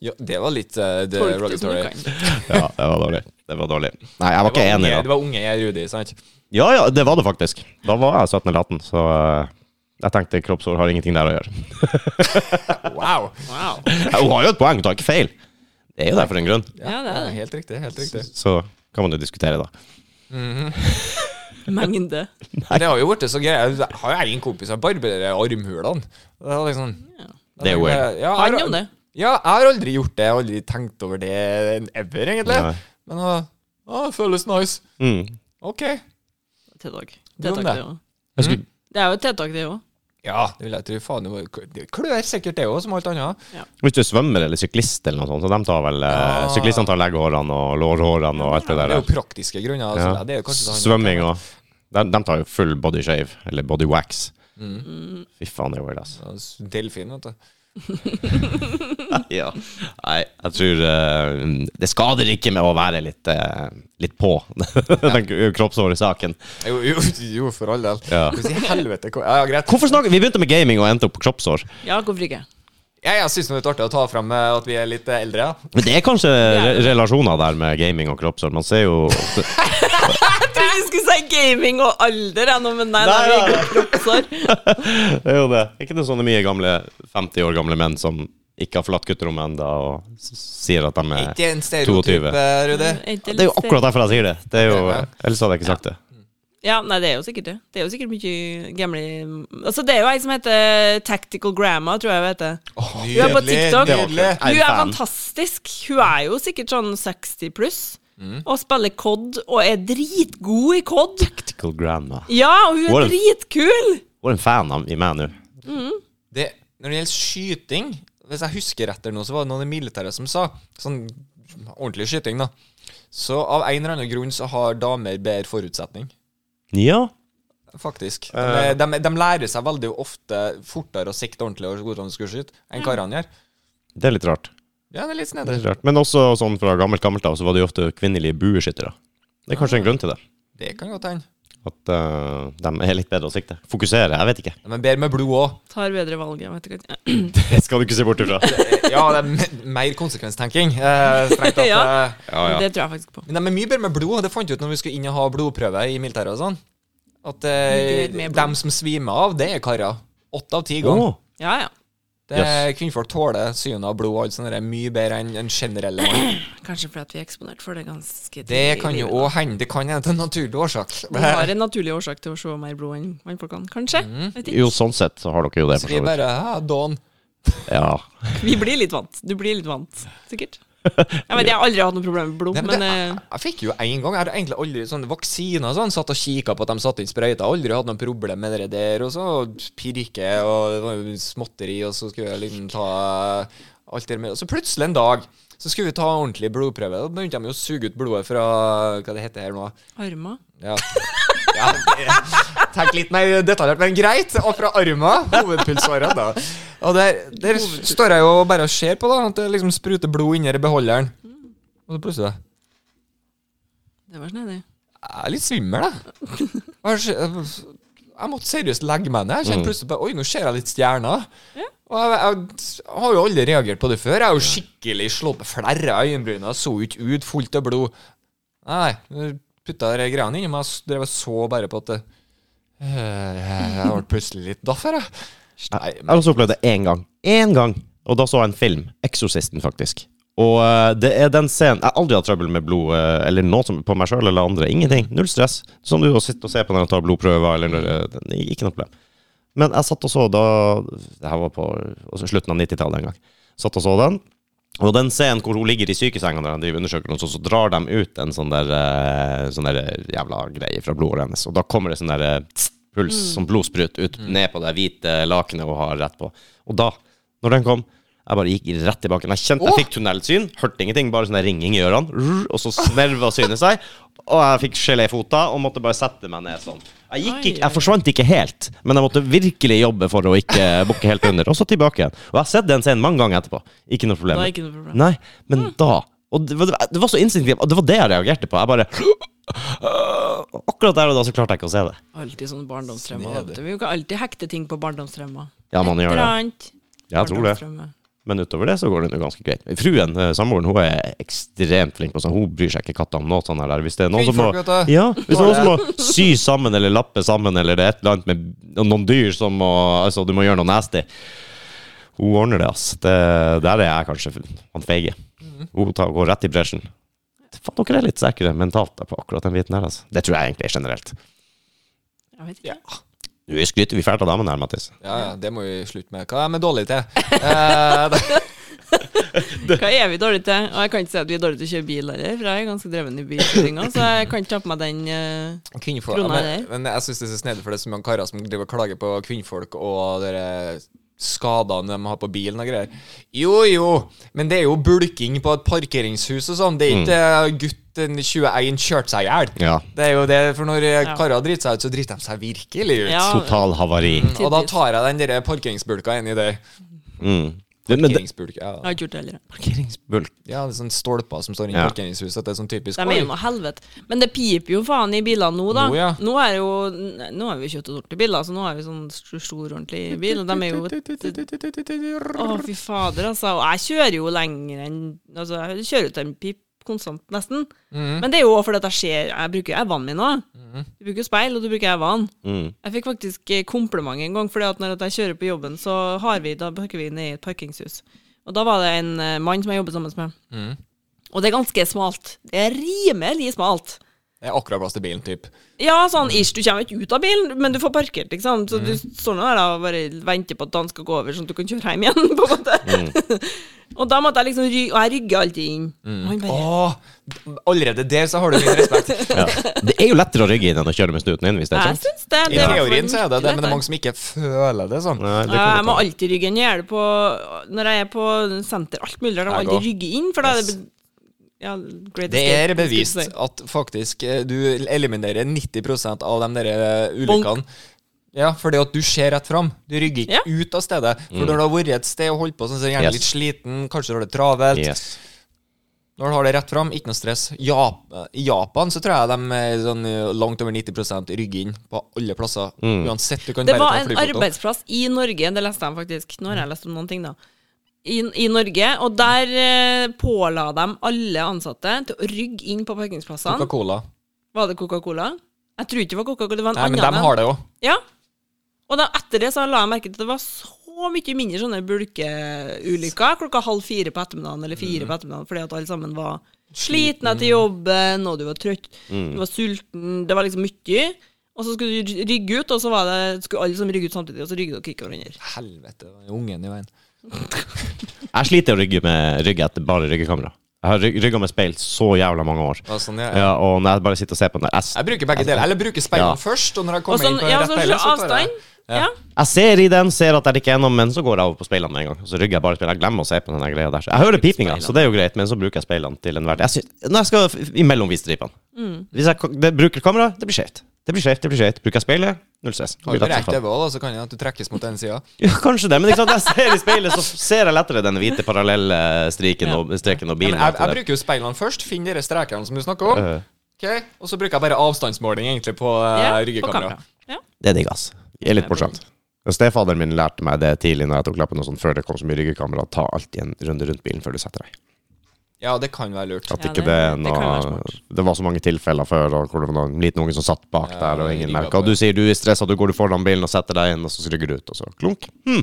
Ja, det var litt uh,
Tolk det som du kan.
Ja, det var dårlig. Det var dårlig. Nei, jeg var
Det
ikke
var,
enig
unge,
da.
det var unge jeg, Rudi, sant?
Ja, ja, det var det faktisk. Da var jeg 17 eller 18, så eh, jeg tenkte kroppsår har ingenting der å gjøre.
Wow!
Wow.
Hun har jo et poeng, hun tar ikke feil. Det er jo der for en grunn.
Ja, det er det.
Helt riktig. helt riktig.
Så kan man jo diskutere, da.
Mengde.
Men Det har jo blitt så gøy. Jeg har jo egen kompis som barberer armhulene. Det er liksom,
Ja.
Det er weird.
eh, Ja, jeg har-
Han om det.
Ja, jeg har aldri gjort det. Jeg har aldri tenkt over det ever, egentlig.
Nei.
Men å, å, det føles nice.
Mm.
OK.
Tiltak.
Du om
Tiltak,
det.
det òg.
Jeg skulle,
Det er jo et tiltak, det òg.
Ja, det vil jeg tro. Faen, det var- det klør sikkert det òg, som alt annet.
hvis du er svømmer eller syklist, eller noe sånt, så de tar vel eh,
Ja.
Syklistene tar leggehårene og lårhårene og alt det
Det er
der.
jo praktiske grunner. Altså,
Ja.
det er jo kanskje sånn-
Svømming og de, de tar jo full body shave, eller body wax.
Mm.
Fy faen, det er weird, ass.
Ja, sånn s- Delfin, vet du.
Ja. Nei, jeg tror eh, Det skader ikke med å være litt, eh, litt på den kroppshårsaken.
Jo, jo, jo for all del.
Ja.
Hvordan i helvete kom- Ja, ja, greit.
Hvorfor snakker Vi begynte med gaming og endte opp på kroppshår.
Ja, hvorfor ikke?
Ja, jeg syns det er litt artig å ta fram eh, at vi er litt eh, eldre, ja.
Men det er kanskje re relasjoner der med gaming og kroppshår. Man ser jo
Jeg trodde du skulle si gaming og alder, jeg nå, men nei,
Nei,
det er
nei,
ikke kroppsår.
Det er jo det. Er ikke det sånne mye gamle 50 år gamle menn som ikke har forlatt gutterommet ennå, og s- sier at de
Ikke
er
en stereotyp,
22.
eh, Rudi.
Det er jo akkurat derfor jeg sier det. det er jo, ellers hadde jeg ikke sagt det.
Ja, nei, det er jo sikkert det. Det er jo sikkert mye gamle Altså, det er jo ei som heter Tactical Grandma, tror jeg hun heter. Hun er på TikTok.
Nydelig.
Jeg er
Hun er
fan.
fantastisk. Hun er jo sikkert sånn 60 pluss.
Mm.
Og spiller COD, og er dritgod i COD.
Tactical grandma.
Ja, og hun
What a-
er dritkul!
Hvor er en fan av i meg nå?
Det, når det gjelder skyting Hvis jeg husker rett, eller noe, så var det noen i militæret som sa Sånn ordentlig skyting, da. Så av en eller annen grunn så har damer bedre forutsetning.
Ja.
Faktisk. De,
Eh.
de, de lærer seg veldig ofte fortere å sikte ordentlig og hvordan de skal skyte, enn karene gjør.
Det er litt rart.
Ja, det er litt
Det
snedig.
er litt rart. Men også sånn fra gammelt gammelt av, så var det jo ofte kvinnelige bueskyttere. Det er kanskje en grunn til det.
Det kan godt hende.
At eh, de er litt bedre å sikte. Fokusere, jeg vet ikke.
De er bedre med blod òg.
Tar bedre valg, jeg vet ikke.
Det skal du ikke se bort ifra.
Ja, det er me- mer konsekvenstenking. Eh, strengt tatt.
Ja.
eh.
Det tror jeg faktisk på.
Men de er mye bedre med blod. Det fant jeg ut når vi skulle inn og ha blodprøve i militæret. og sånn. At
Mye
eh,
bedre med blod.
dem som svimer av, det er karer. Åtte av ti ganger.
Åh,
Ja, ja.
Det er Kvinnfolk tåler synet av blod og alt sånt. der, mye bedre enn en generelle mann.
Kanskje fordi at vi er eksponert for det ganske tidlig.
Det kan
i
jo
livet.
òg hende. Det kan hende til en naturlig årsak.
Man har en naturlig årsak til å se mer blod enn mannfolkene, kanskje.
Mm.
Vet ikke.
Jo, sånn sett så har dere jo det, for
Så vi
så vidt.
bare ja, Don.
Ja.
Vi blir litt vant. Du blir litt vant, sikkert. Jeg vet, jeg har aldri hatt noe problem med blod,
Nei, men
men
det,
eh,
jeg, jeg fikk jo én gang. Jeg hadde egentlig aldri sånn vaksiner og sånn. Satt og kikka på at de satte inn sprøyter. Aldri hatt noe problem med det der. Og så pirke og det var jo småtteri, og så skulle jeg liksom ta alt det med Og så plutselig en dag så skulle vi ta ordentlig blodprøve. Da begynte de jo å suge ut blodet fra Hva det heter her nå?
armer
Ja. ja det- Tenk litt mer detaljert, men greit. Og fra armen, hovedpulsåret, da. Og der, der står jeg jo bare og ser på, da. At det liksom spruter blod inni beholderen. Og så plutselig
Det var snedig.
jeg er litt svimmel, jeg. Hva skje- Jeg måtte seriøst legge meg ned. Jeg kjente plutselig bare Oi, nå ser jeg litt stjerner. Og jeg, jeg har jo aldri reagert på det før. Jeg har jo skikkelig slått på flerre øyenbryna, så jo ikke ut, fullt av blod. Nei, jeg putta de greiene inni meg, og drev og så bare på at det Øh, Jeg jeg ble plutselig litt daff her, jeg. Nei,
Jeg har også opplevd det én gang. Én gang! Og da så jeg en film. 'Exorcisten', faktisk. Og eh, det er den scenen Jeg har aldri hatt trøbbel med blod eh, eller noe som på meg sjøl eller andre. Ingenting. Null stress. Som du å sitte og se på når jeg tar blodprøver eller eh, det er Ikke noe problem. Men jeg satt og så da Det her var på altså, slutten av 90-tallet en gang. Satt og så den. Og den scenen hvor hun ligger i sykesenga når de undersøker noe, så, så drar de ut en sånn der, eh, sånn der jævla greie fra blodet hennes. Og da kommer det sånn der eh, tss, puls, sånn blodsprut, ut ned på det hvite lakenet hun har rett på. Og da, når den kom Jeg bare gikk rett tilbake. Men Jeg kjente
Åh!
jeg fikk tunnelsyn, hørte ingenting, bare sånn der ringing i ørene. Rrr, Og så snerva synet seg, og jeg fikk geléfota og måtte bare sette meg ned sånn. Jeg, gikk ikke,
Oi, oi.
jeg forsvant ikke helt, men jeg måtte virkelig jobbe for å ikke bukke helt under. Og så tilbake igjen. Og jeg har sett den scenen mange ganger etterpå. Ikke noe problem.
Da er ikke noe problem. Mm.
Nei, men da Og det var, det var så instinktivt, og det var det jeg reagerte på. Jeg bare Akkurat der og da så klarte jeg ikke å se det.
Alltid sånne barndomstraumer.
Snedig.
vet du. Vi kan alltid hekte ting på barndomstraumer.
Ja, man gjør det.
Annet.
Jeg tror det.
Barndomstraume.
Men utover det så går det nå ganske greit. Fruen, eh, samboeren, hun er ekstremt flink på sånn. Hun bryr seg ikke katta om noe sånt her. Hvis det er noen som må,
Kvinnfolk, vet du.
ja, hvis det er noen som må sy sammen eller lappe sammen eller det er et eller annet med noen dyr som må Altså, du må gjøre noe nasty. Hun ordner det, ass. Det, der er jeg kanskje han feige.
Mhm.
Hun tar, går rett i bresjen. Faen, dere er litt sterkere mentalt der på akkurat den biten her, altså. Det tror jeg egentlig er generelt.
Jeg vet
Ja.
ikke.
Nå skryter vi fælt av damene her, Mattis.
Ja, ja, det må vi slutte med. Hva er vi dårlige til? Eh, det-
Hva er vi dårlige til? Og jeg kan ikke si at vi er dårlige til å kjøre bil heller, for jeg er ganske dreven i bilkjøringa, så jeg kan ikke ta på meg den eh,
kvinnfolk ja,
Krona
men, men jeg syns det er så snedig, for det er så mange karer som driver og klager på kvinnfolk og dere skadene de har på bilen og greier. Jo, jo, men det er jo bulking på et parkeringshus og sånn. Det er ikke gutten 21 kjørte seg i hjel.
Mm. Ja.
Det er jo det, for når eh,
Ja.
karer driter seg ut, så driter de seg virkelig ut.
Ja.
Total havari.
Og da tar jeg den der parkeringsbulka inn i det.
Mm. Det- Men det,
Parkeringsbulk,
Jeg
ja.
har ikke gjort det heller.
parkeringsbulk
ja, det er sånne stolper som står inne i
Ja.
parkeringshuset. Det er sånn typisk
De er jo
Oi,
noe helvete. Men det piper jo faen i bilene nå, da.
Nå, ja.
Nå er jo Nå har vi jo kjøpt oss ordentlige biler, så nå har vi sånn stor, stor ordentlig bil, og de er jo Å, fy fader, altså. Og jeg kjører jo lenger enn Altså, jeg kjører ut en pip konstant, nesten. Men det er jo også fordi at jeg ser Jeg bruker evene mine òg. Du bruker speil, og du bruker evene.
Mm.
Jeg fikk faktisk eh, kompliment en gang, fordi at når at jeg kjører på jobben, så har vi, da parker vi ned i et parkingshus. Og da var det en eh, mann som jeg jobbet sammen med.
Mhm.
Og det er ganske smalt. Det er rimelig smalt.
Det er akkurat plass til bilen, type.
Ja, sånn ish, du kommer ikke ut av bilen, men du får parkert, liksom. Så du
Mm.
står nå der da, og bare venter på at han skal gå over, sånn at du kan kjøre hjem igjen, på en måte.
Mm.
og da måtte jeg liksom ry Og jeg rygger alltid inn. Og han bare
Åh, allerede der så har du min respekt.
Ja. Det er jo lettere å rygge inn enn å kjøre med snuten inn, hvis det er
Jeg
sant.
syns det.
I
det var
teorien
faktisk
så er det det, men det er
lettere.
mange som ikke føler det sånn.
Nei, det
Ja,
kan
jeg må
godt hende.
alltid rygge inn. Jeg gjør det på Når jeg er på senter, alt mulig, der må jeg
Jeg
alltid
går.
rygge inn, for da er
Yes.
det ja, great
Det
escape,
er
skulle jeg
bevist
si.
at faktisk eh, du eliminerer 90 av de der eh, ulykkene. Ja, for det at du ser rett fram. Du rygger ikke
Ja.
ut av stedet. For når du har vært et sted og holdt på sånn, så er du gjerne
Yes.
litt sliten, kanskje du har det travelt.
Yes.
Når du har det rett fram, ikke noe stress. Jap I Japan så tror jeg de eh, sånn, eh, langt over 90 rygger inn på alle plasser. Uansett, du kan bare
Det var
ta
en
flyfoto.
arbeidsplass i Norge, det leste jeg faktisk. Nå har jeg lest om noen ting, da. I, i Norge. Og der eh, påla de alle ansatte til å rygge inn på parkeringsplassene.
Coca-Cola.
Var det Coca-Cola? Jeg tror ikke det var Coca-Cola, det var en
Nei, men
annen.
de har det jo.
Ja. Og da, etter det så la jeg merke til at det var så mye mindre sånne bulkeulykker klokka halv fire på ettermiddagen eller
Mm.
fire på ettermiddagen, fordi at alle sammen var slitne etter jobben, og du var trøtt,
Mm.
du var sulten, det var liksom mye. Og så skulle du rygge ut, og så var det, skulle alle som rygge ut samtidig, og så rygget dere ikke hverandre.
Helvete, det var jo ungen i veien.
Jeg sliter å rygge med rygge etter bare ryggekamera. Jeg har ryg- rygga med speil så jævla mange år.
Ja, sånn, ja, ja.
Ja, og når jeg bare sitter og ser på den der jeg,
Jeg bruker begge deler. Eller bruker speilene
Ja.
først, og når jeg
Og
kommer
sånn,
inn på
ja,
rett
sånn
speil, så tar jeg
avstand. Ja.
jeg ser i den, ser at jeg ikke er gjennom, men så går jeg over på speilene med en gang. Og så rygger jeg bare speilene. Jeg glemmer å se på den der greia der. Jeg hører pipinga, så det er jo greit, men så bruker jeg speilene til enhver tid. Jeg sy- Når jeg skal f- imellom visstripene.
Mm.
Hvis jeg k- det, bruker kamera, det blir skjevt. Det blir skjevt, det blir skjevt. Bruker jeg speilet, null stress.
Har
Blir
du
lett som
rekt
faen.
TV òg, så kan jeg at du trekkes mot den sida.
Ja, kanskje det, men ikke sant? jeg ser i speilet, så ser jeg lettere den hvite parallelle striken og, streken og
Jeg,
bilen.
jeg bruker jo speilene først. Finn de strekene som du snakker om.
Øh,
Ok, Og så bruker jeg bare avstandsmåling egentlig på eh,
Ja, på
ryggekamera.
Ja.
det er digg, ass. Det er litt morsomt. Stefaderen min lærte meg det tidlig når jeg tok lappen og sånn, før det kom så mye ryggekamera. Ta alltid en runde rundt bilen før du setter deg.
Ja, det kan være lurt.
At
Ja,
ikke det,
det- det
er
kan
noe,
være smart.
det var så mange tilfeller før og hvor det var noen liten unge som satt bak
Ja,
der og
jeg
ingen
digger
merka. Og du sier du er stressa, du går du foran bilen og setter deg inn, og så rygger du ut, og så klunk. Hm.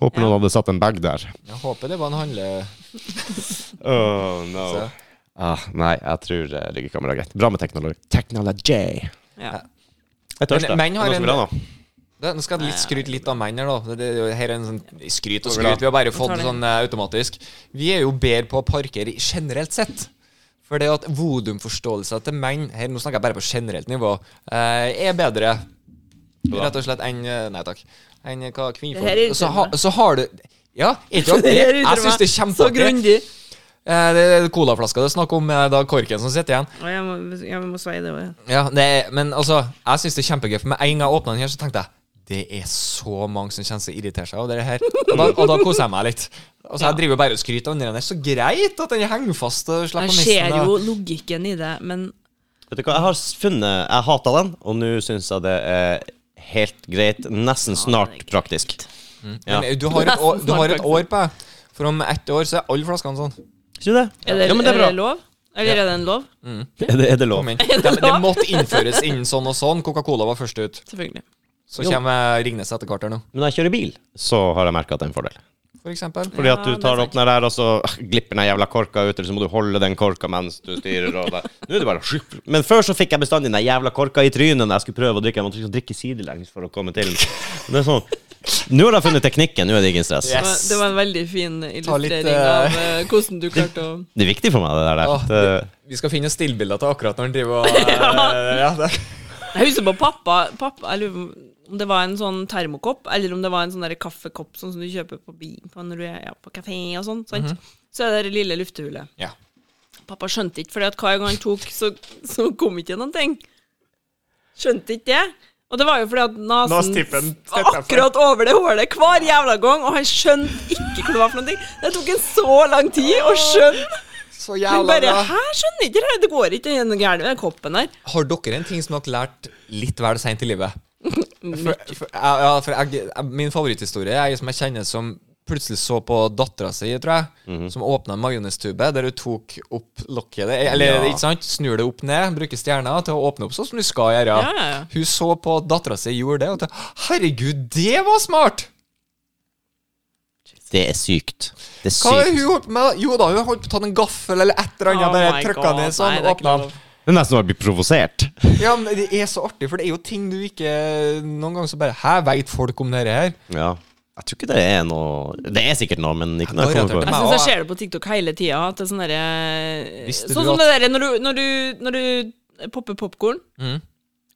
Håper noen hadde satt en bag der.
Jeg håper det var en handle...
Oh, no.
Så.
Ah, nei, jeg tror eh, ryggekamera er greit. Bra med teknologi. Technology.
Ja.
Jeg tørster.
Men menn har
Noe som
en-
vil ha noe?
Det, nå skal jeg litt skryte litt av menn her, da. Det, er jo- her er en sånn skryt og
Går bra.
skryt. Vi har bare
tar
fått det
det.
sånn eh, automatisk. Vi er jo bedre på å parkere i- generelt sett. For det at volumforståelsen til menn her, Nå snakker jeg bare på generelt nivå. eh, er bedre, rett og slett, enn eh, Nei takk. Enn hva
Det her er
kvinnfolk Så, ha, så har du Ja, ikke sant?
Det
Jeg,
irriterer
jeg syns det er
meg Så
kjempeartig.
grundig.
Eh, Det er colaflaska det er snakk om, eh, da korken som sitter igjen.
Å, jeg må, jeg må sveie det òg, ja.
Ja, det, men altså, jeg syns det er kjempegøy, for med en gang jeg åpna den her, så tenkte jeg det er så mange som kjenner seg irritert seg av det her. Og da, og da koser jeg meg litt. Altså, Jeg driver jo bare og skryter av den der. Så greit at den henger fast og slipper å
Jeg
miste
ser
den.
jo
da.
logikken i det, men
Vet du hva, jeg har s- funnet Jeg hata den, og nå syns jeg det er helt greit. Nesten snart praktisk. Ja.
Men du har, et år, du har et år på deg, for om ett år så er alle flaskene sånn.
Ikke det?
er det,
Ja, men det er bra.
lov? Eller er det en lov?
Er det, er det lov?
Kom inn. Det, det måtte innføres innen sånn og sånn. Coca-Cola var først ut.
Selvfølgelig.
Så
Jo.
kommer eh, Ringnes etter hvert her nå,
Men når jeg kjører bil, så har jeg merka at det er en fordel.
for eksempel.
Fordi at
Ja,
du
det er
tar
sant.
opp den der, og så ah, glipper den jævla korka ut, eller så må du holde den korka mens du styrer. Og det. Nå er det bare skyp. Men før så fikk jeg bestandig den jævla korka i trynet når jeg skulle prøve å drikke. Jeg måtte liksom drikke sidelengs for å komme til den. Det er sånn. Nå har jeg funnet teknikken, nå er det ingen stress.
Det var, det var en veldig fin
litt,
illustrering
eh,
av eh, hvordan du klarte å
Det er viktig for meg, det der.
Åh,
At, eh,
Vi skal finne stillbilder til akkurat når han driver og eh, ja, det.
Jeg husker på pappa, pappa Jeg lurer om det var en sånn termokopp, eller om det var en sånn der kaffekopp sånn som du kjøper på, bi, på når du er ja, på kafé og sånn. sant?
Mhm.
Så er det det lille luftehulet.
Ja.
Pappa skjønte ikke, fordi at hver gang han tok, så, så kom ikke noen ting. Skjønte ikke det. Og det var jo fordi at nesen
Nastippen
var
steppet
akkurat over det hullet hver jævla gang, og han skjønte ikke hva det var for noen ting. Det tok en så lang tid å skjønne.
Så
Han
jævla
bare
bra.
Hæ, skjønner ikke det her, det går ikke, den er gæren med den koppen der.
Har dere en ting som dere lærte litt vel seint i livet? For, for, ja, ja, for jeg, jeg, min favoritthistorie er en som jeg kjenner som plutselig så på dattera si, tror jeg,
Mhm.
som åpna en majonestube der hun tok opp lokket det- Eller,
Ja.
ikke sant? Snur det opp ned, bruker stjerna til å åpne opp sånn som du skal gjøre.
Ja, ja, ja.
Hun så på at dattera si gjorde det, og tenkte 'herregud, det var smart'!
det er sykt. Det er
Hva er det
sykt.
hun holdt på med? da? Jo da, hun holdt på å ta en gaffel eller et eller annet,
Oh
bare
my
trykka
God,
ned sånn,
nei, det er ikke
åpna den.
lov.
Det er nesten å bli provosert.
Ja, men det er så artig, for det er jo ting du ikke Noen ganger så bare Hæ, veit folk om dette her?
Ja. Jeg tror ikke det er noe Det er sikkert noe, men ikke
Ja,
når jeg
da
kommer på
retter
Jeg
det.
syns jeg
Ja.
ser det på TikTok hele tida. At det er sånn derre
Visste du
Sånn som
at-
det derre når, du- når, du- når du popper popkorn,
Mhm.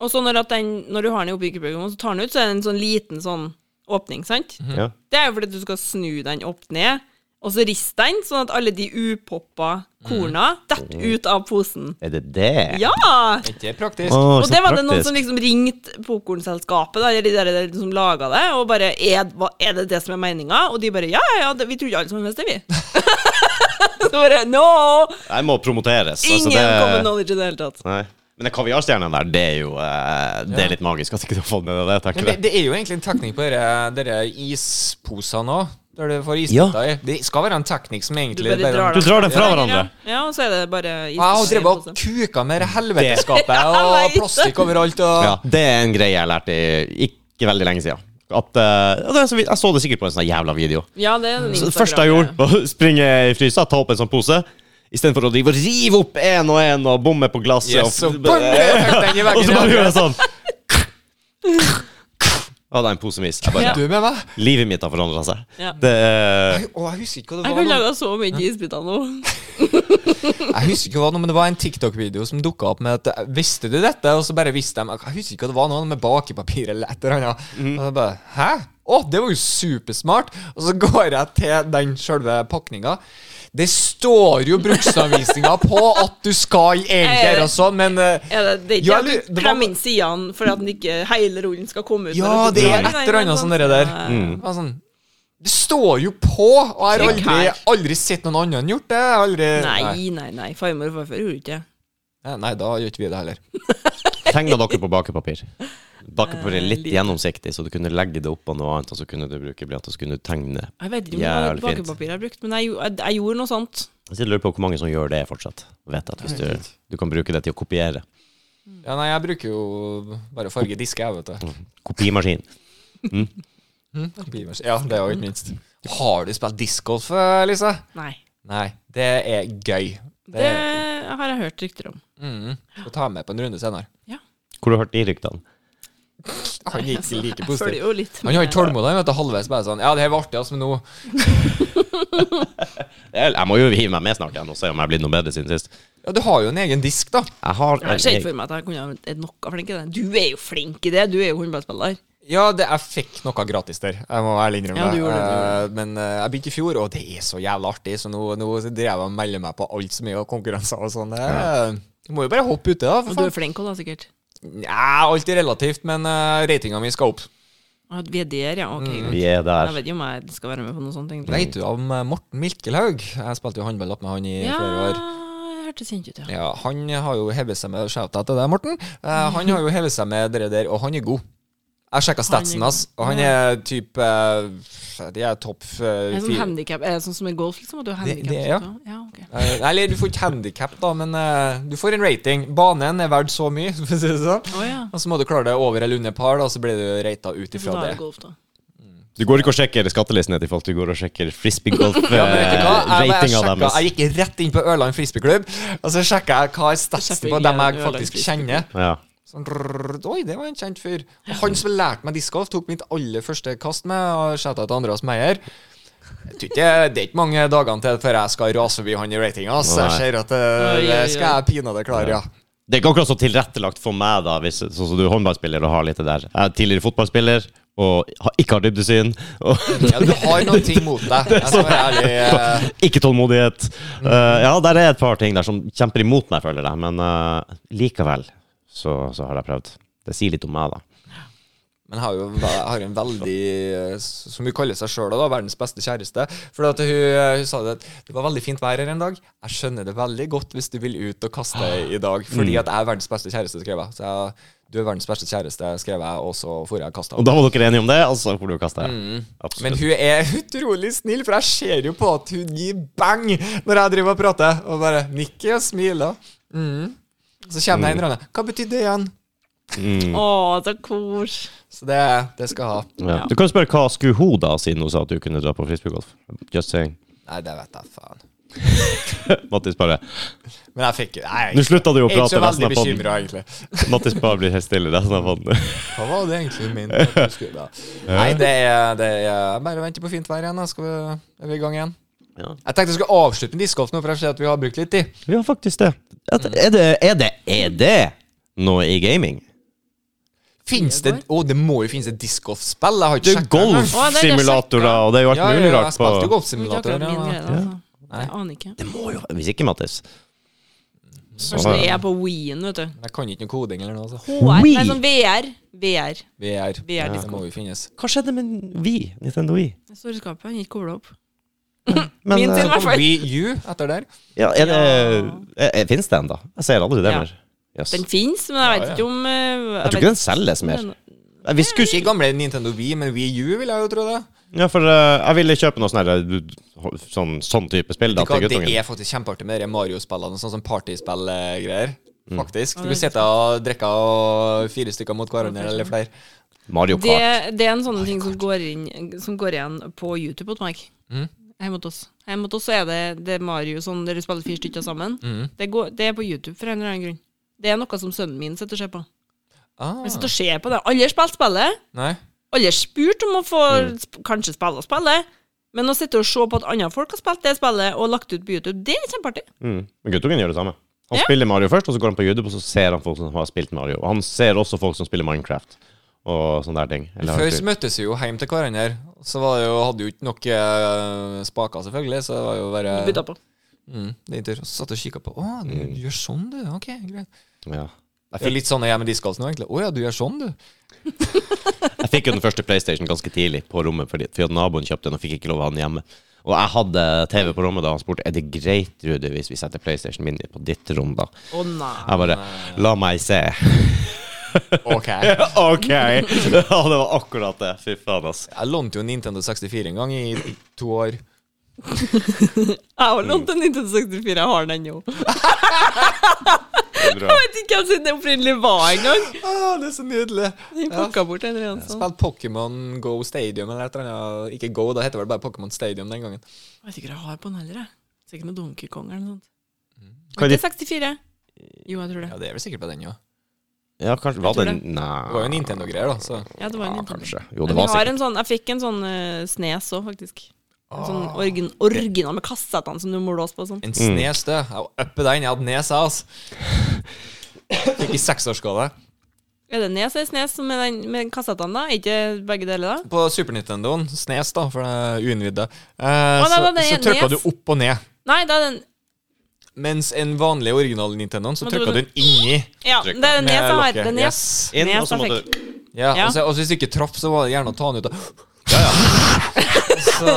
og så når, at den, når du har den i oppbyggerbøken og så tar den ut, så er det en sånn liten sånn åpning, sant?
Ja.
Det er jo fordi at du skal snu den opp ned, og så riste den, sånn at alle de upoppa korna detter ut av posen.
Er det det?
Ja!
Ikke praktisk.
Mm. Å,
Og
så
det var det noen
praktisk.
som liksom ringte popkornselskapet, da, eller de der, der som laga det, og bare er, hva, er det det som er meninga? Og de bare ja, ja, ja, det, vi trodde alle sammen visste det, vi. så bare no!
Jeg må promoteres.
liksom- Ingen
altså, det...
common knowledge i det hele tatt.
Nei. Men den kaviarstjernen der, det er jo eh, Det er litt magisk at ikke du har fått med deg det. Takler
Men det,
jeg.
det er jo egentlig en teknikk på dere- dere isposene òg. Der du får
Ja.
isbiter i. Det skal være en teknikk som
Du
egentlig
bare drar
Du drar den fra hverandre.
Ja, ja, og så er det bare is.
Jeg har drevet og kuka med det helveteskapet
Ja, jeg
og
vet.
plastikk overalt. Og...
Ja, det er en greie jeg lærte i- ikke veldig lenge siden. At, eh, og det er så, vidt- jeg så det sikkert på en sånn jævla video.
Ja, det er den
Så det første jeg gjorde, var å springe i frysa, ta opp en sånn pose. Istedenfor å drive og rive opp én og én og bomme på glasset.
Yes,
og,
og bang, jeg tenkte den i
og så bare
veggen.
gjør jeg sånn. Hadde jeg en pose med is. Jeg bare,
Ja.
Du med meg?
Livet mitt har forandra seg.
Ja.
Det er
Å, jeg husker ikke hva det
Jeg
var.
kan
nå.
lage så mye isbiter nå.
Jeg husker ikke hva det var, men det var en TikTok-video som dukka opp med at Visste du dette? Og så bare visste de Jeg husker ikke hva det var, noe med bakepapir eller et eller annet. Og jeg bare Hæ? Å, det var jo supersmart! Og så går jeg til den sjølve pakninga. Det står jo bruksanvisninga på at du skal egentlig gjøre sånn, men eh,
Er det, det er ikke
Ja,
at
eller-
du
det var-
klemmer inn sidene for at den ikke hele rollen skal komme ut.
Ja,
når du
det er
tar den.
et eller annet sånn det der. Det var Sånn, det står jo på! Og jeg har
Trykk
aldri,
her.
aldri sett noen annen gjort det. Jeg har Aldri
Nei, nei, nei. Farmor og farfar gjorde ikke det.
Nei, Nei, da gjør ikke vi det heller.
Tegna dere på bakepapir? Bakepapir er litt
Eh, litt.
gjennomsiktig, så du kunne legge det opp på noe annet, og så kunne du bruke blyant, og så kunne du tegne.
Jeg vet ikke om det var
Jævlig fint.
bakepapir jeg brukte, men jeg, gjo- jeg, jeg gjorde noe sånt.
Jeg sitter og lurer på hvor mange som gjør det fortsatt. Og Vet at hvis du, du kan bruke det til å kopiere.
Ja, nei, jeg bruker jo bare farge disker, jeg, vet du.
Kopimaskin.
Beavers. Ja, det er jo ikke minst. Har du spilt discgolf, eh, Lise?
Nei.
Nei, det er gøy.
Det har jeg hørt rykter om.
mm, Skal ta med på en runde senere.
Hvor har du hørt de ryktene?
Han er ikke like
Altså, Jeg følger
positiv.
jo litt
Han har
med.
ikke tålmodighet, han, vet du. Halvveis bare sånn Ja, det her var artig, altså, men nå
Jeg jeg må jo hive meg med snart igjen og se om jeg er blitt noe bedre siden sist.
Ja, du har jo en egen disk, da.
Jeg har
Jeg ser ikke for meg at jeg kunne ha vært noe flink i det. Du er jo flink i det, du er jo håndballspiller.
Ja, det, jeg fikk noe gratis der. Jeg må ærlig innrømme
Ja, du gjorde det, du
Eh, Men eh, jeg begynte i fjor, og det er så jævla artig, så nå, nå drev jeg og melder meg på alt som er av konkurranser og sånn. Eh, Må jo bare hoppe ute, da.
Og
For
du
faen.
er flink òg, da, sikkert.
Nja, alt er relativt, men uh, ratinga mi skal opp.
At vi er der, ja.
Mm.
Ok. greit.
Vi er
Jeg
der.
vet jo om jeg skal være med på noe sånt, egentlig.
Vet du om eh, Morten Milkelhaug? Jeg spilte jo håndball opp med han i
Ja,
flere år.
jeg hørtes kjent ut, ja.
Ja, han har jo hevet seg med Shout-out til deg, Morten. Eh, han har jo hevet seg med det der, og han er god. Jeg sjekka
Han er
statsen
god.
hans, og han er type eh, De er topp eh,
Er det sånn
fire.
handicap, er det sånn som i golf, liksom? At du har
Det-
handicap?
det er, ja.
sånn, ja. ok.
Eh, Eller du får ikke handikap, da, men eh, du får en rating. Banen er verdt så mye, for å si det sånn.
Å ja.
Og så må du klare deg over eller under par, da, så blir du rata ut
Så
ifra
da er
det.
det golf, da.
Du går ikke og sjekker skattelistene til folk, du går og sjekker
Ja, men vet du hva? Jeg, jeg,
frisbeegolf-ratinga
sjekket-
Eh, deres.
jeg gikk rett inn på Ørland frisbeeklubb, og så sjekka jeg hva er statsen
Sjekket
på dem jeg
Ørland
faktisk
Frisbeeklubb.
kjenner.
Ja.
Sånn, rrrr, Oi, det var en kjent fyr. Og han som lærte meg discgolf, tok mitt aller første kast med. Og shouta til Andreas Meyer. Jeg tror ikke, det er ikke mange dagene til før jeg skal rase forbi han i ratinga. Så jeg
Nei.
ser at eh,
Oi, oi,
det
oi.
skal jeg pinadø klare, ja.
Det er ikke akkurat så tilrettelagt for meg, da, hvis sånn som du er håndballspiller og har litt det der. Jeg er tidligere fotballspiller og har, ikke har dybdesyn. Og
ja. Du har noen ting mot deg. Jeg skal være ærlig. eh,
ikke tålmodighet. Eh, ja, der er et par ting der som kjemper imot meg, føler jeg, men eh, likevel så, så har jeg prøvd. Det sier litt om meg, da.
Men jeg har jo jeg har en veldig eh, Som hun kaller seg sjøl, verdens beste kjæreste. For at hun, eh, hun sa det at det var veldig fint vær her en dag. Jeg skjønner det veldig godt hvis du vil ut og kaste i dag, fordi
Mm.
at jeg er verdens beste kjæreste, skrev jeg. Så jeg, du er verdens beste kjæreste, skrev jeg, og så for jeg og kasta.
Og da var dere enige om det, altså får du kaste. Absolutt.
Mm. Men hun er utrolig snill, for jeg ser jo på at hun gir bang når jeg driver og prater. Og bare nikker og smiler. Mm. Så kommer det en eller annen. Hva betyr det igjen?
mm.
Å, så kos.
Så det, det skal jeg ha.
ja. Du kan jo spørre hva skulle hun da, siden hun sa at du kunne dra på frisbeegolf. Just saying.
Nei, det vet jeg faen.
Mattis bare
Men jeg fikk Nei,
Nå slutta du å
jeg er ikke
prate
så
resten
veldig
av podden.
bekymra, egentlig.
Mattis bare blir helt stille resten av podden.
Hva var det egentlig min Nei, det er, det er bare venter på fint vær igjen. Da. Skal vi, er vi i gang igjen?
Ja.
Jeg tenkte jeg skulle avslutte med discgolf nå, for jeg ser at vi har brukt litt tid.
Vi har faktisk det. At- Er det, er det, er det noe i gaming?
Fins det Å, det må jo finnes et discgolf-spill? Jeg
Det
har ikke
er
sjekket engang.
golfsimulatorer, og det er jo alt
Ja, ja,
mulig
ja, jeg
rart på
spilte jo
Det er ikke
golfsimulator.
akkurat min
Mm, Ja.
greie, da. Altså. Jeg aner ikke.
Det må jo Hvis ikke, Mattis. Så-
Kanskje det er på Wii-en, vet du.
Men Jeg kan ikke noe koding eller noe. altså. Så.
HR,
Wii?
nei, sånn VR. VR.
VR.
VR
Ja. Det
discgolf.
må jo finnes.
Hva skjedde med Wii? Nintendo Wii?
Jeg står i skapet, han gikk kobla opp.
Men,
Min
eh,
til- hvert fall.
Wii U etter der.
ja, er det, er, er, Finnes det ennå? Jeg ser aldri det
Ja.
mer. Yes.
Den fins, men jeg
Ja,
vet
ja.
ikke om eh, Jeg,
Jeg tror ikke
vet
den selges mer.
om den-
Nei, Vi skulle
Ikke gamle Nintendo Wii, men Wii U vil jeg jo tro det.
Ja, for eh, jeg ville kjøpe noe sånn her, eh, sånn, sånn type spill da,
Vet du hva,
til guttungen.
Det er faktisk kjempeartig med de Mario-spillene, sånn som partyspill-greier.
Mm.
Faktisk.
Ja,
Du
det er
sitter og drikker og fire stykker mot hverandre eller flere.
Mario
Det,
Kart.
det er en sånn ting som går, inn, som går igjen på YouTube hos meg.
Mhm.
Hjemme hos oss. Hjemme hos oss så er det, det er Mario sånn dere spiller fire stykker sammen.
Mhm.
Det, går, det er på YouTube for en eller annen grunn. Det er noe som sønnen min sitter og ser på.
Ah,
Han sitter og ser på det. Alle har spilt spillet.
nei.
Alle har spurt om å få
Mm.
sp kanskje spille spillet. Men å sitte og se på at andre folk har spilt det spillet og lagt ut på YouTube, det er kjempeartig.
Mm. Men guttungen gjør det samme. Han
Ja.
spiller Mario først, og så går han på YouTube, og så ser han folk som har spilt Mario. Og han ser også folk som spiller Minecraft og sånne der ting. Eller,
Før så møttes vi jo hjem til hverandre. Så var det jo, hadde jo ikke nok eh, spaker, selvfølgelig. Så det var jo bare
Bytta på.
mm, din tur. Så satt jeg og kikka på. Å, du gjør sånn, du. Ok, greit.
ja. Mm. Jeg
Det er
fikk,
litt sånn jeg er med discgolf nå, egentlig. Å ja, du gjør sånn, du.
jeg fikk jo den første PlayStation ganske tidlig på rommet, fordi, fordi at naboen kjøpte den og fikk ikke lov å ha den hjemme. Og jeg hadde TV på rommet da han spurte Er det greit, Rudi, hvis vi setter PlayStation min på ditt rom, da.
Å nei.
Jeg bare La meg se.
Ok.
OK! Ja, det var akkurat det. Fy faen, ass.
Jeg lånte jo en Nintendo 64 en gang i to år.
Jeg har lånt en Nintendo 64, jeg har den ennå. Jeg
Bra.
vet ikke hvem sin det opprinnelig var engang.
Ah, det er så nydelig.
Den
Ja.
pakka bort en eller annen sånn.
Spilt Pokémon Go Stadium eller et eller annet. Ikke Go, da heter det vel bare Pokémon Stadium den gangen.
Jeg vet ikke hva jeg har på den heller, jeg. Sikkert noe Donkey Kong eller noe sånt.
Mm. Hva er
Var ikke 64? Jo, jeg tror det.
Ja, Det er vel sikkert på den òg.
Ja, kanskje Var
tror
det
det.
Nei.
Det var jo Nintendo-greier, da. Så.
Ja, det var en
Ja,
Nintendo.
kanskje. Jo,
Men
det var
jeg, har
sikkert
en sånn, jeg fikk en sånn eh, snes òg, faktisk. En sånn
Ah.
orgin, original med kassettene som du må låse på og sånn.
En snes, du. Jeg var oppe den. Jeg hadde nes, jeg, altså. Fikk i seksårsgave.
Er det Nes eller Snes som er den med kassettene, da? Er ikke begge deler, da?
På Super Nintendoen, Snes, da, for det er uinnvidde, eh,
nei,
så,
nei, nei,
så trykka
Nes.
du opp og ned.
Nei, det er den
Mens en vanlig original Nintendoen, så
Men det
trykka
var
du den inni.
Ja, det
Trykk,
er Nes jeg har.
lokket.
Det er Nes.
Yes.
Inn,
Nes
og så
jeg
måtte
fikk.
du
Ja,
Ja.
Altså, altså Hvis du ikke traff, så var det gjerne å ta den ut. Og, så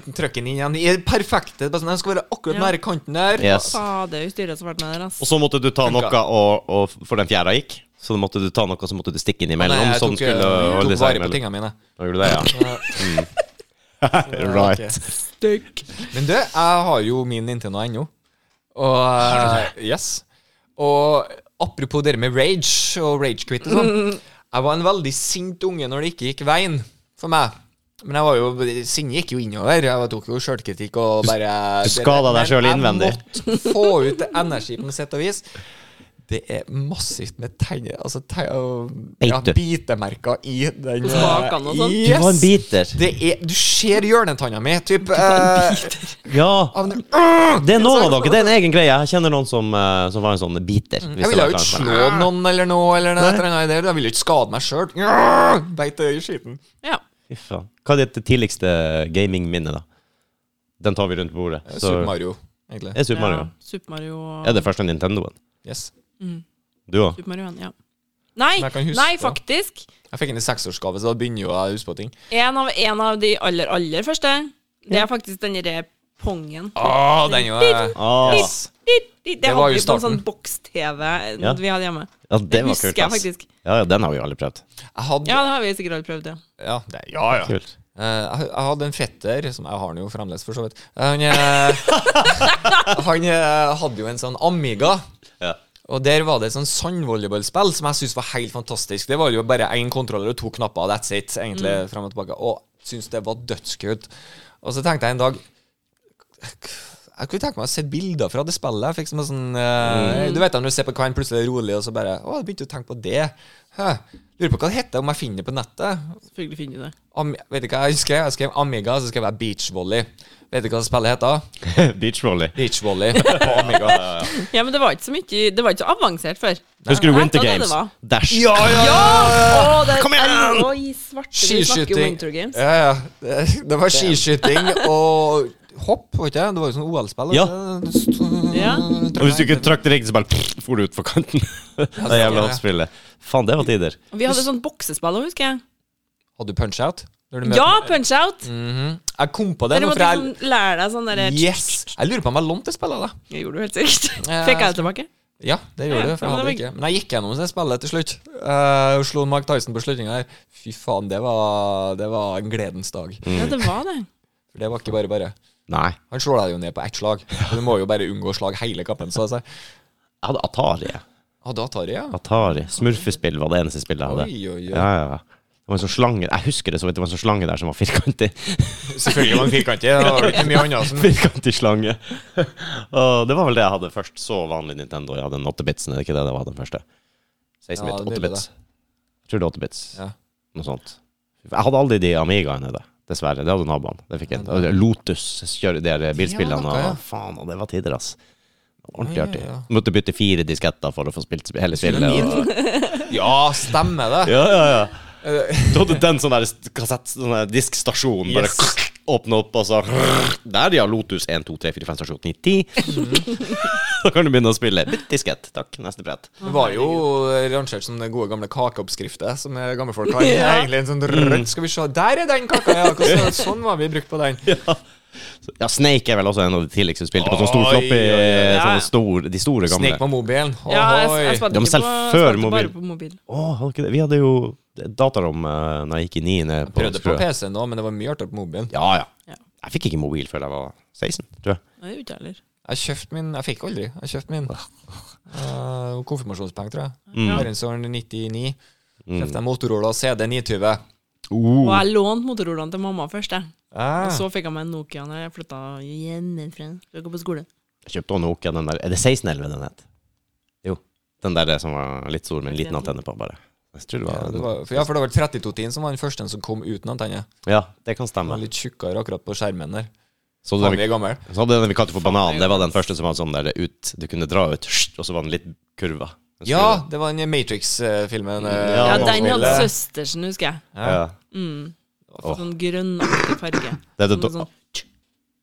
eh, trykk den inn igjen. I det perfekte. bare sånn, Den skal være akkurat
Ja.
nære kanten der.
Yes.
Fader, hun styrer så fælt med det der, ass.
Og så måtte du ta
Funka.
noe, og, og for den fjæra gikk. Så måtte du ta noe, så måtte du stikke inn imellom.
Nei, jeg
så den
tok, eh,
sånn skulle holde
tok
seg
vare på
imellom.
tingene mine.
Da gjorde du det, ja. Mm.
Ja.
right.
Stygg.
Men du, jeg har jo min Nintendo ennå. Og eh, Yes. Og apropos det med rage og ragequit og sånn. Jeg var en veldig sint unge når det ikke gikk veien for meg. Men jeg var jo, sinnet gikk jo innover. Jeg tok jo sjølkritikk og bare
du skadet deg selv innvendig.
Jeg måtte få ut energi på noe sett og vis. Det er massivt med tegner, altså teg, ja,
Biter.
bitemerker i den eh,
På smakene og sånn.
Du var en biter.
Det er, du ser hjørnetanna mi, typ. eh,
Ja. Ah,
av den-
Det er noen av dere. Det er en egen greie. Jeg kjenner noen som, eh, som var en sånn biter. hvis
Jeg
det
ville
var
jo ikke
klart.
slå noen eller noe. Eller noe, etter den der. Jeg ville jo ikke skade meg sjøl. Beit det i skiten.
Ja.
Fy faen. Hva er ditt tidligste gamingminne, da? Den tar vi rundt bordet.
Eh,
Så-
Super Mario, egentlig.
Det er Super Mario.
Ja, Super Mario og
Er det første Nintendoen?
Yes.
Du òg?
Super Mario, ja. Nei,
Men jeg kan huske
nei,
det.
faktisk.
Jeg fikk den i seksårsgave, så da begynner jo jeg å huske på ting.
En av, en av de aller, aller første. Det er faktisk den derre pongen.
Å, den jo eh,
Ah.
yes.
Dit, dit. Det,
Det var
hadde
jo
vi på en
starten.
sånn boks-TV
Ja.
vi hadde hjemme.
Ja, det var
husker
kult,
jeg
ass.
faktisk.
Ja, ja, den har vi jo alle prøvd.
Jeg hadde
Ja, det har vi sikkert alle prøvd, ja.
Ja, det, ja. ja. Eh,
Kult.
Jeg jeg hadde en fetter, som jeg har han jo fremdeles, for så vidt. Han, eh, han eh, hadde jo en sånn Amiga.
Ja.
Og der var det et sånn sandvolleyballspill som jeg syntes var helt fantastisk. Det var jo bare én kontroller og to knapper, that's it, egentlig, frem og tilbake. Og syntes det var dødskult. Og så tenkte jeg en dag Jeg kunne tenke meg å se bilder fra det spillet. Jeg fikk som en sånn eh, Du vet da når du ser på Kine, plutselig er det rolig, og så bare Å, jeg begynte å tenke på det. Hæ. Lurer på hva det heter, om jeg finner det på nettet.
Selvfølgelig finner du det.
Am vet du hva jeg skrev? Jeg skrev Amiga, så skrev jeg Beachvolley. Vet du hva spillet heter?
Beachvolley.
Beachvolley på Amiga.
Ja, men det var ikke så mye Det var ikke så avansert før.
Husker du
Nei,
Winter
hva var det
Games?
det var?
Dash.
Ja, ja,
Ja! Å, det er
Kom igjen!
Oi, svarte, vi snakker om
Skiskyting.
Winter Games.
Ja, ja. Det- Det var skiskyting og hopp, var ikke det? Det var jo sånn OL-spill.
Ja.
Ja.
Og hvis du ikke trakk det riktig, så bare for du utfor kanten. det jævla oppspillet. Faen, det var tider.
Og Vi hadde sånn boksespill òg, husker jeg.
Hadde du punch-out? Når du møter-
Ja, Punch-Out!
Mhm. Jeg kom på det
Dere
nå, for
måtte
jeg
sånn lære deg sånn derre
Yes! Jeg lurer på om jeg lånte det spillet, da.
Det gjorde du helt sikkert.
Ja,
Fikk jeg det tilbake?
Ja, det gjorde
Ja,
jeg, for jeg
men
hadde
det var-
ikke. Men jeg gikk gjennom det spillet til slutt. Eh, Og slo Mark Tyson på slutninga der. Fy faen, det var, det var en gledens dag.
Mm.
Ja, det var det.
For det var ikke bare bare.
Nei.
Han slår deg jo ned på ett slag. Og du må jo bare unngå slag hele kampen. Så jeg sa
Jeg hadde Atari. jeg.
ah, da tar jeg, ja.
Atari. Smurfespill var det eneste spillet jeg hadde.
Oi, oi, oi.
Ja, ja, ja. Det var en sånn slange Jeg husker det så vidt. Det var en sånn slange der som var firkantig.
Selvfølgelig var den firkantig. Det var ikke mye annet som
Firkantig slange. Og det var vel det jeg hadde først. Så vanlig Nintendo. Jeg hadde en 8-bitsen, er det ikke det det var den første? 16-bit,
Ja, det er
8-bits. Jeg tror det er 8-bits.
Ja.
Noe sånt. Jeg hadde aldri de Amigaene, da. Dessverre. Det hadde naboene. Det fikk jeg. Og det- Lotus kjører de der bilspillene.
noe, ja.
Og faen, og det var tider, ass. Ordentlig
Ja, ja,
artig.
ja.
Måtte bytte fire disketter for å få spilt sp- hele spillet. Og...
Ja, stemmer det.
Ja, ja, ja.
Eh,
Du hadde den sånn der st- kassett, sånn der diskstasjon, bare
Yes.
åpne opp, og så Der, ja. Lotus 1, 2, 3, 4, 5, stasjon 9, 10.
Mhm.
Da kan du begynne å spille. Bytt diskett. Takk. Neste brett.
Det var jo eh, rangert som den gode gamle kakeoppskrifter som eh, gamle folk har.
Ja.
Egentlig en sånn rødt Skal vi se, der er den kaka! Ja, hvordan- sånn var vi brukt på den.
Ja, Snake er vel også en av de tidligste du spilte på sånn stor
Oi,
floppy.
oi, oi.
Sånne stor, de store gamle.
Snake på mobilen.
Ja, jeg, jeg
Ohoi.
spilte
Ja, men
ikke
selv
på, jeg
før
spilte
mobil.
bare på mobil.
Åh, hadde ikke det? Vi hadde jo datarom uh, når jeg gikk i 9. på
Prøvde på
Skrø.
PC nå, men det var mye artigere på mobilen.
Ja,
Ja.
ja. Jeg fikk ikke mobil før jeg var 16, tror jeg.
Nei, det gjorde ikke jeg heller.
Jeg kjøpte min Jeg fikk aldri. Jeg kjøpte min uh, konfirmasjonspenger, tror jeg.
Mm.
Verdensåren 99. sånn Kjøpte jeg Motorola CD 920. Oh.
Og
Uh,
jeg lånte motorrollene til mamma først, jeg.
Ah.
Og så fikk jeg meg en Nokia når jeg flytta hjemmefra. Skulle gå på skole.
jeg kjøpte også Nokia, den der Er det 1611 den het? Jo. Den der som var litt stor med en liten antenne på, bare. Jeg tror det
Ja, det
var
var, for, ja, for det var 32-tiden som var den første som kom uten antenne.
Ja, det kan
Den
stemme.
var litt tjukkere akkurat på skjermen der.
Så,
Faen,
den,
vi er gamle.
vi- så hadde den vi kalte for Banan.
jeg
Det var
gjorde
den første som var sånn der ut Du kunne dra ut, og så var den litt kurva.
Ja, det var den Matrix-filmen. eh,
Ja,
Ja,
man
den hadde
spiller.
søstersen, husker jeg.
Ja. Åh.
Sånn grønnaktig farge.
Det er det,
Som en
do-
sånn,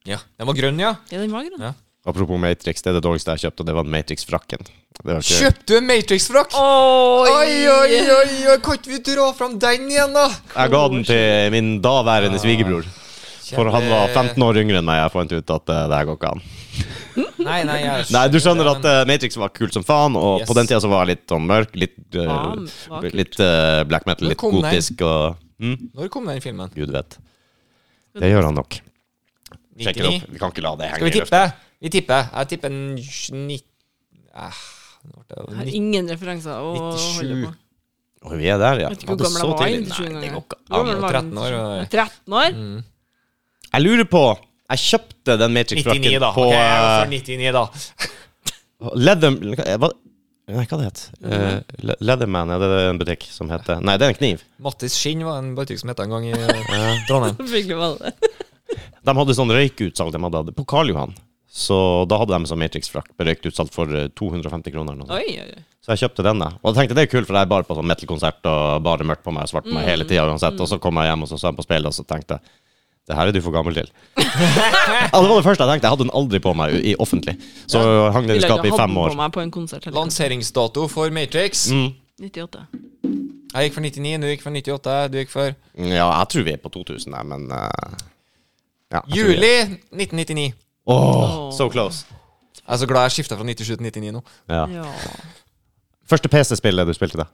Ja, Den var grønn, ja.
ja, den var grønn.
Ja.
apropos Matrix, det er det dårligste jeg har kjøpt, og det var Matrix-frakken. Det var ikke-
Kjøpte du en Matrix-frakk?
Oi!
Oi, oi, oi, oi, kan ikke vi dra fram den igjen, da?
Jeg ga den til min daværende svigerbror. For han var 15 år yngre enn meg. Jeg fant ut at eh, det her går ikke an.
Nei, nei, jeg
Nei, du skjønner at eh, Matrix var kult som faen, og
Yes.
på den tida så var jeg litt sånn mørk. Litt, eh,
Ja, den var kult.
litt eh, black metal,
Men
litt
kom den?
gotisk og mm,
Når kom den filmen?
Gud vet. Det gjør han nok. Sjekker
99?
opp. Vi kan ikke la det
Skal
henge
vi
i lufta.
tippe? Vi tipper. Jeg tipper en 90 eh, nå ble det
Jeg har
nitt-
ingen referanser å
97.
holde på.
Og vi er der, ja.
Vet ikke hvor
Ja, det
gammel
så
jeg var.
tidlig. Nei, det
97
går
engang.
ikke an.
Hvor gammel
Ja,
var den?
13 år, var jeg.
13 år?
Mm. Jeg lurer på Jeg kjøpte den Matrix-frakken
99, da.
på
Ok, jeg går for
eh,
99, da.
Leather... Hva, nei, hva det het Eh, Le- Leatherman, er det en butikk som heter Nei, det er en kniv.
Mattis Skinn var en butikk som het en gang i eh, Trondheim.
Fikk du valg.
De hadde sånn røykutsalg de hadde på Karl Johan. Så da hadde de sånn Matrix-frakk på røykutsalg for eh, 250 kroner. eller noe sånt.
Oi, oi, oi.
Så jeg kjøpte denne. Og jeg tenkte det er kult, for jeg er bare på sånn metal-konsert og bare mørkt på meg og svart på meg hele
Mm.
tida uansett. Og så kom jeg hjem og så så jeg på speilet, og så tenkte jeg det her er du for gammel til. ja, det var det første jeg tenkte. Jeg hadde den aldri på meg i offentlig. Så hang den i
Ville ikke
skapet i
hatt den
fem
på
år.
meg på en konsert heller.
Lanseringsdato for Matrix.
Mm.
98.
Jeg gikk for 99, du gikk for 98, du gikk for
Ja, jeg tror vi er på 2000, der, men eh, ja, jeg tror vi er-
Juli 1999.
Åh, so close.
Jeg er så glad jeg skifta fra 97 til 99 nå.
Ja.
Ja.
Første PC-spillet du spilte, da?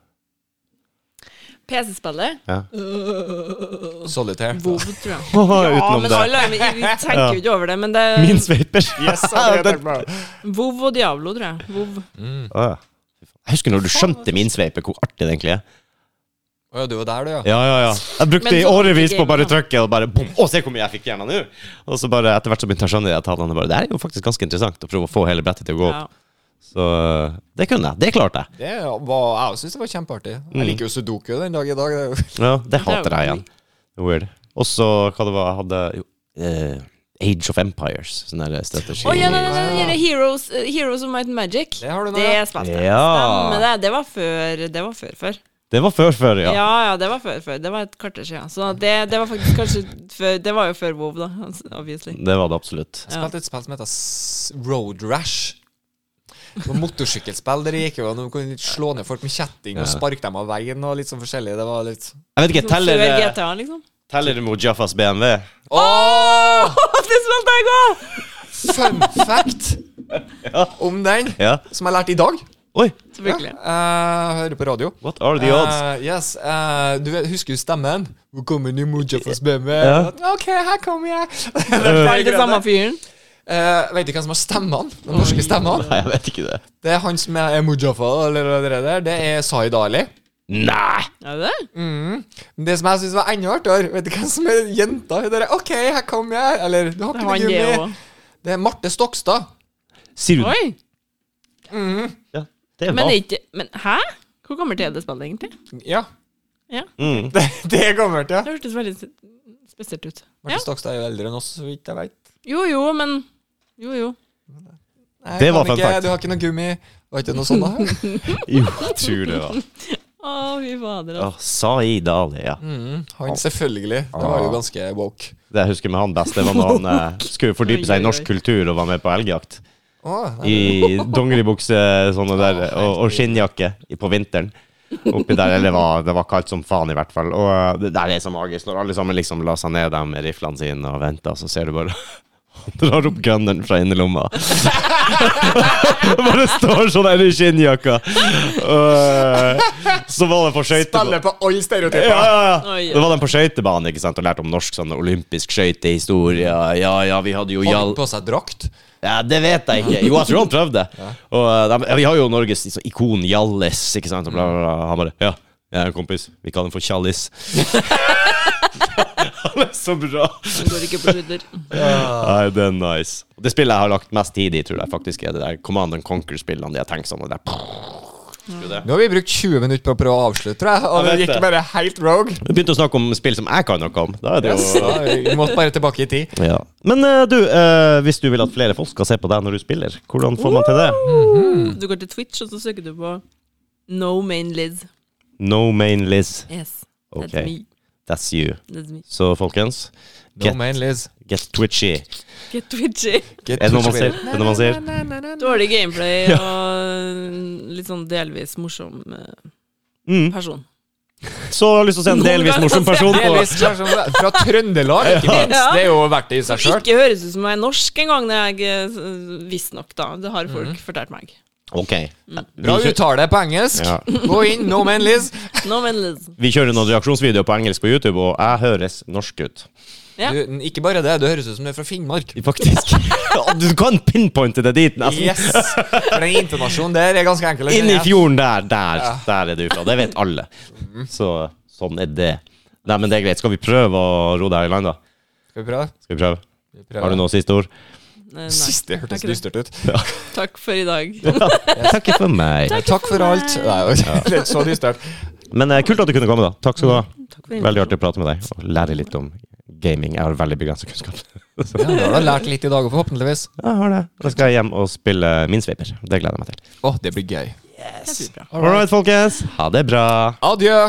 PC-spillet?
Ja.
Solitaire.
Vov, tror jeg. Ja,
Utenom
men
det.
alle er med. Vi tenker jo ikke over det, men det er
Min sveiper. Den-
Vov og Diablo, tror jeg. Vov.
Å, ja. Jeg husker når du skjønte min sveipe, hvor artig det egentlig er.
Å ja, du var der, du, ja.
Ja, ja, ja. Jeg brukte i
Men så-
årevis på å bare trykke og bare bom. Å, se hvor mye jeg fikk hjernen nå! Og så bare etter hvert så begynte jeg å skjønne de tallene. og Bare, det her er jo faktisk ganske interessant å prøve å få hele brettet til å gå
Ja.
opp. Så øh, det kunne jeg. Det klarte jeg.
Det var, jeg syns det var kjempeartig. Jeg liker jo sudoku den dag i dag. det er jo-
Ja, det hater
jo
jeg igjen. Det er Weird. Og så hva det var jeg hadde jo, eh, Age of Empires. Sånn der strategi.
Å, ja, nei, nei, nei, nei, nei, Heroes, eh, Heroes of Might and Magic.
Det har du nå,
Det
ja.
spilte jeg. Stemmer
Ja.
det. Det var før. Det var før, før.
Det var før, før,
Ja.
ja.
ja, det var før, før. Det var et kvarter siden. Så det, det var faktisk kanskje før Det var jo før Vov, da. altså, Obviously.
Det var det absolutt.
Jeg spilte et spill som heter S- Road Rash. Det var motorsykkelspill der det gikk jo an å kunne slå ned folk med kjetting og sparke dem av veien og litt sånn forskjellig. Det var litt
Jeg vet ikke,
Som
teller,
Før
eh,
GTA, liksom.
teller mot Jaffas BMW?
Åh!
det spilte jeg òg!
Fun fact om den,
Ja.
som jeg lærte i dag.
Oi!
Selvfølgelig.
Ja, jeg hører på radio.
What are the odds?
Eh, yes, eh, du vet, Husker du stemmen? Hvor kommer du, Mujafas BMW? OK, her kommer jeg.
Er det samme fyren?
Eh, vet du hvem som har stemmene? De norske stemmene?
Nei, jeg vet ikke det.
Det er han som er Mujafa. Eller det der. Det er Zaid Ali. Mm.
Nei!
Er det det?
Men Det som jeg syns var enda artigere, vet du hvem som er jenta? Hun der, OK, her kommer jeg. Eller du har
Det
ikke
var
noe
han det
gummi.
òg.
Det er Marte Stokstad.
Sier du
Oi!
Ja, det
Men,
var
det er ikke, men hæ? Hvor gammelt er det spillet, egentlig?
Ja,
mm.
det, det kommer til.
Det hørtes veldig s- spesielt ut.
Marte
Ja.
Stokstad er jo eldre enn oss, så vidt jeg vet.
Jo jo, men Jo jo.
Nei,
Det var
kan
fun
ikke,
fact.
Du har ikke noe gummi. Var ikke noe sånt da?
Jo, jeg tror det var
Å, fy fader. altså.
oh, Saeed Ali, ja.
Mm. Han, Ah. selvfølgelig. Det var jo ganske woke.
Det jeg husker med han best, det var når han eh, skulle fordype seg i norsk kultur og var med på elgjakt.
Åh, Ah, nei.
I dongeribukse sånne der, og, og skinnjakke i- på vinteren. Oppi der, eller det var, det var kaldt som faen, i hvert fall. Og eh, det der er så magisk. Når alle sammen liksom la seg ned der med riflene sine og venta, så ser du bare han drar opp gunneren fra innerlomma. bare står sånn her i skinnjakka. Og, eh, så var det på skøytebanen.
Spiller på alle stereotyper.
Ja, ja, ja.
Oi, oi.
Det var den på skøytebanen ikke sant? og lærte om norsk sånn olympisk skøytehistorie. Ja, ja, vi hadde jo
Har han
Jal...
på seg drakt?
Ja, det vet jeg ikke. Jo, jeg tror han prøvde. Og eh, de, ja, vi har jo Norges så, ikon Hjallis, ikke sant? Og bla, bla, bla. Han bare Ja, jeg er en kompis. Vi kaller den for Tjallis. han er så bra.
Den går ikke på sludder.
Nei, det er nice. Det spillet jeg har lagt mest tid i, tror jeg faktisk er det der Command and Conquer-spillene. De har tenkt sånn og det er
Nå har vi brukt 20 minutter på å prøve å avslutte, tror jeg. Og
Jeg
det
vet
gikk
det.
bare helt rogue.
Vi begynte å snakke om spill som jeg kan noe om. Da er det jo
Ja, Vi måtte bare tilbake i tid.
Ja. Men eh, du, eh, hvis du vil at flere folk skal se på deg når du spiller, hvordan får man til det?
Du går til Twitch, og så søker du på No main Liz.
No main Liz.
Yes.
Ok,
That's me.
that's you.
That's me.
Så folkens,
No
Get-
man, Liz.
get twitchy.
Get eh. twitchy.
Get
Er det noe man
to-
sier? Er det noe man sier?
Dårlig gameplay og litt sånn delvis morsom eh,
Mm.
person.
Så har jeg lyst til å se en
Noen
delvis
ganger
morsom
så ser
person
jeg
på
Delvis kanskje fra sånn fra Trøndelag, ikke
Ja.
minst. Det er jo verdt det i seg sjøl.
Ikke høres ut som jeg er norsk engang, når jeg eh, visstnok, da. Det
Mm.
har folk fortalt meg.
Ok.
Mm.
Bra
Vi kjø-
uttale på engelsk.
Ja.
Gå inn, no man, Liz.
No man Liz.
Vi kjører noen reaksjonsvideoer på engelsk på YouTube, og jeg høres norsk ut.
Ja.
Du, ikke bare det, du høres ut som du er fra Finnmark.
Faktisk. Ja, Du kan pinpointe det dit, nesten.
Yes! For den intonasjonen der er ganske enkel. å
Inn i
kjenne igjen.
fjorden der, der, der er du fra. Det vet alle. Så sånn er det. Nei, men det er greit. Skal vi prøve å ro det her i land, da?
Skal vi prøve?
Skal vi prøve?
Vi prøver.
Har du noe siste ord?
Nei, Eh, nei.
Siste hørtes
Takk.
dystert ut.
Takk for i dag.
Takk for meg.
Takk, for alt. Nei, det er så dystert.
Men eh, kult at du kunne komme, da. Mm. Takk skal du ha.
Takk for
Veldig artig å prate med deg og lære litt om gaming. Jeg har veldig begrenset kunnskap. Så,
Ja, da har du lært litt i dag, forhåpentligvis.
jeg har det. Da skal jeg hjem og spille min sveiper. Det gleder jeg meg til.
Å, det blir gøy.
Yes.
All right, folkens. Ha det bra.
Adjø!